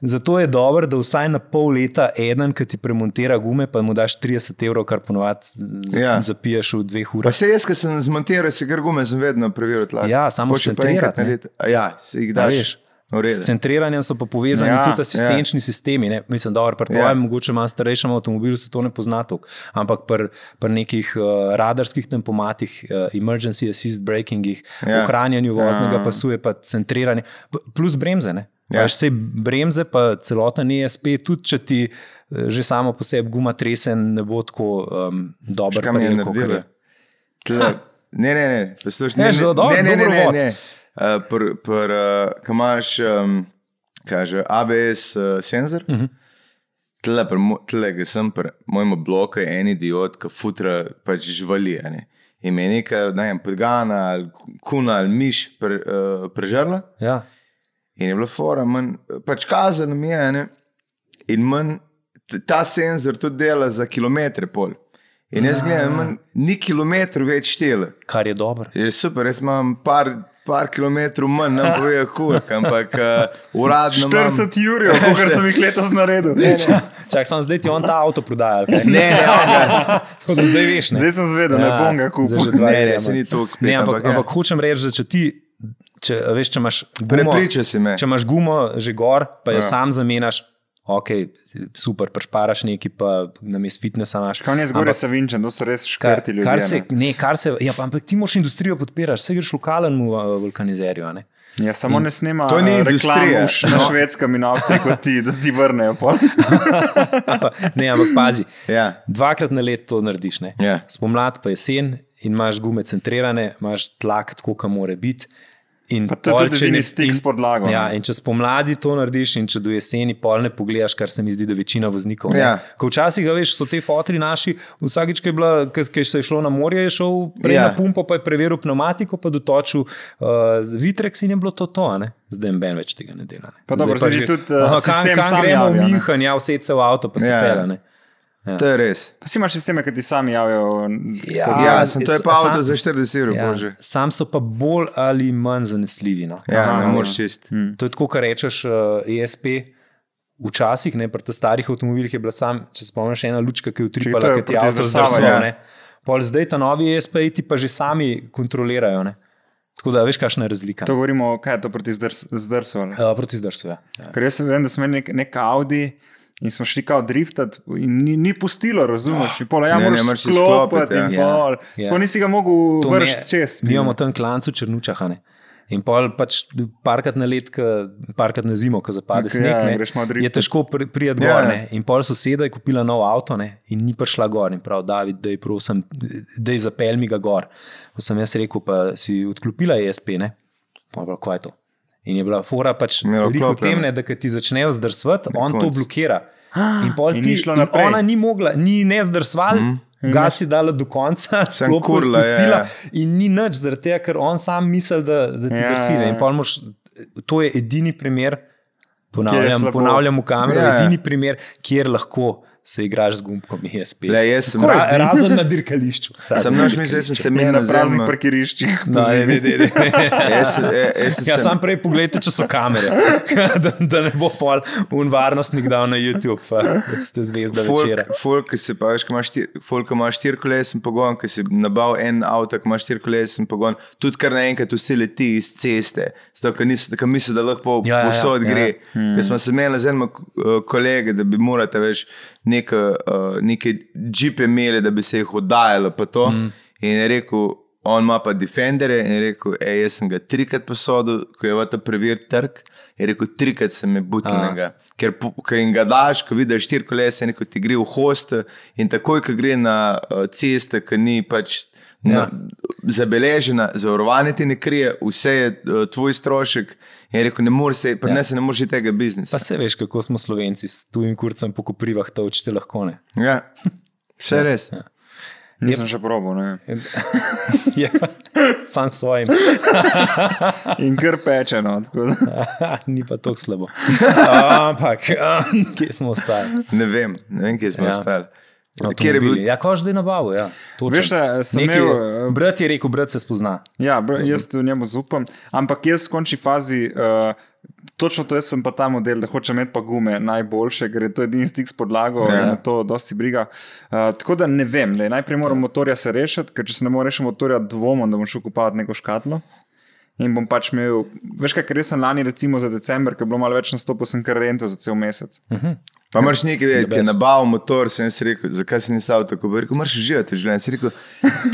Speaker 2: Zato je dobro, da vsaj na pol leta eden, ki ti premontira gume, pa mu daš 30 evrov, kar ponovadi z-
Speaker 1: Ja.
Speaker 2: zapiješ v dveh
Speaker 1: Pa
Speaker 2: urah.
Speaker 1: se jaz, ki sem zmontiral, si kar gume, sem vedno preveril tlak.
Speaker 2: Ja,
Speaker 1: Pol
Speaker 2: samo
Speaker 1: še pa
Speaker 2: šcentrirat,
Speaker 1: enkrat na
Speaker 2: ne.
Speaker 1: leto. A Ja, si jih
Speaker 2: A
Speaker 1: daš.
Speaker 2: veš,
Speaker 1: V redu.
Speaker 2: S centriranjem so pa povezani ja,
Speaker 3: Ja,
Speaker 2: tudi asistenčni ja. sistemi. Ne? Mislim, da pri tvojem, ja.
Speaker 1: Ja.
Speaker 2: mogoče malo starejšem avtomobilu se to ne pozna toliko, ampak pri pr nekih uh, radarskih tempomatih, uh, emergency assist brakingih, ja.
Speaker 1: Ja.
Speaker 2: ohranjanju voznega ja.
Speaker 3: Ja.
Speaker 2: pasu je pa centriranje, P- plus bremze. Ne? Ja.
Speaker 1: Ja.
Speaker 2: Vse bremze, pa celoten ESP, tudi če ti eh, že samo po sebi guma tresen, ne bo tako um, dober,
Speaker 1: Kaj mi je
Speaker 2: paril, kakor
Speaker 1: naredilo?
Speaker 2: je.
Speaker 1: Tle, ne, ne, ne, poslušaj, ne,
Speaker 2: Ja, zelo dobro,
Speaker 1: ne, ne, ne,
Speaker 2: dobro
Speaker 1: ne,
Speaker 2: vod.
Speaker 1: ne. Uh, pr, pr, uh, ko imaš, um, kaže, ABS uh, senzor,
Speaker 2: Mhm.
Speaker 1: uh -huh. tle, pr, tle, ki sem, pr, mojemu bloku je en idiot, ki futra pač živali. a ne. In me je neka, ne vem, podgana ali kuna ali miš pre, uh, prežrla.
Speaker 2: Ja.
Speaker 1: In je bilo fora, manj, pač kazen mi je. a Ne? In manj, t- ta senzor tudi dela za kilometre pol. In jaz gledam, manj, ni kilometrov več štele.
Speaker 2: Kar je dobro.
Speaker 1: Je super, jaz imam par, par kilometrov manj, nam povejo kurk, ampak uh, uradno. imam-
Speaker 3: 40 jurjev, kot sem jih letos naredil.
Speaker 2: Čak, sam zdaj ti on ta avto prodaja. ali kaj?
Speaker 1: Ne, ne, on ga-
Speaker 2: Tako da Zdaj veš, ne.
Speaker 3: Zdaj sem zvedel, ne bom ga
Speaker 2: Ja,
Speaker 3: kupil.
Speaker 2: zdaj že
Speaker 1: Ne,
Speaker 2: dva leta
Speaker 1: ne,
Speaker 2: imam.
Speaker 1: saj ni toliko spet,
Speaker 2: Ne, ampak, ampak,
Speaker 1: ampak ja.
Speaker 2: ampak hočem reči, da če ti, če, a veš, če imaš gumo,
Speaker 1: Prepričal si me.
Speaker 2: če imaš gumo že gor, pa jo ja.
Speaker 3: Ja.
Speaker 2: sam zamenjaš, ok, super, prešparaš neki, pa na mest fitnesa imaš.
Speaker 3: Kaj ne zgoraj
Speaker 2: Ampak
Speaker 3: se vinčam, to so res
Speaker 2: Kar,
Speaker 3: škrti ljudje.
Speaker 2: kar se,
Speaker 3: ne.
Speaker 2: ne, kar se, ja, pa, ampak ti moraš industrijo podpirati, se greš lokalnemu a, vulkanizerju. a ne.
Speaker 3: Ja, samo ne snema
Speaker 1: To ni
Speaker 3: eh,
Speaker 1: industrija.
Speaker 3: reklam v š-
Speaker 2: No.
Speaker 3: na švedskem in avstriji, kot ti, da ti vrnejo. pol.
Speaker 2: ne, ampak pazi,
Speaker 1: Ja.
Speaker 2: dvakrat na leto to narediš. ne.
Speaker 1: Ja.
Speaker 2: Spomlad pa jesen in imaš gume centrirane, imaš tlak tako, kot mora biti. In
Speaker 3: Pa to je
Speaker 2: pol,
Speaker 3: tudi
Speaker 2: če ne-
Speaker 3: edini stik
Speaker 2: in-
Speaker 3: s podlago. no.
Speaker 2: Ja,
Speaker 3: ne.
Speaker 2: in če spomladi to narediš, in če do jeseni polne pogledaš, kar se mi zdi, da večina voznikov. ne.
Speaker 1: Ja.
Speaker 2: Ko včasih, a veš, so te fotri naši, vsakič, ki je, bila, ki, ki se je šlo na morje, je šel prej ja.
Speaker 1: Ja.
Speaker 2: na pumpo, pa je preveril pneumatiko, pa dotočil uh, vitrek in je bilo to to. a Ne? Zdaj ben več tega ne dela. Ne?
Speaker 3: Pa
Speaker 2: Zdaj
Speaker 3: dobro, se
Speaker 2: že-
Speaker 3: že tudi,
Speaker 1: uh,
Speaker 3: eh,
Speaker 2: Aha,
Speaker 3: sistem
Speaker 2: kam, kam
Speaker 3: sam
Speaker 2: gremo
Speaker 3: javi, a
Speaker 2: v
Speaker 3: ne.
Speaker 2: Minhen, ja, vse se v avto, pa se
Speaker 1: Ja.
Speaker 2: ja. pela. Ne? Ja.
Speaker 1: To je res.
Speaker 3: Pa si imaš sisteme, ki ti sami javijo.
Speaker 2: A,
Speaker 1: Ja, sem, to je pa
Speaker 2: sam-
Speaker 1: avto za 40 ur, ja. bože.
Speaker 2: sam so pa bolj ali manj zanesljivi. No?
Speaker 1: Ja,
Speaker 3: Aha,
Speaker 1: Aha, ne
Speaker 3: ja.
Speaker 1: moreš čist.
Speaker 2: To je tako, kar rečeš, eh, ESP. Včasih, ne, pri teh starih avtomobilih je bila sam, če se spomniš, ena lučka, ki je
Speaker 3: Če
Speaker 2: utripala,
Speaker 3: to
Speaker 2: ki
Speaker 3: je
Speaker 2: ti je
Speaker 3: proti
Speaker 2: avto
Speaker 3: zdrsavo,
Speaker 2: zdrsal.
Speaker 1: ja.
Speaker 2: ne. Pol zdaj ta novi SPI ti pa že sami kontrolirajo. Ne? Tako da veš, kakšna je razlika.
Speaker 3: To govorimo, kaj je to proti zdrs- zdrsu. ali?
Speaker 2: Uh, proti zdrsu. Ja.
Speaker 3: Ker jaz vem, da smo imeli nek, nek Audi in smo šli kao driftati, in ni, ni pustilo, razumeš? In pol, ja,
Speaker 1: Ne, ne,
Speaker 3: moraš
Speaker 1: moraš si
Speaker 3: sklopiti,
Speaker 1: sklopiti, ja.
Speaker 3: in
Speaker 2: Ja,
Speaker 3: pol.
Speaker 2: ja.
Speaker 3: Sploh nisi ga mogel vršiti čez.
Speaker 2: Mi imamo tam klancu črnučahane. In pol pač parkrat na let, ko- parkrat na zimo, ko zapade
Speaker 3: Ok,
Speaker 2: okay, sneg,
Speaker 3: ja,
Speaker 2: ne,
Speaker 3: greš malo driftat.
Speaker 2: je težko pri- priti
Speaker 1: Ja,
Speaker 2: gor.
Speaker 1: ja.
Speaker 2: ne. In pol soseda je kupila nov avto ne, in ni prišla gor. In prav, David, da je prosim, da je zapel mi ga gor. Pa sem jaz rekel, pa si odklopila ESP, ne. Pa prav, kaj je to. In je bila fora pač
Speaker 3: Ja,
Speaker 1: Imela
Speaker 2: veliko
Speaker 1: vklopljeno.
Speaker 2: temne, da ko ti začnejo zdrsvati, on to
Speaker 1: konec.
Speaker 2: blokira. In, pol
Speaker 3: In
Speaker 2: ti,
Speaker 3: ni šlo naprej.
Speaker 2: Ona ni mogla, ni ne zdrsval, mm. gas je dala do konca,
Speaker 1: Mhm. Sem
Speaker 2: sklopko
Speaker 1: kurla, ja, je,
Speaker 2: spustila
Speaker 1: je.
Speaker 2: in ni nič, zaradi tega, ker on sam misli, da, da ti
Speaker 3: Ja,
Speaker 2: drsi. ne.
Speaker 3: ja.
Speaker 2: In pol moraš- To je edini primer,
Speaker 3: Kjer je
Speaker 2: ponavljam,
Speaker 3: slabo.
Speaker 2: ponavljam v kamero,
Speaker 1: Ja, ja.
Speaker 2: ja, edini primer, kjer lahko se igraš z gumbkom ESP.
Speaker 1: Le, jaz sem
Speaker 2: Ra,
Speaker 1: rad-
Speaker 2: razen na dirkališču. Razen
Speaker 1: Sem
Speaker 2: na
Speaker 1: naš mislil, da sem se
Speaker 3: Ne,
Speaker 1: menil
Speaker 3: na praznih
Speaker 1: zelo-
Speaker 3: parkiriščih.
Speaker 2: Da, ne, ne, ne, ne.
Speaker 1: Jaz, eh, jaz sem
Speaker 2: Ja,
Speaker 1: se-
Speaker 2: sam prej pogledajte, če so kamere, da, da ne bo pol unvarnostnik dal na YouTube, da ste zvezda večera.
Speaker 1: Folk, ki se pa veš, ko imaš štir- folk, ko imaš štirikolesen pogon, ki si nabal en avto, ki imaš štirikolesen pogon, tudi kar naenkrat vsi leti iz ceste, zato ker nis- ker misli, da lahko
Speaker 2: Ja, ja,
Speaker 1: ja,
Speaker 2: ja,
Speaker 1: povsod
Speaker 2: ja.
Speaker 1: ja, gre. Ja. Hmm. Ker smo se menili z enim kolegom, da bi morate več neke, uh, neke džipe imeli, da bi se jih oddajalo pa to. Hmm. In je rekel, on ima pa defendere in je rekel, ej, jaz sem ga trikrat posodil, ko je v ta previr trg, je rekel, trikrat sem je butil. Ker, po- ko jim ga daš, ko vidiš štiri kolesa, neko ti gre v host, in takoj, ko gre na eh, ceste, ki ni pač
Speaker 2: Ja.
Speaker 1: ja. zabeležena, zavarovanje ti ne krije, vse je eh, tvoj strošek. In je rekel, ne moreš, se- pri
Speaker 2: Ja.
Speaker 1: nas ja. ne moreš iti tega biznisa.
Speaker 2: Pa se veš, kako smo slovenci s tujim kurcem po koprivah, to učite lahko ne.
Speaker 1: Ja. Še ja. res. Ja.
Speaker 3: Nisem še probo. Ne.
Speaker 2: Je pa sam svojim,
Speaker 3: In kar peče. No, tako da.
Speaker 2: ni pa tako slabo. Ampak, kje smo ostali?
Speaker 1: Ne vem, ne vem, kje smo
Speaker 2: Ja.
Speaker 1: ja. ostali. Kjer je bil?
Speaker 2: Avtomobili. Ja, ko že zdaj nabavo, ja. točno.
Speaker 3: Veš, da sem
Speaker 2: Nekaj-
Speaker 3: imel, eh,
Speaker 2: Brat je rekel, brat se spozna.
Speaker 3: Ja, br- jaz v njemu zaupam. Ampak jaz v končni fazi, uh, točno to jaz sem pa ta model, da hočem imeti pa gume najboljše, ker je to edini stik s podlago
Speaker 1: Ja.
Speaker 3: ja. in me to dosti briga. Uh, tako da ne vem, le, najprej moram motorja se rešiti, ker če se ne morem rešiti motorja, dvomim, da bom šel kupovati neko škatlo. In bom pač imel, veš kaj, ker jaz sem lani recimo za december, ker je bilo malo več nastopov, sem kar rento za cel mesec.
Speaker 2: Mhm.
Speaker 1: Pa moraš nekaj vedeti,
Speaker 2: The
Speaker 1: ki je
Speaker 2: best.
Speaker 1: nabavil motor, sem jaz rekel, zakaj si nisem avto, ko bi rekel, moraš živeti življenje. Sem rekel,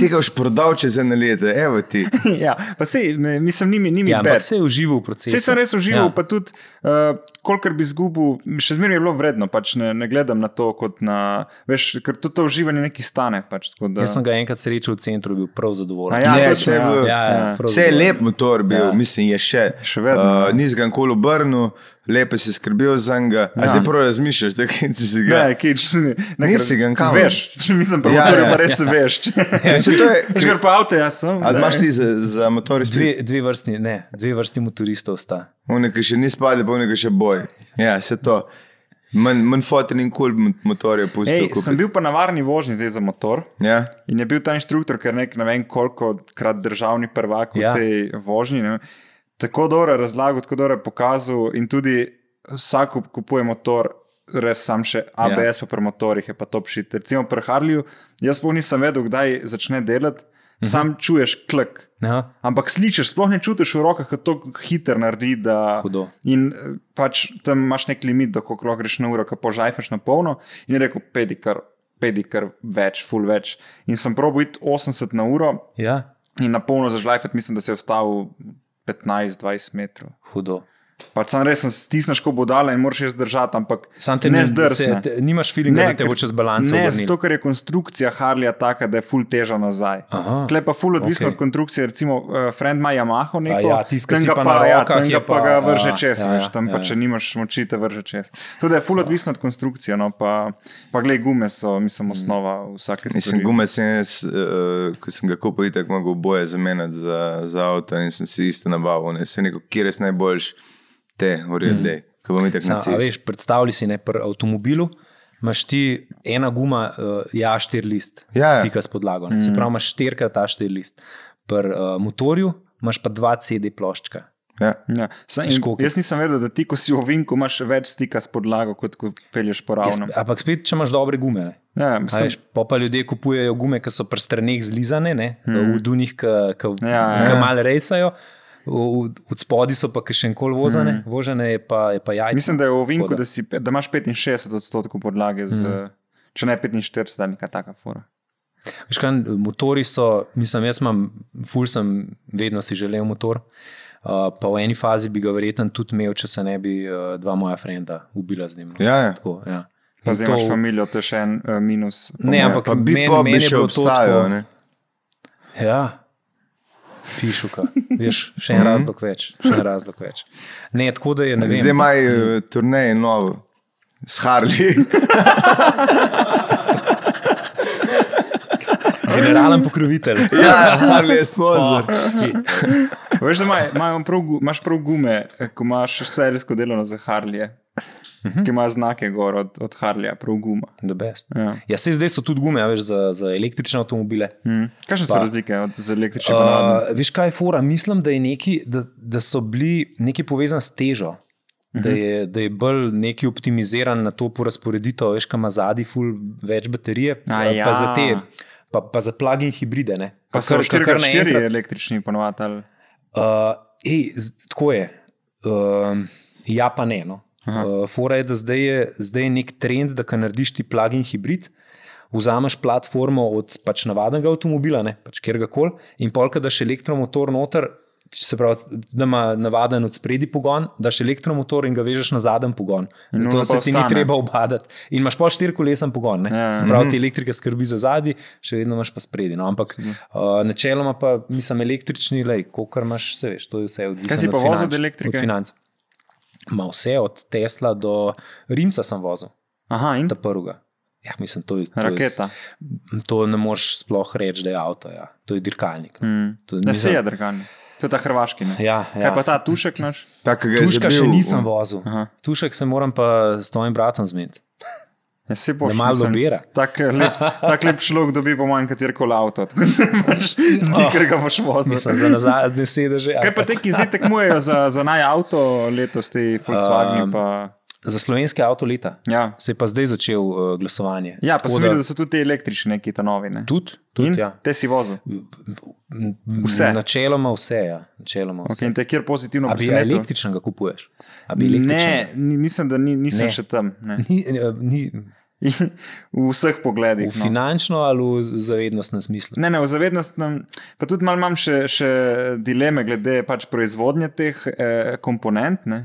Speaker 1: tega boš prodal čez eno leto, evo ti.
Speaker 3: ja, pa sej, me- mislim, ni mi, ni mi
Speaker 2: Ja, ampak
Speaker 3: bed.
Speaker 2: se je užival v procesu.
Speaker 3: Vse sem res
Speaker 2: Ja.
Speaker 3: užival, ja. pa tudi, uh, kolikor bi izgubil, še zmeraj je bilo vredno. Pač ne, ne gledam na to kot na. Veš, ker tudi to uživanje nekaj stane. Pač, tako da,
Speaker 2: Jaz sem ga enkrat srečal v centru, bil prav zadovoljen.
Speaker 3: A ja,
Speaker 1: Ne,
Speaker 3: točno,
Speaker 1: saj je bilo-
Speaker 2: ja, ja, prav
Speaker 1: Vse je
Speaker 2: zadovoljen.
Speaker 1: lep motor bil,
Speaker 2: Ja.
Speaker 1: ja. mislim, je še. uh,
Speaker 3: Še vedno, ja.
Speaker 1: Nis ga nikoli obrnil, lepo si skrbel za njega. A
Speaker 3: Ja.
Speaker 1: zdaj prav razmišljaš, da kaj si ga.
Speaker 3: Ne, kič, ne, ne,
Speaker 1: Ja. Nisi ga nikamor.
Speaker 3: Veš, če nisem pa
Speaker 1: Ja,
Speaker 3: motor,
Speaker 1: ja.
Speaker 3: pa res se veš.
Speaker 1: Ja, saj to je-
Speaker 3: Veš, kar pa avto, jaz sem.
Speaker 1: A
Speaker 3: ne.
Speaker 1: imaš ti za, za motor iz
Speaker 2: Dve, dve vrsti, ne, dve vrsti motoristov sta.
Speaker 1: Unika še ni spade, pa unika še boj. Ja, se to. Manj man foten in kul cool motor je pustil.
Speaker 3: Ej, sem bil pa na varni vožnji zdaj za motor.
Speaker 1: Ja.
Speaker 3: In je bil ta inštruktor, ker nek, ne vem koliko krat državni prvak v
Speaker 2: Ja.
Speaker 3: ja. tej vožnji. Ne, tako dobro je razlagal, tako dobro je pokazal. In tudi vsak ko kupuje motor, res sam še ABS, ja. pa pri motorjih je pa top shit. Recimo pri Harliju, jaz pa nisem vedel, kdaj začne delati, mhm. sam čuješ klik.
Speaker 2: Ja.
Speaker 3: Ampak slišiš, sploh ne čutiš v rokah, kako to hiter naredi. Da,
Speaker 2: Hudo.
Speaker 3: in eh, pač tam imaš nek limit, do koliko lahko greš na uro, ko požajfeš na polno. In je rekel, pedi kar, pedi kar več, full več. In sem probil iti 80 na uro
Speaker 2: ja,
Speaker 3: in na polno zažlajfati, mislim, da se je vstavil 15-20 metrov.
Speaker 2: hudo.
Speaker 3: Pač sam res sem stisneš, ko bo dala in moraš jaz držati, ampak
Speaker 2: Sam te
Speaker 3: ne
Speaker 2: ne
Speaker 3: zdrsne.
Speaker 2: zdrsi. Nimaš filinga, da te
Speaker 3: ker-
Speaker 2: bo čez balans.
Speaker 3: Ne, zato ker je konstrukcija Harlija taka, da je full teža nazaj.
Speaker 2: Aha,
Speaker 3: Tle pa full odvisno
Speaker 2: Ah, okej.
Speaker 3: okay. od konstrukcije, recimo uh, Friend ima Yamaha, neko,
Speaker 2: ja, tisti, ki
Speaker 3: tam
Speaker 2: si
Speaker 3: ga
Speaker 2: pa na
Speaker 3: ja,
Speaker 2: rokah,
Speaker 3: tam
Speaker 2: je
Speaker 3: ga
Speaker 2: pa-
Speaker 3: pa ga vrže
Speaker 2: ja,
Speaker 3: čez,
Speaker 2: ja, ja,
Speaker 3: ja, veš, tam ja,
Speaker 2: ja,
Speaker 3: pa
Speaker 2: ja.
Speaker 3: če nimaš moči, te vrže čez. Tudi je full odvisno od konstrukcije, no pa, pa glej, gume so,
Speaker 2: Mm.
Speaker 3: mislim, osnova vsake
Speaker 1: Mislim,
Speaker 3: stvari.
Speaker 1: gume sem jaz, uh, ko sem ga kupil, tako mogo boje zamenjati za, za avto in sem si iste nabavil. Ne. Se neko, kje res najboljš, te, v redu, mm. ko bom itak na
Speaker 2: Sam, Mhm. No, a
Speaker 1: cesti.
Speaker 2: veš, predstavljaj si ne pri avtomobilu. Imáš ti ena guma, uh, ja, štir list,
Speaker 1: Ja, ja.
Speaker 2: stika s podlago.
Speaker 3: Mhm.
Speaker 2: eh, Mm. Se pravi, imaš štirikrat ta štir list. Pri uh, motorju imaš pa dva CD ploščka.
Speaker 1: Ja.
Speaker 3: Ja. Sa,
Speaker 2: Veš,
Speaker 3: in,
Speaker 2: koliko-
Speaker 3: jaz nisem vedel, da ti, ko si v ovinku, imaš več stika s podlago, kot ko pelješ po
Speaker 2: Jaz,
Speaker 3: ravnem.
Speaker 2: ampak spet, če imaš dobre gume. ne.
Speaker 3: Ja,
Speaker 2: A
Speaker 3: mislim,
Speaker 2: Veš, pa pa ljudje kupujejo gume, ki so pri stranih zlizane, ne,
Speaker 3: Mhm.
Speaker 2: v dunih, ki
Speaker 3: Ja,
Speaker 2: ja,
Speaker 1: ja.
Speaker 2: malo rejsajo, v- v- od spodaj so pa še enkoli vozane, mm. vožene je pa, je pa jajce.
Speaker 3: Mhm. mislim, da je v ovinku,
Speaker 2: Tako
Speaker 3: da,
Speaker 2: da. Mhm.
Speaker 3: si, pe- da imaš 65 odstotkov podlage, z, mm. če ne 45, ali kaj taka fora.
Speaker 2: Veš Kaj, motori so, mislim, jaz imam, ful sem, vedno si želel motor. Uh, pa v eni fazi bi ga verjetno tudi imel, če se ne bi uh, dva moja frenda ubila z njim. no.
Speaker 1: Ja, ja.
Speaker 2: Tako, ja.
Speaker 3: Pa
Speaker 2: In
Speaker 3: zdaj
Speaker 2: to-
Speaker 3: imaš familijo, to je še en uh, minus. po
Speaker 2: Ne,
Speaker 3: moje.
Speaker 2: Ja, ampak
Speaker 1: Pa bi
Speaker 2: meni-
Speaker 1: pa bi
Speaker 2: meni je
Speaker 1: še
Speaker 2: bilo to tako-
Speaker 1: obstajal. ne.
Speaker 2: Ja, pišuka. Veš, še
Speaker 1: Mhm.
Speaker 2: en razlog več. Še en razlog več. Ne, tako da je ne vem.
Speaker 1: Zdaj imaš turnej novo. S Harley.
Speaker 2: Generalen pokrovitelj. Oh,
Speaker 1: ja, Harley je sponzor.
Speaker 3: Veš, da ima, imajo prav, gu- imaš prav gume, eh, ko imaš serijsko delovno za Harlije,
Speaker 2: Mhm.
Speaker 3: ki ima znake gor od, od Harlija, prav guma.
Speaker 2: The best.
Speaker 3: Ja.
Speaker 2: Ja, se zdaj so tudi gume, a veš, za, za električne avtomobile.
Speaker 3: Mm. Kakšne so
Speaker 2: Pa-
Speaker 3: razlike od z električnim? Uh,
Speaker 2: Uh, veš, kaj je fora? Mislim, da, je neki, da, da so bili neki povezani s težo. Da
Speaker 3: Mhm.
Speaker 2: je, da je bolj neki optimiziran na to porazporeditev, veš, kam ima zadnji, ful več baterije,
Speaker 3: A
Speaker 2: pa, pa
Speaker 3: ja.
Speaker 2: za te, pa, pa za plug-in hibride. Ne?
Speaker 3: pa so
Speaker 2: Kakor- kakor
Speaker 3: 4x4
Speaker 2: naenkrat-
Speaker 3: električni ponovadi. ali-
Speaker 2: Uh, ej, z- tako je. Uh, ja, pa ne. No.
Speaker 3: Aha.
Speaker 2: Uh, fora je, da zdaj je, zdaj je nek trend, da kar narediš ti plug-in hibrid, vzameš platformo od pač navadnega avtomobila, ne pač kjer ga koli, in polka daš elektromotor noter. Se pravi, da ima navaden od spredi pogon, daš elektromotor in ga vežeš na zadnji pogon.
Speaker 3: In ono
Speaker 2: Zato
Speaker 3: pa
Speaker 2: se ti ni
Speaker 3: ostane.
Speaker 2: treba obadati. In imaš pa štirikolesen pogon. ne.
Speaker 3: Ja,
Speaker 2: Se pravi, ti elektrika skrbi za zadnji, še vedno imaš pa spredi. No, ampak uh, načeloma pa mislim električni, lej, kolikor imaš, se veš, to je vse odvisno.
Speaker 3: Kaj si
Speaker 2: od
Speaker 3: pa vozil
Speaker 2: financ-
Speaker 3: od elektrike?
Speaker 2: Od financ. Ma vse, od Tesla do Rimca sem vozil,
Speaker 3: Aha, in
Speaker 2: ta prvega. Ja, mislim, to je to je-
Speaker 3: raketa.
Speaker 2: To ne moreš sploh reči, da je avto. Ja. To je dirkalnik. No.
Speaker 3: Mm.
Speaker 2: To
Speaker 3: Ne, se
Speaker 2: mislim-
Speaker 3: je drgan. To je ta hrvaški. Ne?
Speaker 2: Ja,
Speaker 3: Kaj
Speaker 2: ja.
Speaker 3: pa ta tušek naš?
Speaker 1: Tako ga je
Speaker 2: Tuška še
Speaker 1: zabil.
Speaker 2: nisem vozil.
Speaker 3: Aha.
Speaker 2: Tušek se moram pa s tvojim bratom zmeniti.
Speaker 3: Ja, se boš.
Speaker 2: Da malo lobira.
Speaker 3: Tako lep, tak lep človek dobi po manj kater kol avto. tako da imaš Zdi, ker ga boš vozil.
Speaker 2: Oh. Mislim, za nazaj, da se drži.
Speaker 3: Kaj pa te, ki zdaj tekmujejo za, za naj avto letos, ti Volkswagen?
Speaker 2: Um,
Speaker 3: Um,
Speaker 2: Za slovenske avto leta.
Speaker 3: ja.
Speaker 2: Se je pa zdaj začel uh, glasovanje.
Speaker 3: ja, pa
Speaker 2: Tako
Speaker 3: sem videl, da so tudi ti električni neki ta novi. Ne?
Speaker 2: Tudi,
Speaker 3: in
Speaker 2: tudi ja.
Speaker 3: te si vozil. Vse?
Speaker 2: Vse. Načeloma vse. Ja. Načeloma
Speaker 3: Okay,
Speaker 2: vse.
Speaker 3: in te kjer pozitivno
Speaker 2: A bi
Speaker 3: presenetil?
Speaker 2: električnega kupuješ? A bi
Speaker 3: Ne,
Speaker 2: električnega?
Speaker 3: ni- mislim, da ni, nisem ne.
Speaker 2: Ne.
Speaker 3: še tam. Ne.
Speaker 2: Ni, eh, ni,
Speaker 3: V vseh pogledih.
Speaker 2: v
Speaker 3: no.
Speaker 2: finančno ali v zavednostnem smislu.
Speaker 3: Ne, ne, v zavednostnem, pa tudi malo imam še, še dileme glede pač proizvodnje teh eh, komponent. Ne?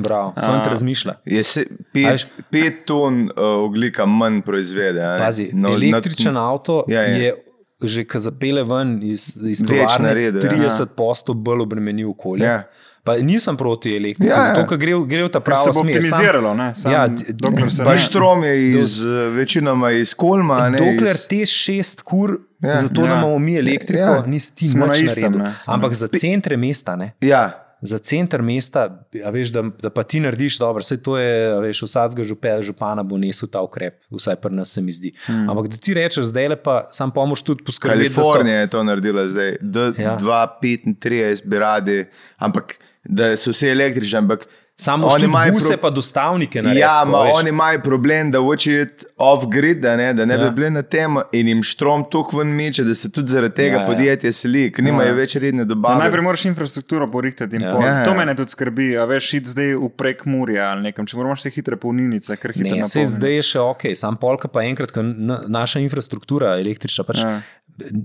Speaker 2: Prav,
Speaker 3: A.
Speaker 2: fant razmišlja.
Speaker 1: Je se,
Speaker 2: A
Speaker 1: pet,
Speaker 2: veš-
Speaker 1: pet ton uh, oglika manj proizvede. a ne.
Speaker 2: Pazi,
Speaker 1: No,
Speaker 2: no,
Speaker 1: na-
Speaker 2: električen na, avto
Speaker 1: Ja,
Speaker 2: ja,
Speaker 1: ja.
Speaker 2: je, je že, ki zapele ven iz, iz
Speaker 1: Več
Speaker 2: tovarne,
Speaker 1: naredil, ja.
Speaker 2: 30 posto bolj obremeni okolje.
Speaker 1: Ja.
Speaker 2: Pa nisem proti elektriki,
Speaker 1: Ja, ja.
Speaker 2: ja, zato ker gre, v- gre v ta
Speaker 3: Ker
Speaker 2: pravi
Speaker 3: se bo
Speaker 2: smer. Sam-
Speaker 3: optimiziralo, ne? Sam,
Speaker 2: Ja,
Speaker 3: ja,
Speaker 2: d-
Speaker 3: dokler se
Speaker 1: Pa
Speaker 3: ne-
Speaker 1: štrom je iz, eh, večinoma iz Kolma. a Ne,
Speaker 2: Dokler
Speaker 1: iz,
Speaker 2: te šest kur,
Speaker 1: Ja.
Speaker 2: ja, zato ja.
Speaker 3: Ja.
Speaker 2: imamo mi
Speaker 1: Ja.
Speaker 2: elektriko, ja. nisi ti
Speaker 3: Smo na
Speaker 2: nič
Speaker 3: istem,
Speaker 2: naredil.
Speaker 3: ne, smo
Speaker 2: Ampak
Speaker 3: na-
Speaker 2: za centre mesta, ne?
Speaker 1: ja,
Speaker 2: za center mesta, a veš, da, da pa ti narediš dobro, vse to je, a veš, vsakega župe- župana bo nesel ta ukrep, vsaj pri nas se mi zdi. Mm.
Speaker 3: Hmm.
Speaker 2: Ampak da ti rečeš, zdaj le pa sam pomoč tudi poskrbeti. da so-
Speaker 1: Kalifornija je to naredila zdaj,
Speaker 2: Ja.
Speaker 1: D235 bi radi, ampak da so vse električni, ampak
Speaker 2: Samo
Speaker 1: oni
Speaker 2: oni
Speaker 1: imajo
Speaker 2: imajo vse,
Speaker 1: pro-
Speaker 2: pa dostavnike na
Speaker 1: Ja, ma, oni imajo problem, da hočejo iti off-grid, da ne, da ne ja. bi
Speaker 2: Ja.
Speaker 1: bili na tem in jim štrom tukaj ven meče, da se tudi zaradi tega
Speaker 2: Ja,
Speaker 1: ja,
Speaker 2: ja.
Speaker 1: podjetje seli, ker nimajo
Speaker 3: Ja.
Speaker 1: ja. več redne
Speaker 3: Ja,
Speaker 1: dobave.
Speaker 3: Najprej moraš infrastrukturo porihtati. in
Speaker 2: Ja.
Speaker 3: pol.
Speaker 1: Ja.
Speaker 3: To me tudi skrbi, a veš, id zdaj v prek Murja ali nekam, če moraš te hitre polnilnice, ker hitro
Speaker 2: Ne, se
Speaker 3: napolniš.
Speaker 2: zdaj je še ok, sam polka pa enkrat, ko na, naša infrastruktura električna pač
Speaker 3: Ja.
Speaker 2: ja.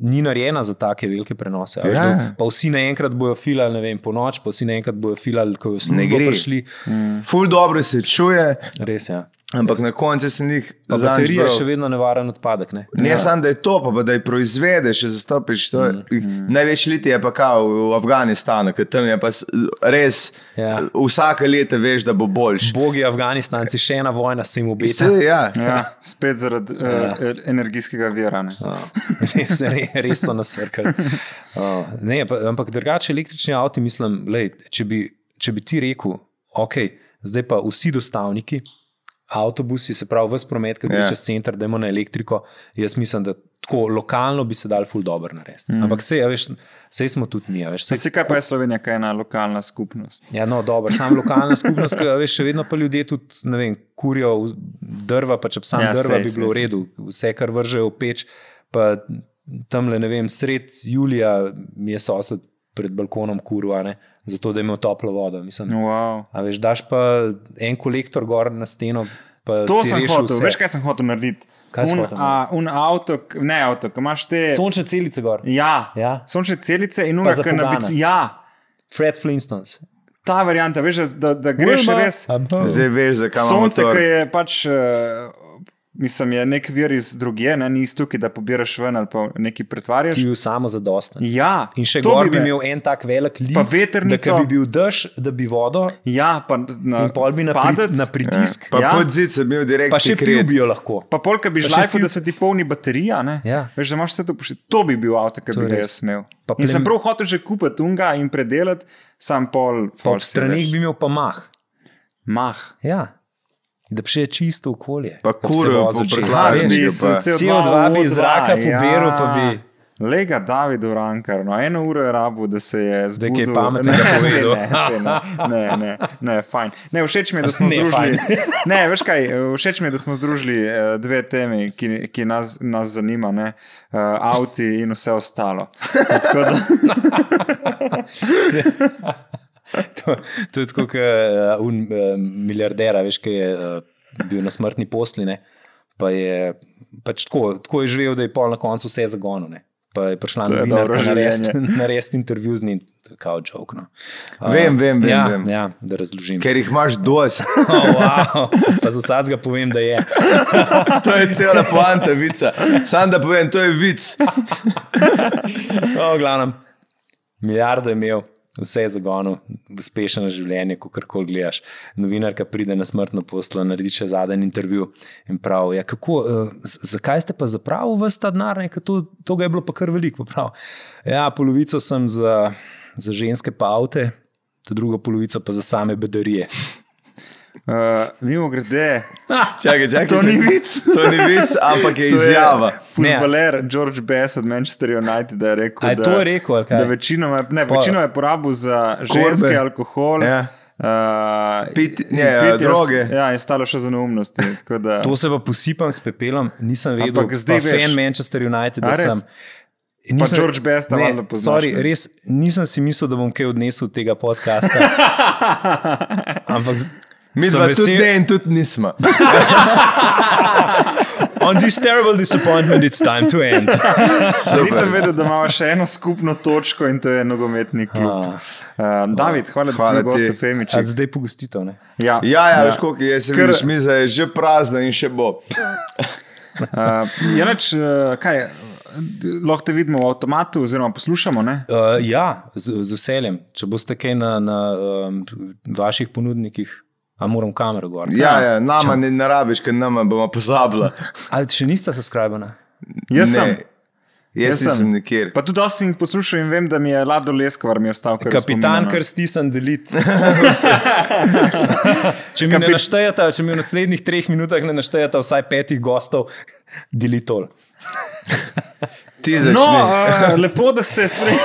Speaker 2: ni narejena za take velike prenose. a veš,
Speaker 1: Ja.
Speaker 2: da Pa vsi naenkrat bojo filali, ne vem, po noč, pa vsi naenkrat bojo filali, ko jo
Speaker 1: Ne gre.
Speaker 2: služijo prišli.
Speaker 1: Mm. Ful dobro se čuje,
Speaker 2: Res je. Ja.
Speaker 1: ampak na koncu se njih
Speaker 2: Pa
Speaker 1: zanj
Speaker 2: Baterija je
Speaker 1: zbral.
Speaker 2: še vedno nevaren odpadek. Ne?
Speaker 1: Ne ja. samo, da je to, pa, pa da je proizvedeš, če zastopiš. To, mm. Največ liti je pa kao v Afganistanu, ker tam je pa s- res, ja.
Speaker 2: Ja.
Speaker 1: vsake leto veš, da bo boljš.
Speaker 2: Bogi Afganistanci, še ena vojna se jim obeta.
Speaker 1: Se, ja.
Speaker 3: Ja, spet zaradi ja. Eh, energijskega vira. Ne?
Speaker 2: Oh, res, re- res so nasrkali. Oh, ne, pa, ampak drugače, električni avto, mislim, lej, če, bi, če bi ti rekel, ok, zdaj pa vsi dostavniki, avtobusi, se pravi, vse promet, ki gre
Speaker 1: Ja.
Speaker 2: yeah. čez center, da imamo na elektriko, jaz mislim, da tako lokalno bi se dal ful dobro narediti. Mm. Ampak sej, a veš, sej smo tudi mi, a veš, sej,
Speaker 3: Vsi, kaj pa je Slovenija, kaj je ena lokalna skupnost.
Speaker 2: Ja, no, dobro, sam lokalna skupnost, ki, a veš, še vedno pa ljudje tudi, ne vem, kurijo v- drva, pa če bi sam ja,
Speaker 3: Ja,
Speaker 2: drva,
Speaker 3: sej,
Speaker 2: bi
Speaker 3: sej,
Speaker 2: bilo v
Speaker 3: sej.
Speaker 2: redu. Vse, kar vržejo v peč, pa tam le, ne vem, sred julija mi je sosed pred balkonom kurva, ne, zato da ima toplo vodo. Mislim, no.
Speaker 3: Wow.
Speaker 2: A veš, daš pa en kolektor gor na steno, pa
Speaker 3: To
Speaker 2: si
Speaker 3: sem
Speaker 2: rešil
Speaker 3: hotel,
Speaker 2: vse.
Speaker 3: vse. veš, kaj sem hotel narediti.
Speaker 2: Kaj si
Speaker 3: un,
Speaker 2: hotel
Speaker 3: a,
Speaker 2: narediti?
Speaker 3: un avto, k- ne avto, ki imaš te.
Speaker 2: Sončne celice gor.
Speaker 3: Ja,
Speaker 2: Ja.
Speaker 3: sončne celice in ura,
Speaker 2: za
Speaker 3: ki na
Speaker 2: pogane.
Speaker 3: bici. Ja,
Speaker 2: Fred Flintstones.
Speaker 3: ta varianta, veš, da, da greš
Speaker 2: Wilma,
Speaker 3: res.
Speaker 2: above.
Speaker 1: Zdaj veš, zakaj imamo
Speaker 3: Sonce, ki
Speaker 1: to.
Speaker 3: je pač, eh, mislim, je nek vir iz druge, ne, ni iz tukaj, da pobiraš ven ali pa nekaj pretvarjaš.
Speaker 2: Ki je bil samo zadosten.
Speaker 3: Ja,
Speaker 2: In še
Speaker 3: to
Speaker 2: gor bi
Speaker 3: me-
Speaker 2: imel en tak velik lift,
Speaker 3: Pa
Speaker 2: da
Speaker 3: veternico.
Speaker 2: če bi bil dež, da bi vodo
Speaker 3: Ja, pa na,
Speaker 2: in pol bi na, pri,
Speaker 3: padec,
Speaker 2: na pritisk,
Speaker 1: Pa
Speaker 3: Ja.
Speaker 1: pod zid sem bil
Speaker 2: pa še
Speaker 1: direktno
Speaker 2: pil
Speaker 1: kriv.
Speaker 2: bi jo lahko.
Speaker 3: Pa polka bi
Speaker 2: Pa še
Speaker 3: žlajfal,
Speaker 2: fil-
Speaker 3: da se ti polni baterija. ne.
Speaker 2: Ja.
Speaker 3: Veš, da imaš vse to pošilj. To bi bil avto, ki
Speaker 2: To
Speaker 3: bi
Speaker 2: je
Speaker 3: ga
Speaker 2: res.
Speaker 3: jaz imel.
Speaker 2: Pa
Speaker 3: In sem
Speaker 2: plem-
Speaker 3: prav hotel že kupiti unga in predelati, sam pol.
Speaker 2: Pa ob
Speaker 3: si
Speaker 2: stranih
Speaker 3: veš.
Speaker 2: bi imel pa mah.
Speaker 3: Mah.
Speaker 2: Ja. Da bi še čisto okolje.
Speaker 1: Pa
Speaker 2: ko bi se
Speaker 1: kuril
Speaker 2: vozil
Speaker 1: po
Speaker 2: čez.
Speaker 1: prtljažniku.
Speaker 2: Veš,
Speaker 1: bi
Speaker 3: Bi sem
Speaker 1: pa-
Speaker 3: CO2
Speaker 2: CO2 bi iz
Speaker 3: O2,
Speaker 2: zraka pobiral, pa bi-
Speaker 3: Lega David Urankar, no eno uro je rabu, da se je
Speaker 2: Da je
Speaker 3: zbudil.
Speaker 2: kaj pametnega
Speaker 3: Ne,
Speaker 2: povedal.
Speaker 3: saj ne, saj ne, ne, ne, ne, fajn. Ne, všeč mi je, da smo
Speaker 2: Ne,
Speaker 3: združili.
Speaker 2: fajn.
Speaker 3: Ne, veš kaj, všeč mi je, da smo združili eh, dve temi, ki, ki nas, nas zanima, ne, eh, avti in vse ostalo. Tako da,
Speaker 2: to, to je tako, kot uh, un uh, milijarder, veš, ki je uh, bil na smrtni posline. Pa je pač tako, tako je živel, da je pol na koncu vse zagonil. Ne? Pa je prišla
Speaker 3: To je dobro
Speaker 2: novinarka narediti
Speaker 3: življenje.
Speaker 2: narest intervju z njim, to je kao joke. No. A,
Speaker 1: Vem, vem, vem,
Speaker 2: ja,
Speaker 1: vem.
Speaker 2: Ja, da razložim.
Speaker 1: Ker jih imaš dost.
Speaker 2: Oh, wow. Pa za vsakega povem, da je.
Speaker 1: To je cela poanta vica. Sam da povem, to je vic.
Speaker 2: O, v glavnem, milijardo je imel, vse je zagonil, uspešno življenje, ko karkoli gledaš. Novinarka pride na smrtno poslo, naredi še zadnji intervju in pravi: ja, kako, eh, z- Zakaj ste pa zapravili vse ta denar, ne, ker to, to ga je bilo pa kar veliko? Pa pravi, ja, polovico sem za, za ženske pa avte, to drugo polovico pa za same bedarije.
Speaker 3: uh, mimo grede,
Speaker 1: Čakaj, čakaj,
Speaker 3: To ni
Speaker 1: čakaj.
Speaker 3: vic.
Speaker 1: To ni vic, ampak je izjava.
Speaker 3: Fuzbaler George Bess od Manchester United je rekel,
Speaker 2: A je
Speaker 3: da,
Speaker 2: to rekel? ali kaj?
Speaker 3: da večinoma, ne,
Speaker 2: Pa-
Speaker 3: večinoma je porabil za ženske
Speaker 1: Korbe.
Speaker 3: alkohol.
Speaker 1: Ja.
Speaker 3: Uh,
Speaker 1: Piti- ne, droge.
Speaker 3: Ja, in stalo še za neumnosti. tako Da,
Speaker 2: To se pa posipam s pepelom, nisem vedel,
Speaker 3: Ampak
Speaker 2: da
Speaker 3: zdaj
Speaker 2: je
Speaker 3: veš.
Speaker 2: fan Manchester United, da
Speaker 3: A, res?
Speaker 2: sem.
Speaker 3: George Besta
Speaker 2: ne,
Speaker 3: valjda poznaš,
Speaker 2: sorry,
Speaker 3: ne?
Speaker 2: res nisem si mislil, da bom kaj odnesel od tega podcasta. Ampak z-
Speaker 1: Mi
Speaker 2: sem
Speaker 1: dva
Speaker 2: vesel-
Speaker 1: tudi ne in tudi nismo.
Speaker 2: On this terrible disappointment, it's time to end.
Speaker 3: Super. Nisem vedel, da imamo še eno skupno točko in to je nogometni klub.
Speaker 2: A,
Speaker 3: Uh, David, hvala, da si
Speaker 1: Hvala
Speaker 3: bil
Speaker 1: ti.
Speaker 3: gost v
Speaker 2: a
Speaker 3: Femiči.
Speaker 2: zdaj pogostitev, ne?
Speaker 3: Ja,
Speaker 1: Ja, ja, veš, koliko je, se
Speaker 3: Ker-
Speaker 1: vidiš, miza je že prazna in še bo.
Speaker 3: Uh, je reč, uh, kaj, lahko te vidimo v avtomatu, oziroma poslušamo. Ne?
Speaker 2: Uh, ja, z, z veseljem. Če boste kaj na, na um, vaših ponudnikih, a moram kamero gor.
Speaker 1: Ja, ja, nama ne narabiš, ker nama bomo pozabila.
Speaker 2: Ali še niste subskrbljeni?
Speaker 1: Ne,
Speaker 3: Jaz sem.
Speaker 1: Jaz nisem nikjer.
Speaker 3: Pa tudi dosti sem jih poslušal in vem, da mi je Lado Leskovar mi je ostal kar no.
Speaker 2: Kapitan,
Speaker 3: spominjeno.
Speaker 2: kar stisnem delit. če mi ne
Speaker 3: Kapit-
Speaker 2: naštejete, če mi v naslednjih treh minutah ne naštejete vsaj petih gostov, delitol.
Speaker 1: Ti začni.
Speaker 3: No, uh, lepo, da ste sprejeli.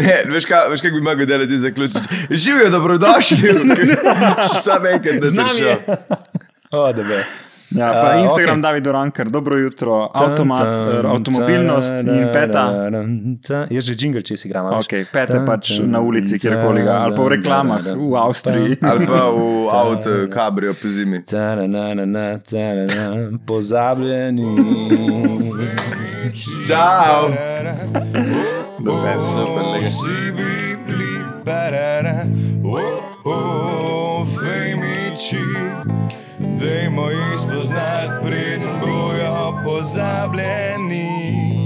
Speaker 1: Ne, veš, kaj, veš, kaj bi mogel delati zaključiti. Živijo, dobrodošli. Še Samo enkrat, da
Speaker 2: Z
Speaker 1: znaš.
Speaker 2: nami je. O, da best.
Speaker 3: Ja, pa
Speaker 2: A,
Speaker 3: uh,
Speaker 2: okej.
Speaker 3: Instagram, okay. David Orankar, dobro jutro, avtomat, eh, avtomobilnost in peta.
Speaker 2: Jaz že jingle, če si igram. a veš.
Speaker 3: Ok, peta je pač na ulici, kjerkoli ga, ali pa v reklamah v Avstriji.
Speaker 1: Ali pa v avtu, kabrio po zimi.
Speaker 2: Ta-ra-na-na-na, ta-ra-na, Pozabljeni.
Speaker 1: Čau!
Speaker 4: Dobre,
Speaker 1: super, lega.
Speaker 4: Si bili, barara, oh, oh, femiči, dajmo jih spoznati, preden bojo pozabljeni.